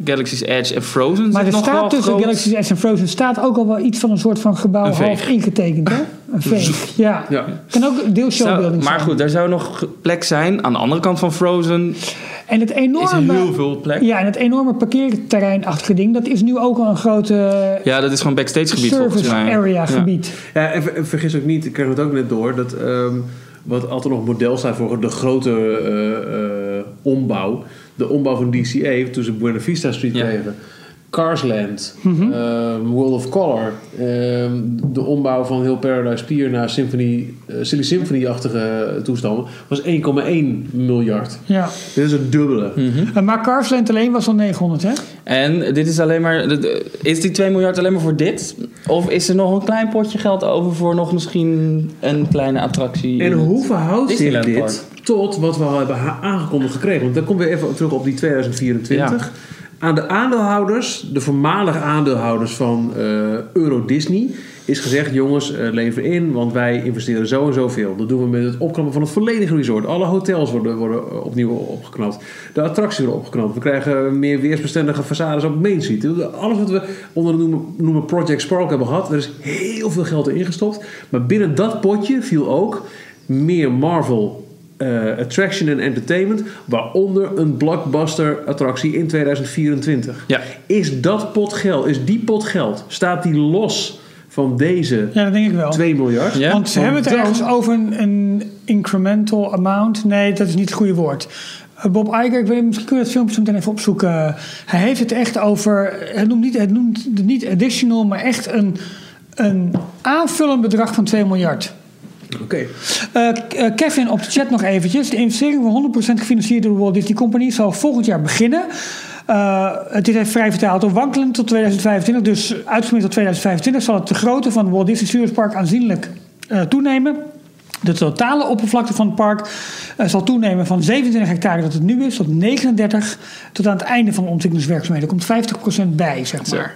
D: Galaxy's Edge en Frozen.
A: maar
D: Zit
A: er
D: nog wel
A: staat tussen
D: groot-
A: Galaxy's Edge en Frozen staat ook al wel iets van een soort van gebouw
D: Een veeg.
A: half ingetekend, hè? Een veeg. Ja.
E: Ja.
A: Kan ook deel showbuilding
D: Zou- maar
A: zijn.
D: goed, daar zou nog plek zijn. Aan de andere kant van Frozen
A: En het
D: is er
A: enorme...
D: heel veel plek. Ja,
A: ja, en het enorme parkeerterreinachtige ding, dat is nu ook al een grote eh,
D: dat is gewoon backstage gebied volgens
A: service
D: mij.
A: area gebied.
E: Ja, en ver- en vergis ook niet, ik kreeg het ook net door, dat ehm, wat altijd nog model staat voor de grote eh, eh, ombouw. De ombouw van DCA, toen ze Buena Vista Street
D: Ja.
E: kregen. Carsland, ehm, World of Color, ehm, de ombouw van heel Paradise Pier naar Symphony, eh, Silly Symphony-achtige eh, toestanden, was 1,1 miljard.
A: Ja.
E: Dit is het dubbele.
D: Hm?
A: Eh, Maar Carveland alleen was al 900, hè?
D: En dit is alleen maar. Is die 2 miljard alleen maar voor dit? Of is er nog een klein potje geld over voor nog misschien een kleine attractie?
E: En hoe verhoudt zich
D: Disneyland
E: dit tot wat we al hebben ha- aangekondigd gekregen? Want dan komen we even terug op die 2024. Aan de aandeelhouders, de voormalig aandeelhouders van eh, Euro Disney, is gezegd: jongens, eh, lever in, want wij investeren zo en zoveel. Dat doen we met het opknappen van het volledige resort. Alle hotels worden, worden eh, opnieuw opgeknapt. De attracties worden opgeknapt. We krijgen meer weersbestendige façades op Main Street. Dus Alles wat we onder de noemen, noemen Project Spark hebben gehad, er is heel veel geld in gestopt. Maar binnen dat potje viel ook meer Marvel eh, attraction en entertainment, waaronder een blockbuster attractie in 2024.
D: Ja.
E: Is dat pot geld, is die pot geld, staat die los van deze
A: Ja, dat denk ik wel.
E: 2 miljard?
D: Ja.
A: Want ze hebben het
E: dan-
A: ergens over een, een incremental amount. Nee, dat is niet het goede woord. Eh, Bob Iger, ik weet, misschien kun je dat filmpje zo meteen even opzoeken. Hij heeft het echt over. Hij noemt, niet, hij noemt het niet additional, maar echt een, een aanvullend bedrag van 2 miljard.
E: Oké.
A: Eh, K- eh, Kevin, op de chat nog eventjes. De investering van 100% gefinancierd door de Walt Disney Company zal volgend jaar beginnen. Eh, het is even vrij vertaald door wankelen tot 2025. Dus uitgemiddeld tot 2025 zal het de grootte van het Walt Disney Studios Park aanzienlijk eh, toenemen. De totale oppervlakte van het park eh, zal toenemen van 27 hectare dat het nu is tot 39. Tot aan het einde van de ontwikkelingswerkzaamheden komt 50% bij, zeg maar.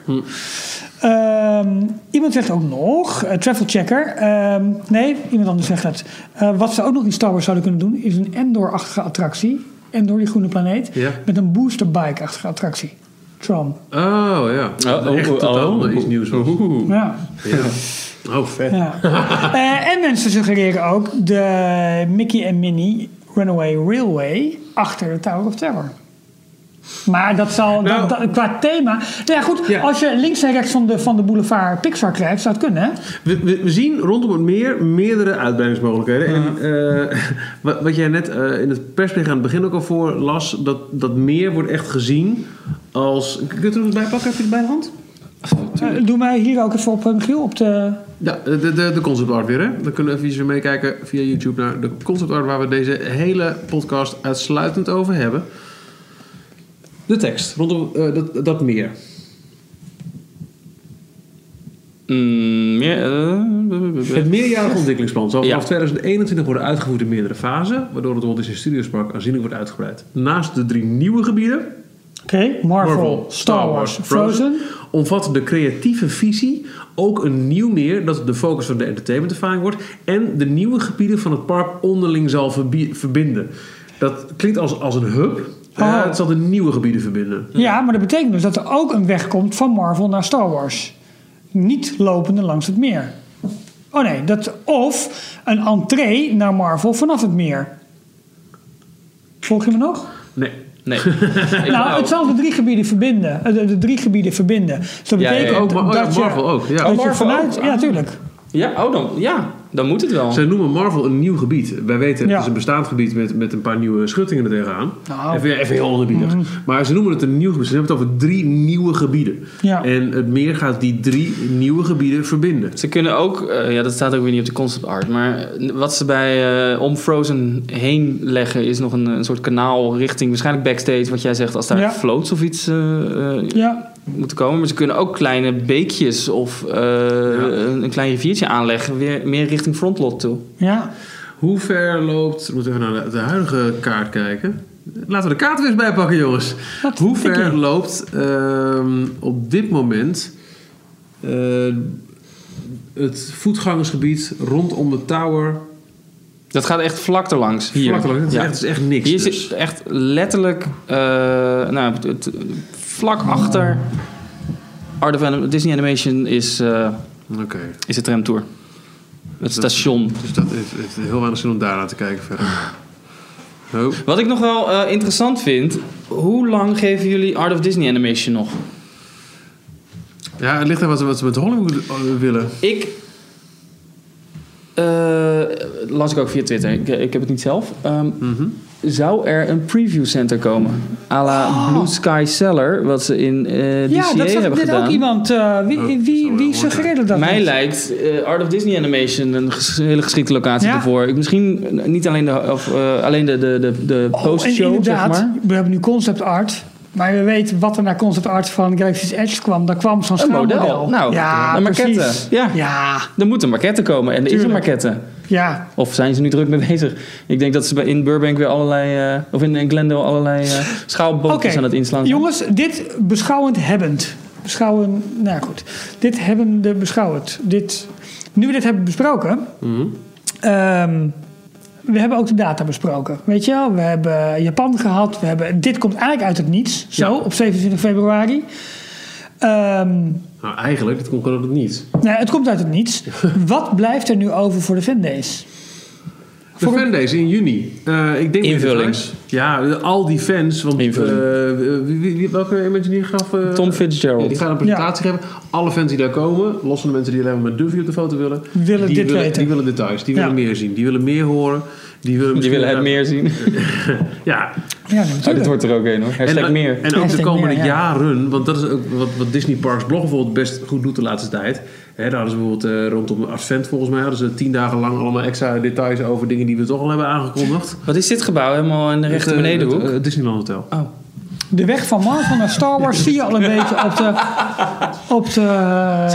A: Ehm, iemand zegt ook nog, eh, Travel Checker. ehm, nee, iemand anders zegt dat. Eh, wat ze ook nog in Star Wars zouden kunnen doen, is een Endor-achtige attractie. Endor, die groene planeet.
B: Ja.
A: Met een boosterbike-achtige attractie. Tron.
B: Oh ja. Dat
D: oh,
B: echt
D: oh,
B: totaal
D: oh.
B: iets nieuws was.
A: Ja.
B: Oh, vet.
A: ja. Eh, en mensen suggereren ook de Mickey en Minnie Runaway Railway achter de Tower of Terror. Maar dat zal
E: Nou.
A: dat- dat- qua thema. Nou ja, goed.
E: Ja.
A: Als je links en rechts van de, van de boulevard Pixar krijgt, zou het kunnen. Hè?
E: We, we, we zien rondom het meer meerdere uitbreidingsmogelijkheden. En eh, wat, wat jij net eh, in het persbericht aan het begin ook al voor las, dat, dat meer wordt echt gezien als. Kun je het er nog bij pakken? Heb je het bij de hand?
A: Eh, Doe mij hier ook even op, eh, Michiel, op de...
B: Ja, de, de, de concept art weer, hè? Dan kunnen we even meekijken via YouTube naar de concept art waar we deze hele podcast uitsluitend over hebben.
E: De tekst rondom eh, dat, dat meer.
D: Mm, meer, eh, b- b- b-
E: Het meerjarig ontwikkelingsplan zal vanaf
D: Ja.
E: 2021 worden uitgevoerd in meerdere fasen, waardoor het Walt Disney Studios Park aanzienlijk wordt uitgebreid. Naast de drie nieuwe gebieden
A: Oké, Marvel, Star Wars, Frozen.
E: Omvat de creatieve visie ook een nieuw meer dat de focus van de entertainmentervaring wordt en de nieuwe gebieden van het park onderling zal verbie- verbinden. Dat klinkt als, als een hub.
A: Oh.
E: Eh, het zal de nieuwe gebieden verbinden.
A: Ja, maar dat betekent dus dat er ook een weg komt van Marvel naar Star Wars. Niet lopende langs het meer. Oh nee, dat, of een entree naar Marvel vanaf het meer. Volg je me nog?
E: Nee.
D: nee. Ik-
A: nou, het zal de drie gebieden verbinden. eh, De, de drie gebieden verbinden. Dus dat
D: Ja, ja,
A: betekent
D: ja.
E: Oh, maar- oh ja,
A: dat
E: Marvel
A: je,
E: ook, ja.
A: dat
E: Oh,
A: je
D: Marvel
A: vanuit,
D: ook.
A: ja, tuurlijk.
D: Ja, oh, dan, ja, dan moet het wel.
E: Zij noemen Marvel een nieuw gebied. Wij weten,
A: Ja.
E: het is een bestaand gebied met, met een paar nieuwe schuttingen er tegenaan.
A: Nou.
E: Even, even heel onderbiedig. Maar ze noemen het een nieuw gebied. Ze hebben het over drie nieuwe gebieden.
A: Ja.
E: En het meer gaat die drie nieuwe gebieden verbinden.
D: Ze kunnen ook, eh, ja, dat staat ook weer niet op de concept art, maar eh, wat ze bij eh, om Frozen heen leggen is nog een, een soort kanaal richting, waarschijnlijk backstage, wat jij zegt, als daar
A: Ja.
D: floats of iets eh, eh,
A: Ja,
D: moeten komen. Maar ze kunnen ook kleine beekjes of eh, een, een klein riviertje aanleggen, weer meer richting Frontlot toe.
A: ja.
E: Hoe ver loopt. We moeten even naar de, de huidige kaart kijken. Laten we de kaart weer eens bijpakken, jongens.
A: Dat
E: Hoe
A: vind ik
E: ver
A: niet.
E: loopt ehm, op dit moment eh, het voetgangersgebied rondom de tower?
D: Dat gaat echt vlak erlangs. Hier.
E: Vlak langs. Het is,
D: Ja.
E: echt, het is echt niks.
D: Hier
E: dus.
D: zit echt letterlijk, eh, nou, het, het- vlak achter Art of Anim- Disney Animation is, eh,
B: Oké.
D: is de tramtour. Het station.
B: Dus dat heeft, heeft heel weinig zin om daarna te kijken verder. Oh.
D: Wat ik nog wel eh, interessant vind, hoe lang geven jullie Art of Disney Animation nog?
B: Ja, het ligt aan wat, ze- wat ze met Hollywood eh, willen.
D: Ik. eh, las ik ook via Twitter, ik, ik heb het niet zelf. Ehm,
A: Mhm.
D: Zou er een preview center komen? A la Blue Sky Cellar, wat ze in eh DCA
A: Oh. ja, dat zag
D: hebben
A: net
D: gedaan.
A: ook iemand. eh, wie
B: Oh,
A: wie, wie,
B: dat zou wel
A: wie
B: mooi zijn.
A: suggereerde dat?
D: Mij
A: net?
D: lijkt eh, Art of Disney Animation een ges- hele geschikte locatie
A: Ja.
D: ervoor. Ik, misschien eh, niet alleen de, of, eh, alleen de, de, de, de
A: Oh, en
D: postshow, zeg
A: inderdaad,
D: maar.
A: we hebben nu concept art. Maar we weten wat er naar concept art van Galaxy's Edge kwam. Daar kwam zo'n
D: Een model.
A: schaalmodel.
D: Nou,
A: ja,
D: een
A: precies.
D: maquette. Ja.
A: Ja,
D: Er moet een maquette komen en er is een
A: Tuurlijk.
D: maquette.
A: ja.
D: Of zijn ze nu druk mee bezig? Ik denk dat ze bij- in Burbank weer allerlei, eh, of in, in Glendale allerlei eh schaalbootjes
A: Oké,
D: aan het inslaan. zijn.
A: jongens, dit beschouwend hebbend. Beschouwen, nou goed. Dit hebbende beschouwend. Dit, nu we dit hebben besproken...
D: Mhm.
A: ehm, we hebben ook de data besproken. Weet je wel, we hebben Japan gehad. We hebben, dit komt eigenlijk uit het niets. Zo, op 27 februari. Ehm
E: Nou, eigenlijk, dat komt gewoon uit het niets.
A: Nou, het komt uit het niets. Wat blijft er nu over voor de fanbase?
B: De
A: Voor-
B: fandays in juni. Eh, ik denk
D: Invulling.
B: weer thuis. Ja, al die fans. Want,
D: Invulling.
B: eh, wie- wie- wie- welke Imagineer gaf... eh,
D: Tom
B: ja, die
D: Fitzgerald.
B: gaan een presentatie geven. Alle fans die daar komen, los van de mensen die alleen maar met Duffy op de foto willen,
A: Willen
B: die,
A: dit
B: willen,
A: weten.
B: die willen dit thuis. Die willen
A: Ja.
B: meer zien. Die willen meer horen. Die willen,
D: Die
B: misschien-
D: willen het meer zien.
B: Ja,
A: Ja, nee,
D: Oh, dit
A: natuurlijk.
D: wordt er ook een hoor. Hashtag
B: en,
D: meer.
B: En ook de
A: Hashtag
B: komende
A: meer, ja.
B: jaren, want dat is ook wat, wat Disney Parks blog bijvoorbeeld best goed doet de laatste tijd. Hè, daar hadden ze bijvoorbeeld eh, rondom Advent volgens mij, hadden ze tien dagen lang allemaal extra details over dingen die we toch al hebben aangekondigd.
D: Wat is dit gebouw helemaal in de rechter
B: Het, eh,
D: benedenhoek?
B: het, eh, Disneyland Hotel.
D: Oh.
A: De weg van Marvel naar Star Wars zie je al een beetje op de... Op de
D: Ze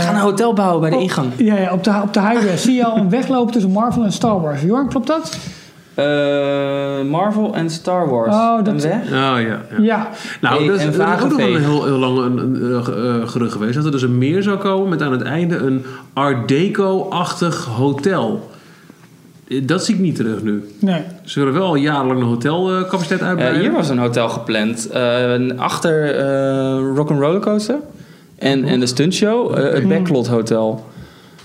D: gaan een hotel bouwen bij de ingang.
A: Ja, ja, op de, op de highway zie je al een wegloop tussen Marvel en Star Wars. Jorn, klopt dat?
D: Eh, Marvel en Star Wars.
A: Oh, dat-
D: Een weg?
B: Oh ja.
E: Ah,
B: ja.
A: Ja.
B: Nou,
D: Hey,
B: dat is,
D: en
B: dat is ook nog wel
D: Wagenveeg.
B: een heel, heel lang een, een, eh, ge- eh, gerucht geweest. Dat er dus een meer zou komen met aan het einde een Art Deco-achtig hotel. Eh, Dat zie ik niet terug nu.
A: Nee.
B: Ze willen wel al jarenlang de hotelcapaciteit
D: Eh,
B: uitbreiden.
D: hier was een hotel gepland. Eh, achter eh Rock'n'Roller Coaster. En, en de stuntshow. eh, het Backlot Hotel.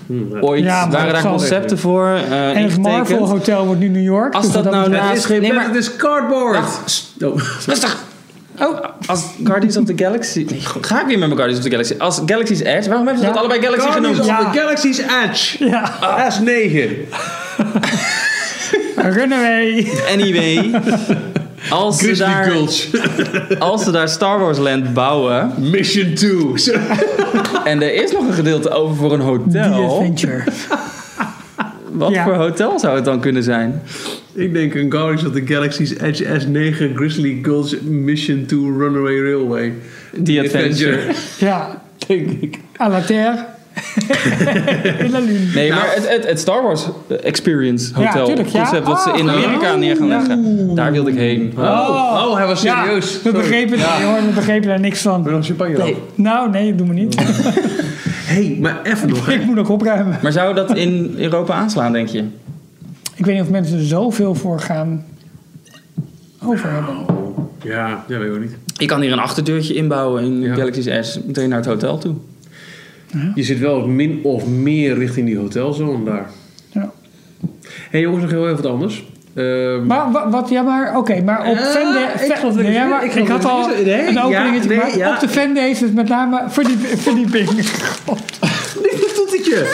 B: Hm, ja.
D: Ooit
A: Ja, maar
D: waren
A: dat
D: daar
A: zal-
D: concepten voor. eh,
A: En het
D: ingetekend.
A: Marvel Hotel wordt nu New York.
D: Als
A: dus
D: dat
A: wat
D: nou
A: betreft-
B: Het is
D: naast-
B: geen
D: nee,
B: bed,
D: maar-
B: het is cardboard. Oh.
D: Rustig! Oh, als Guardians of the Galaxy... Nee, goed, ga ik weer met mijn Guardians of the Galaxy. Als Galaxy's Edge... Waarom hebben ze
A: Ja.
D: dat allebei Galaxy
B: Guardians
D: genoemd?
B: of
A: Ja.
B: the Galaxy's Edge.
A: Ja,
B: S9.
A: Runaway.
D: Anyway. Als ze,
B: Grizzly
D: daar,
B: Gulch.
D: als ze daar Star Wars Land bouwen...
B: Mission 2. Zo.
D: En er is nog een gedeelte over voor een
A: The
D: hotel.
A: Adventure.
D: Wat
A: Ja.
D: voor hotel zou het dan kunnen zijn?
B: Ik denk een Guardians of the Galaxy's Edge S9 Grizzly Gulch Mission 2 Runaway Railway.
D: The Adventure.
A: Ja,
B: Denk ik.
A: à la terre. In la lune.
D: Nee,
B: Nou.
D: maar het, het, het Star Wars eh, Experience
A: Ja,
D: Hotel
A: tuurlijk, ja.
D: concept wat ze in
A: Ah.
D: Amerika neer gaan
A: Ja.
D: leggen. Daar wilde ik heen.
B: Oh, hij was serieus.
A: Ja, we begrepen, het niet, hoor, we begrepen daar niks van.
B: nog champagne
A: Nee. Nou, nee, doe me niet.
B: hey, maar even nog. hè.
A: Ik moet nog opruimen.
D: Maar zou dat in Europa aanslaan, denk je?
A: Ik weet niet of mensen er zoveel voor gaan over hebben.
B: Ja, dat weet ik ook niet.
D: Ik kan hier een achterdeurtje inbouwen in
B: Ja.
D: Galaxy's S. Meteen naar het hotel toe.
B: Je zit wel min of meer richting die hotelzone daar.
A: Ja.
B: hey, jongens, nog heel even wat anders. Ehm,
A: Maar wa- wat, ja, maar oké, maar op
B: Eh,
A: Fende.
B: ik geloof dat ik-
A: ja, maar
B: ik
A: ik, had
B: geloof dat ik-
A: al
B: nee,
A: een
B: ja,
A: openingetje,
B: nee,
A: maar
B: ja.
A: op de Fende heeft het met name verdiep, verdieping. God,
B: dit toetertje.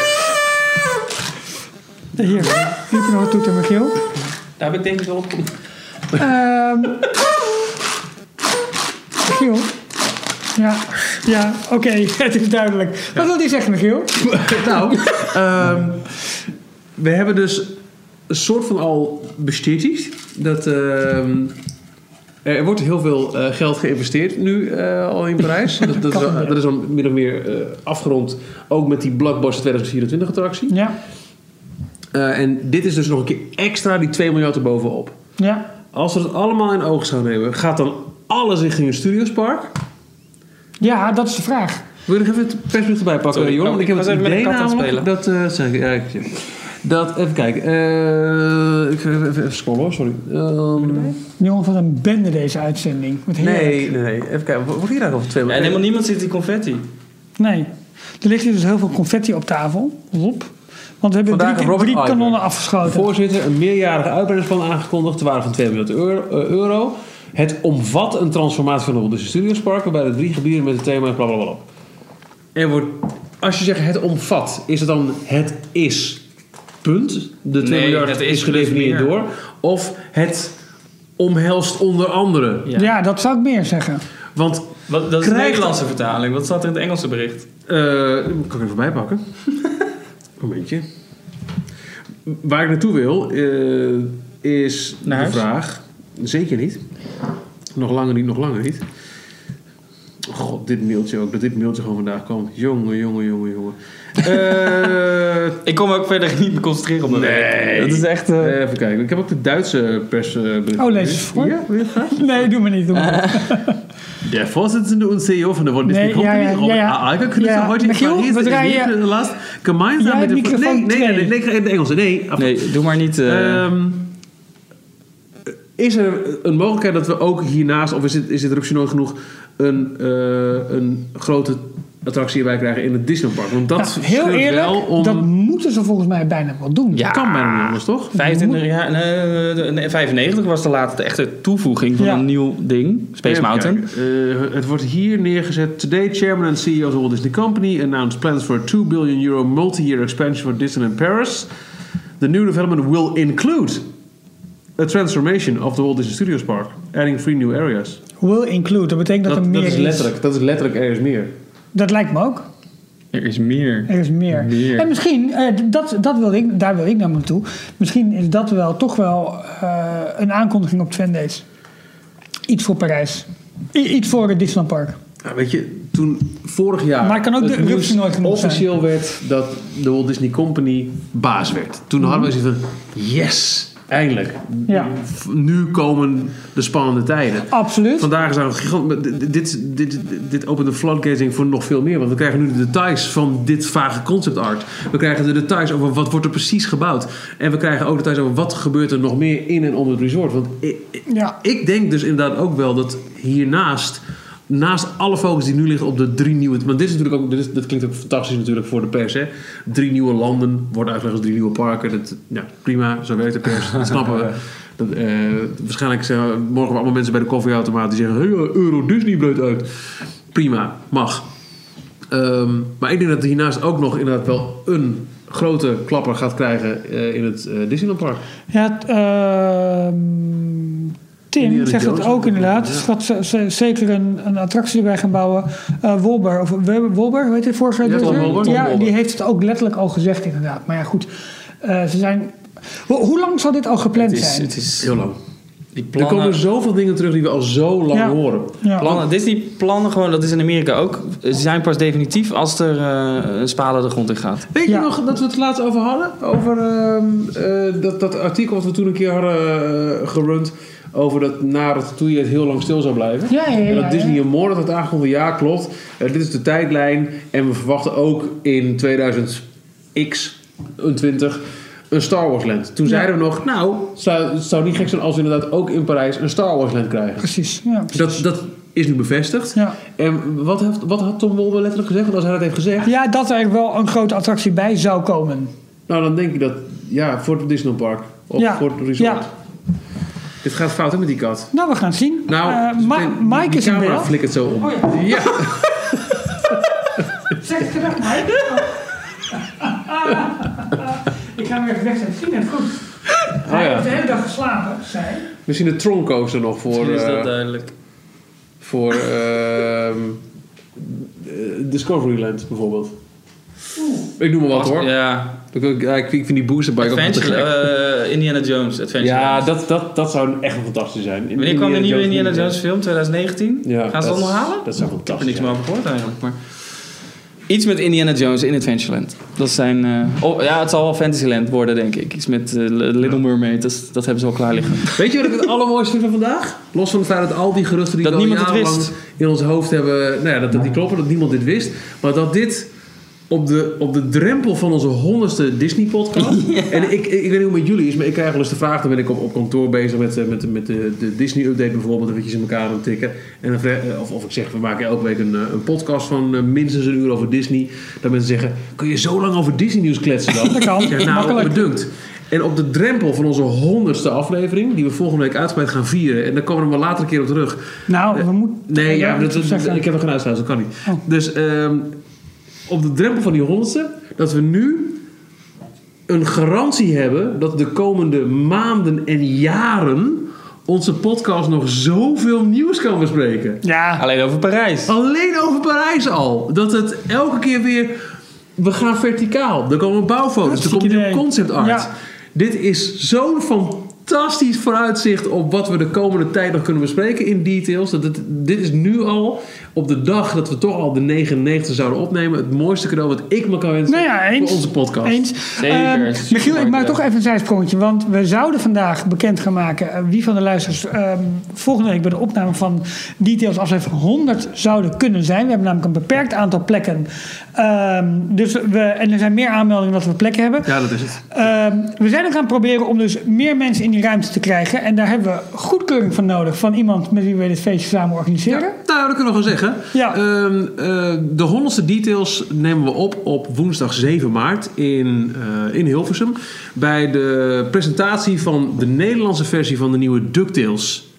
A: Hier, hier nog een toeter, Michiel.
D: Daar heb ik denk ik wel op.
A: Ehm Michiel. Ja, ja oké, het is duidelijk. Wat wil die zeggen, Michiel?
B: nou, ehm, we hebben dus een soort van al bestätigt dat ehm, er wordt heel veel eh, geld geïnvesteerd nu eh, al in Parijs. dat, dat, is, al- dat is al min of meer eh, afgerond, ook met die Blockbuster 2024 attractie.
A: Ja,
B: Eh, en dit is dus nog een keer extra die 2 miljard erbovenop.
A: ja,
B: Als we dat allemaal in oog zouden nemen, gaat dan alles richting een studiospark?
A: ja, dat is de vraag.
B: Wil je nog even het persbericht erbij pakken,
D: Sorry,
B: Jorn?
D: oh,
B: Want ik heb
D: ik
B: het
D: was even met
B: idee
D: de kat aan het
B: namelijk dat... eh, zeg ik, ja, ik- ja. dat, even kijken. eh, ik ga even, even even scrollen hoor, sorry. Ehm,
A: Jongen, wat een bende deze uitzending. Wat heerlijk.
B: nee, nee, nee, even kijken. Wat wordt hier eigenlijk over twee
D: En helemaal niemand ziet die confetti.
A: Nee. Er ligt hier dus heel veel confetti op tafel. Lop. Want we hebben
B: Vandaag
A: drie,
B: Robert
A: drie
B: Iger.
A: kanonnen afgeschoten.
B: Voorzitter, een meerjarige uitbreidingsplan aangekondigd... ter waarde van 2 miljard euro. eh, euro. Het omvat een transformatie van de Walt Disney Studios Park... waarbij de drie gebieden met het thema blablabla... Er wordt, als je zegt het omvat, is het dan het is punt? De 2
D: Nee,
B: miljard
D: het
B: is,
D: is dus
B: gedefinieerd
D: meer.
B: door. Of het omhelst onder andere.
A: ja. dat zou ik meer zeggen.
B: Want,
D: Wat, dat is de
B: Krijgt-
D: Nederlandse vertaling. Wat staat er in het Engelse bericht?
B: eh kan ik even bijpakken? Momentje. Waar ik naartoe wil, eh, is
D: Naar
B: de
D: huis?
B: vraag... Zeker niet. Nog langer niet, nog langer niet. God, dit mailtje ook. Dat dit mailtje gewoon vandaag kwam. Jongen, jongen, jongen, jongen. Eh
D: Ik kon me ook verder niet meer concentreren op mijn werk. Dat is echt... eh,
B: Even kijken. Ik heb ook de Duitse eh, persbericht.
A: Oh, lees eens voor.
B: Ja, wil je het graag?
A: Nee, doe me niet. Doe me niet.
B: Der Vorsitzende und CEO von der Walt Disney
A: Nee,
B: Company,
A: ja, ja,
B: Robert
A: ja, ja.
B: A. Alger, kündigte
A: Ja,
B: heute in
A: Michiel,
B: Paris
A: we
B: in
A: draaien-
B: erheblichen Last gemeinsam
A: Jij
B: mit dem...
A: microfoon
B: nee, nee, nee,
A: twee.
B: nee, nee, in het Engels. Nee, af-
D: Nee, doe maar niet... eh,
B: Ehm, is er een mogelijkheid dat we ook hiernaast, of is dit, is dit er optie nooit genoeg, een, eh, een grote attractie erbij krijgen in het Disneypark. Want dat
A: Nou, heel
B: scheurt
A: eerlijk,
B: wel om...
A: dat moeten ze volgens mij bijna wel doen.
E: Ja.
B: kan bijna niet anders, toch?
D: 25 jaar, nee, nee, 95 was de laatste de echte toevoeging van
A: Ja.
D: een nieuw ding, Space
B: Even
D: Mountain.
B: kijken. Eh, het wordt hier neergezet. Today, Chairman and CEO of the Walt Disney Company announced plans for a 2 billion euro multi-year expansion for Disneyland Paris. The new development will include a transformation of the Walt Disney Studios Park, adding three new areas.
A: Will include, dat betekent dat,
B: Dat,
A: er meer
B: dat is
A: is.
B: letterlijk, dat is letterlijk ergens meer.
A: Dat lijkt me ook.
D: Er is meer.
A: Er is meer.
D: Meer.
A: En misschien, eh, d- dat, dat wil ik, daar wil ik naar naartoe. Misschien is dat wel toch wel eh, een aankondiging op Days. Iets voor Parijs. I- iets voor het Disneyland Park.
B: Nou, weet je, toen vorig jaar
A: Maar kan ook de
B: nieuws
A: eruptie nooit genoeg zijn.
B: officieel werd dat de Walt Disney Company baas werd. Toen hadden we zoiets van, yes, eindelijk.
A: Ja.
B: Nu komen de spannende tijden.
A: Absoluut.
B: Vandaag is daar een gigant. maar Dit, dit, dit, dit opent de floodgating voor nog veel meer. Want we krijgen nu de details van dit vage concept art. We krijgen de details over wat wordt er precies gebouwd. En we krijgen ook details over wat gebeurt er nog meer in en om het resort. Want ik, ik-
A: Ja.
B: ik denk dus inderdaad ook wel dat hiernaast. Naast alle focus die nu ligt op de drie nieuwe. Want dit is natuurlijk ook. Dit is- dat klinkt ook fantastisch natuurlijk voor de pers. Hè? Drie nieuwe landen worden uitgelegd als drie nieuwe parken. Dat, ja, prima, zo werkt de pers. Dat snappen we. Dat, eh, waarschijnlijk zijn we morgen weer allemaal mensen bij de koffieautomaat die zeggen: hey, eh, Euro Disney breed uit. Prima, mag. Ehm, maar ik denk dat hiernaast ook nog inderdaad wel een grote klapper gaat krijgen eh, in het eh, Disneyland Park.
A: Ja, t- ehm, Tim
B: Indiana
A: zegt dat
B: Jones
A: ook
B: ook,
A: inderdaad.
B: ja.
A: Ze gaat ze- ze- zeker een, een attractie erbij gaan bouwen. Eh Wolber, of Wil- Wolber, hoe heet hij vorig jaar?
B: Ja, Tom
A: directeur?
B: Wolber. Tom
A: Ja,
B: Wolber.
A: die heeft het ook letterlijk al gezegd inderdaad. Maar ja, goed. eh, ze zijn... Ho- hoe lang zal dit al gepland
D: Het is,
A: zijn?
D: het is
B: Heel lang.
D: die
B: Er
D: plannen,
B: komen zoveel dingen terug die we al zo lang
A: Ja.
B: horen.
A: Ja.
D: plannen, Disney-plannen gewoon, dat is in Amerika ook, ze zijn pas definitief als er eh, een spade de grond in gaat.
B: Weet
A: Ja.
B: je nog dat we het laatst over hadden? Over ehm, eh, dat, dat artikel wat we toen een keer hadden eh, gerund. Over dat na Ratatouille het heel lang stil zou blijven.
A: Ja, ja, ja,
B: en
A: ja,
B: dat Disney een moord had aangekondigd. Ja, klopt. Eh, dit is de tijdlijn. En we verwachten ook in 2000x, een 20, een Star Wars land. Toen
A: Ja.
B: zeiden we nog, nou, het zou, het zou niet gek zijn als we inderdaad ook in Parijs een Star Wars land krijgen.
A: Precies, ja. precies.
B: Dat, dat is nu bevestigd.
A: Ja.
B: En wat, heeft, wat had Tom Wolbe letterlijk gezegd? Want als hij dat heeft gezegd,
A: ja, dat er wel een grote attractie bij zou komen.
B: Nou, dan denk ik dat, ja, voor het Disneyland Park. Of
A: Ja,
B: voor het resort.
A: ja.
B: Dit gaat fout, hè, met die kat.
A: Nou, we gaan het zien.
B: Nou,
A: Eh,
B: dus
A: Ma-
B: meteen-
A: Mike
B: die
A: is in
B: camera
A: beeld.
B: flikkert zo om.
A: Oh ja.
B: ja.
A: Zeg het terug, Mike. ik ga hem even wegzetten. Ging het goed? Hij
B: Oh ja.
A: heeft de hele dag geslapen, zei
B: Misschien de tronco's er nog voor,
D: Misschien is dat
B: eh,
D: duidelijk.
B: voor ehm, eh, Discoveryland bijvoorbeeld. Ik noem maar wat hoor.
D: Ja,
B: Ik, ik, ik vind die boosterbike ook wel te
D: Adventure,
B: gek.
D: eh, Indiana Jones, Adventure.
B: ja, dat, dat, dat zou echt wel fantastisch zijn.
D: Wanneer kwam de nieuwe Indiana Jones film? 2019?
B: Ja,
D: Gaan ze
B: dat
D: dat nog
B: is-
D: halen?
B: Dat zou
D: Ik heb er
B: fantastisch
D: niks meer
B: zijn.
D: over gehoord eigenlijk, maar... Iets met Indiana Jones in Adventureland. Dat zijn... eh, oh, ja, het zal wel Fantasyland worden, denk ik. Iets met eh, Little Mermaid, dat, is- dat hebben ze al klaar liggen.
B: Weet je wat ik het allermooiste vind van vandaag? Los van het feit dat al die geruchten die
D: Dat
B: we al
D: niemand het
B: jarenlang
D: wist.
B: in ons hoofd hebben, nou ja, dat, dat die kloppen, dat niemand dit wist. Maar dat dit op de, op de drempel van onze honderdste Disney-podcast. En ik, ik, ik weet niet hoe het met jullie is, maar ik krijg wel eens de vraag, dan ben ik op, op kantoor bezig met, eh, met, met de, de Disney-update bijvoorbeeld, eventjes in elkaar aan het tikken. En dan vraag- eh, of, of ik zeg, we maken elke week een, eh, een podcast van eh, minstens een uur over Disney. Dat mensen zeggen, kun je zo lang over Disney-nieuws kletsen dan?
A: Dat kan,
B: Ik zeg, nou,
A: makkelijk.
B: bedankt. En op de drempel van onze honderdste aflevering, die we volgende week uitgebreid gaan vieren, en daar komen we wel later een keer op terug.
A: Nou, we moeten...
B: Nee, ja, dat,
A: moet ik zeggen.
B: ik heb er geen uitsluiting, dat kan niet.
A: Oh.
B: Dus ehm, op de drempel van die honderdste, dat we nu een garantie hebben dat de komende maanden en jaren onze podcast nog zoveel nieuws kan bespreken.
A: Ja,
D: Alleen over Parijs.
B: Alleen over Parijs al. Dat het elke keer weer... We gaan verticaal. Er komen bouwfoto's. Er
A: Hartstikke
B: komt nieuw
A: idee.
B: concept art.
A: Ja.
B: Dit is zo'n fantastisch vooruitzicht op wat we de komende tijd nog kunnen bespreken in details. Dat het- dit is nu al, op de dag dat we toch al de 99 zouden opnemen, het mooiste cadeau wat ik me kan wensen
A: nou ja, eens.
B: voor onze podcast.
A: Eens.
D: Zeker,
A: Ehm,
D: supermarkt,
A: Michiel, ik maak
D: ja.
A: toch even een zijsprongetje. Want we zouden vandaag bekend gaan maken eh, wie van de luisteraars ehm, volgende week bij de opname van Details aflevering 100 zouden kunnen zijn. We hebben namelijk een beperkt aantal plekken. Ehm, dus we, en er zijn meer aanmeldingen dat we plekken hebben.
B: Ja, dat is het.
A: Ehm, we zijn er gaan proberen om dus meer mensen in die geen ruimte te krijgen. En daar hebben we goedkeuring van nodig van iemand met wie we dit feestje samen organiseren.
E: Nou, dat kunnen we gewoon zeggen.
A: Ja.
E: Ehm, eh, de Hollandse details nemen we op op woensdag 7 maart in, eh, in Hilversum. Bij de presentatie van de Nederlandse versie van de nieuwe DuckTales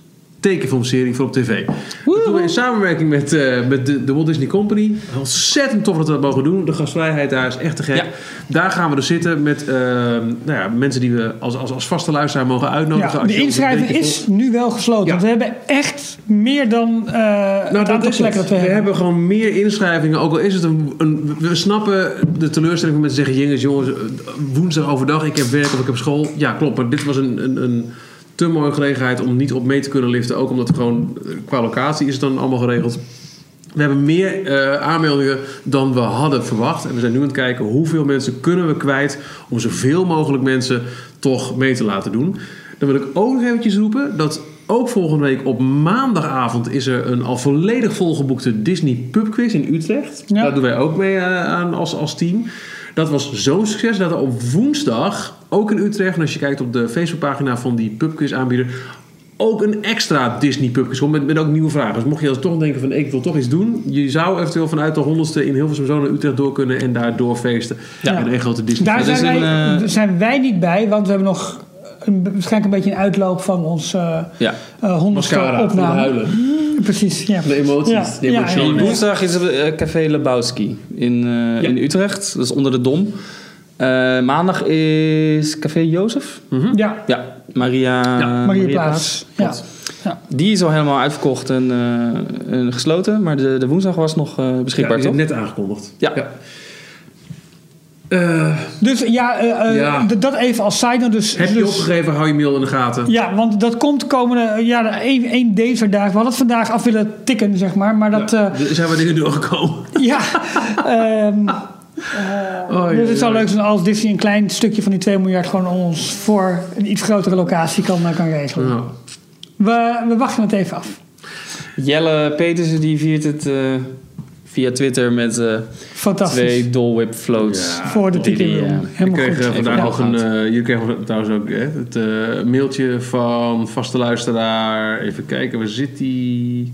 E: tekenfilmserie voor op tv. Dat doen we in samenwerking met, eh, met de, de Walt Disney Company. Ontzettend tof dat we dat mogen doen. De gastvrijheid daar is echt te gek.
D: Ja.
E: Daar gaan we dus zitten met eh, nou ja, mensen die we als, als, als vaste luisteraar mogen
A: Ja,
E: uitnodigen. Als je
A: de
E: ons
A: inschrijving
E: een beetje
A: is nu wel gesloten.
E: Ja.
A: Want we hebben echt meer dan eh het
E: Nou, dat
A: aantal
E: is het.
A: plekken dat we hebben.
E: gewoon meer inschrijvingen. Ook al is het een, een- We snappen de teleurstelling van mensen die zeggen: Jongens, jongens, eh, woensdag overdag, ik heb werk of ik heb school. Ja, klopt. Maar dit was een, een, een te mooie gelegenheid om niet op mee te kunnen liften. Ook omdat het gewoon eh, qua locatie is het dan allemaal geregeld. We hebben meer eh, aanmeldingen dan we hadden verwacht. En we zijn nu aan het kijken hoeveel mensen kunnen we kwijt om zoveel mogelijk mensen toch mee te laten doen. Dan wil ik ook nog eventjes roepen dat ook volgende week op maandagavond is er een al volledig volgeboekte Disney pubquiz in Utrecht.
A: Ja.
E: Daar doen wij ook mee eh, aan als, als team. Dat was zo'n succes dat er op woensdag, ook in Utrecht, en als je kijkt op de Facebookpagina van die pubquiz aanbieder, ook een extra Disney pubquiz komt met, met ook nieuwe vragen. Dus mocht je als toch denken van ik wil toch iets doen, je zou eventueel vanuit de honderdste in Hilversum zo naar Utrecht door kunnen en daar doorfeesten.
A: Ja.
E: En een grote Disney.
A: Daar
D: Het is
A: zijn, wij,
D: een, eh,
A: zijn wij niet bij, want we hebben nog een, waarschijnlijk een beetje een uitloop van ons eh
D: Ja.
A: eh, honderdste
B: Mascara, van
A: opname.
B: huilen.
A: Precies, ja.
B: De emoties,
A: Ja,
B: de
A: ja,
B: emotionele
A: ja, ja.
D: Woensdag is het eh, Café Lebowski in, eh, in Utrecht. Dat is onder de Dom. Eh, maandag is Café Jozef.
A: Mhm. Ja,
D: Ja, Maria,
A: Maria Plaats. Ja. Ja.
D: Die is al helemaal uitverkocht en, eh, en gesloten. Maar de, de woensdag was nog eh, beschikbaar,
B: Ja,
D: toch?
B: net aangekondigd.
D: Ja.
B: Eh,
A: Dus ja, eh, eh,
B: Ja.
A: d- dat even als side note. Dus,
E: Heb je
A: dus-
E: opgegeven, hou je mail in de gaten.
A: Ja, want dat komt komende, eh, ja, één, één deze dagen. We hadden het vandaag af willen tikken, zeg maar. Maar dat, eh,
E: Er zijn wat dingen doorgekomen.
A: ja. ehm, eh, dus het zou leuk zijn als Disney een klein stukje van die 2 miljard gewoon ons voor een iets grotere locatie kan, eh, kan regelen.
E: Nou,
A: We, we wachten het even af.
D: Jelle Petersen die viert het eh, via Twitter met eh,
A: Fantastisch.
D: twee Dolwhip floats.
B: Ja.
A: voor de tikken.
D: die, eh,
E: ik
A: Helemaal
E: kreeg eh,
A: goed.
E: vandaag
D: Even
E: nog een.
D: doorgaan.
E: eh, jullie kregen trouwens ook hè, het eh, mailtje van vaste luisteraar. Even kijken, waar zit die?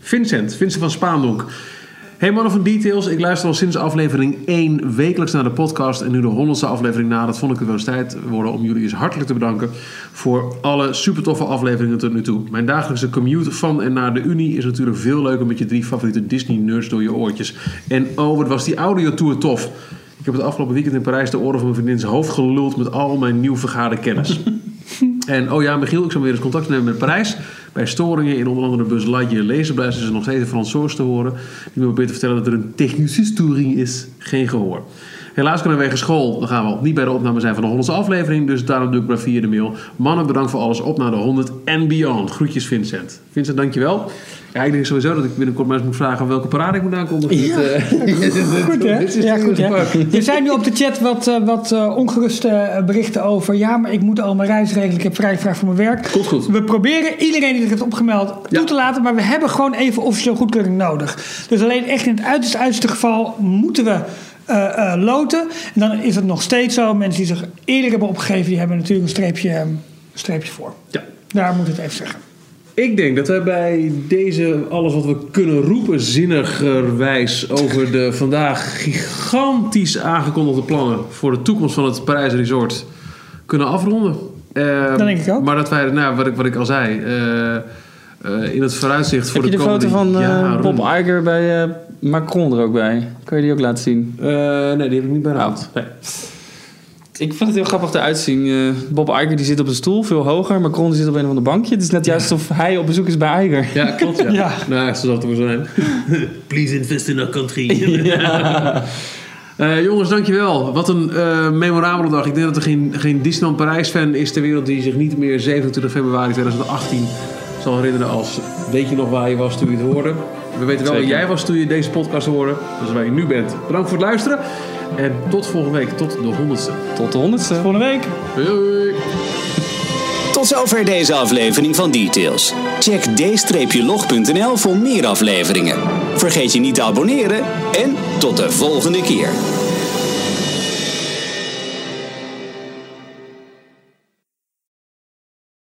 E: Vincent, Vincent van Spaandonk. Hey mannen van Details, ik luister al sinds aflevering 1 wekelijks naar de podcast. En nu de honderdste aflevering na, dat vond ik het wel eens tijd worden om jullie eens hartelijk te bedanken voor alle super toffe afleveringen tot nu toe. Mijn dagelijkse commute van en naar de Unie is natuurlijk veel leuker met je drie favoriete Disney-nerds door je oortjes. En oh, wat was die audiotour tof. Ik heb het afgelopen weekend in Parijs de oren van mijn vriendin zijn hoofd geluld met al mijn nieuw vergade kennis. En oh ja, Michiel, ik zal weer eens contact nemen met Parijs. Bij storingen in onder andere bus Lightyear Laserblast is er nog steeds een Fransoos te horen. Die me probeert te vertellen dat er een technische storing is. Geen gehoor. Helaas kunnen we wegen school. Dan gaan we niet bij de opname zijn van de Hollandse aflevering. Dus daarom doe ik maar via de mail. Mannen, bedankt voor alles. Op naar de 100 en beyond. Groetjes Vincent. Vincent, dankjewel. Ja, ik denk sowieso dat ik binnenkort maar eens moet vragen welke parade ik moet aankondigen. Ja.
A: Goed hè? Ja, goed hè? Er zijn nu op de chat wat, eh, wat eh, ongeruste eh, berichten over. Ja, maar ik moet al mijn reis regelen. Ik heb vrijvraag voor mijn werk.
E: Komt goed.
A: We proberen iedereen die zich heeft opgemeld toe te laten. Maar we hebben gewoon even officieel goedkeuring nodig. Dus alleen echt in het uiterste, uiterste geval moeten we eh, eh, loten. En dan is het nog steeds zo. Mensen die zich eerder hebben opgegeven, die hebben natuurlijk een streepje, eh, een streepje voor.
E: Ja.
A: Daar moet het even zeggen.
B: Ik denk dat wij bij deze alles wat we kunnen roepen zinnigerwijs over de vandaag
E: gigantisch aangekondigde plannen voor de toekomst van het Parijs Resort kunnen afronden. Ehm,
A: Dat denk ik ook.
E: Maar dat wij, nou, wat, ik, wat ik al zei, eh, eh, in het vooruitzicht voor
D: Heb je de
E: de komende
D: foto van eh,
E: jaren.
D: Bob Iger bij eh, Macron er ook bij? Kan je die ook laten zien?
B: Eh, nee, die heb ik niet bij de hand.
D: Nee. Ik vind het heel grappig eruit zien. Eh, Bob Iger die zit op een stoel, veel hoger. Macron die zit op een of ander bankje. Het is net juist alsof hij op bezoek is bij Iger.
B: Ja, klopt. Ja.
A: Ja.
B: Nou, ze zal het ook wel zijn.
E: Please invest in our country. Eh, jongens, dankjewel. Wat een eh, memorabele dag. Ik denk dat er geen, geen Disneyland Parijs-fan is ter wereld die zich niet meer 27 februari 2018 zal herinneren als
B: Weet je nog waar je was toen je het hoorde?
E: We weten wel
D: Zeker.
E: waar jij was toen je deze podcast hoorde. Dat is waar je nu bent. Bedankt voor het luisteren. En tot volgende week. Tot de honderdste.
D: Tot de honderdste.
A: Volgende week.
E: Doei.
F: Tot zover deze aflevering van Details. Check d-log.nl voor meer afleveringen. Vergeet je niet te abonneren en tot de volgende keer.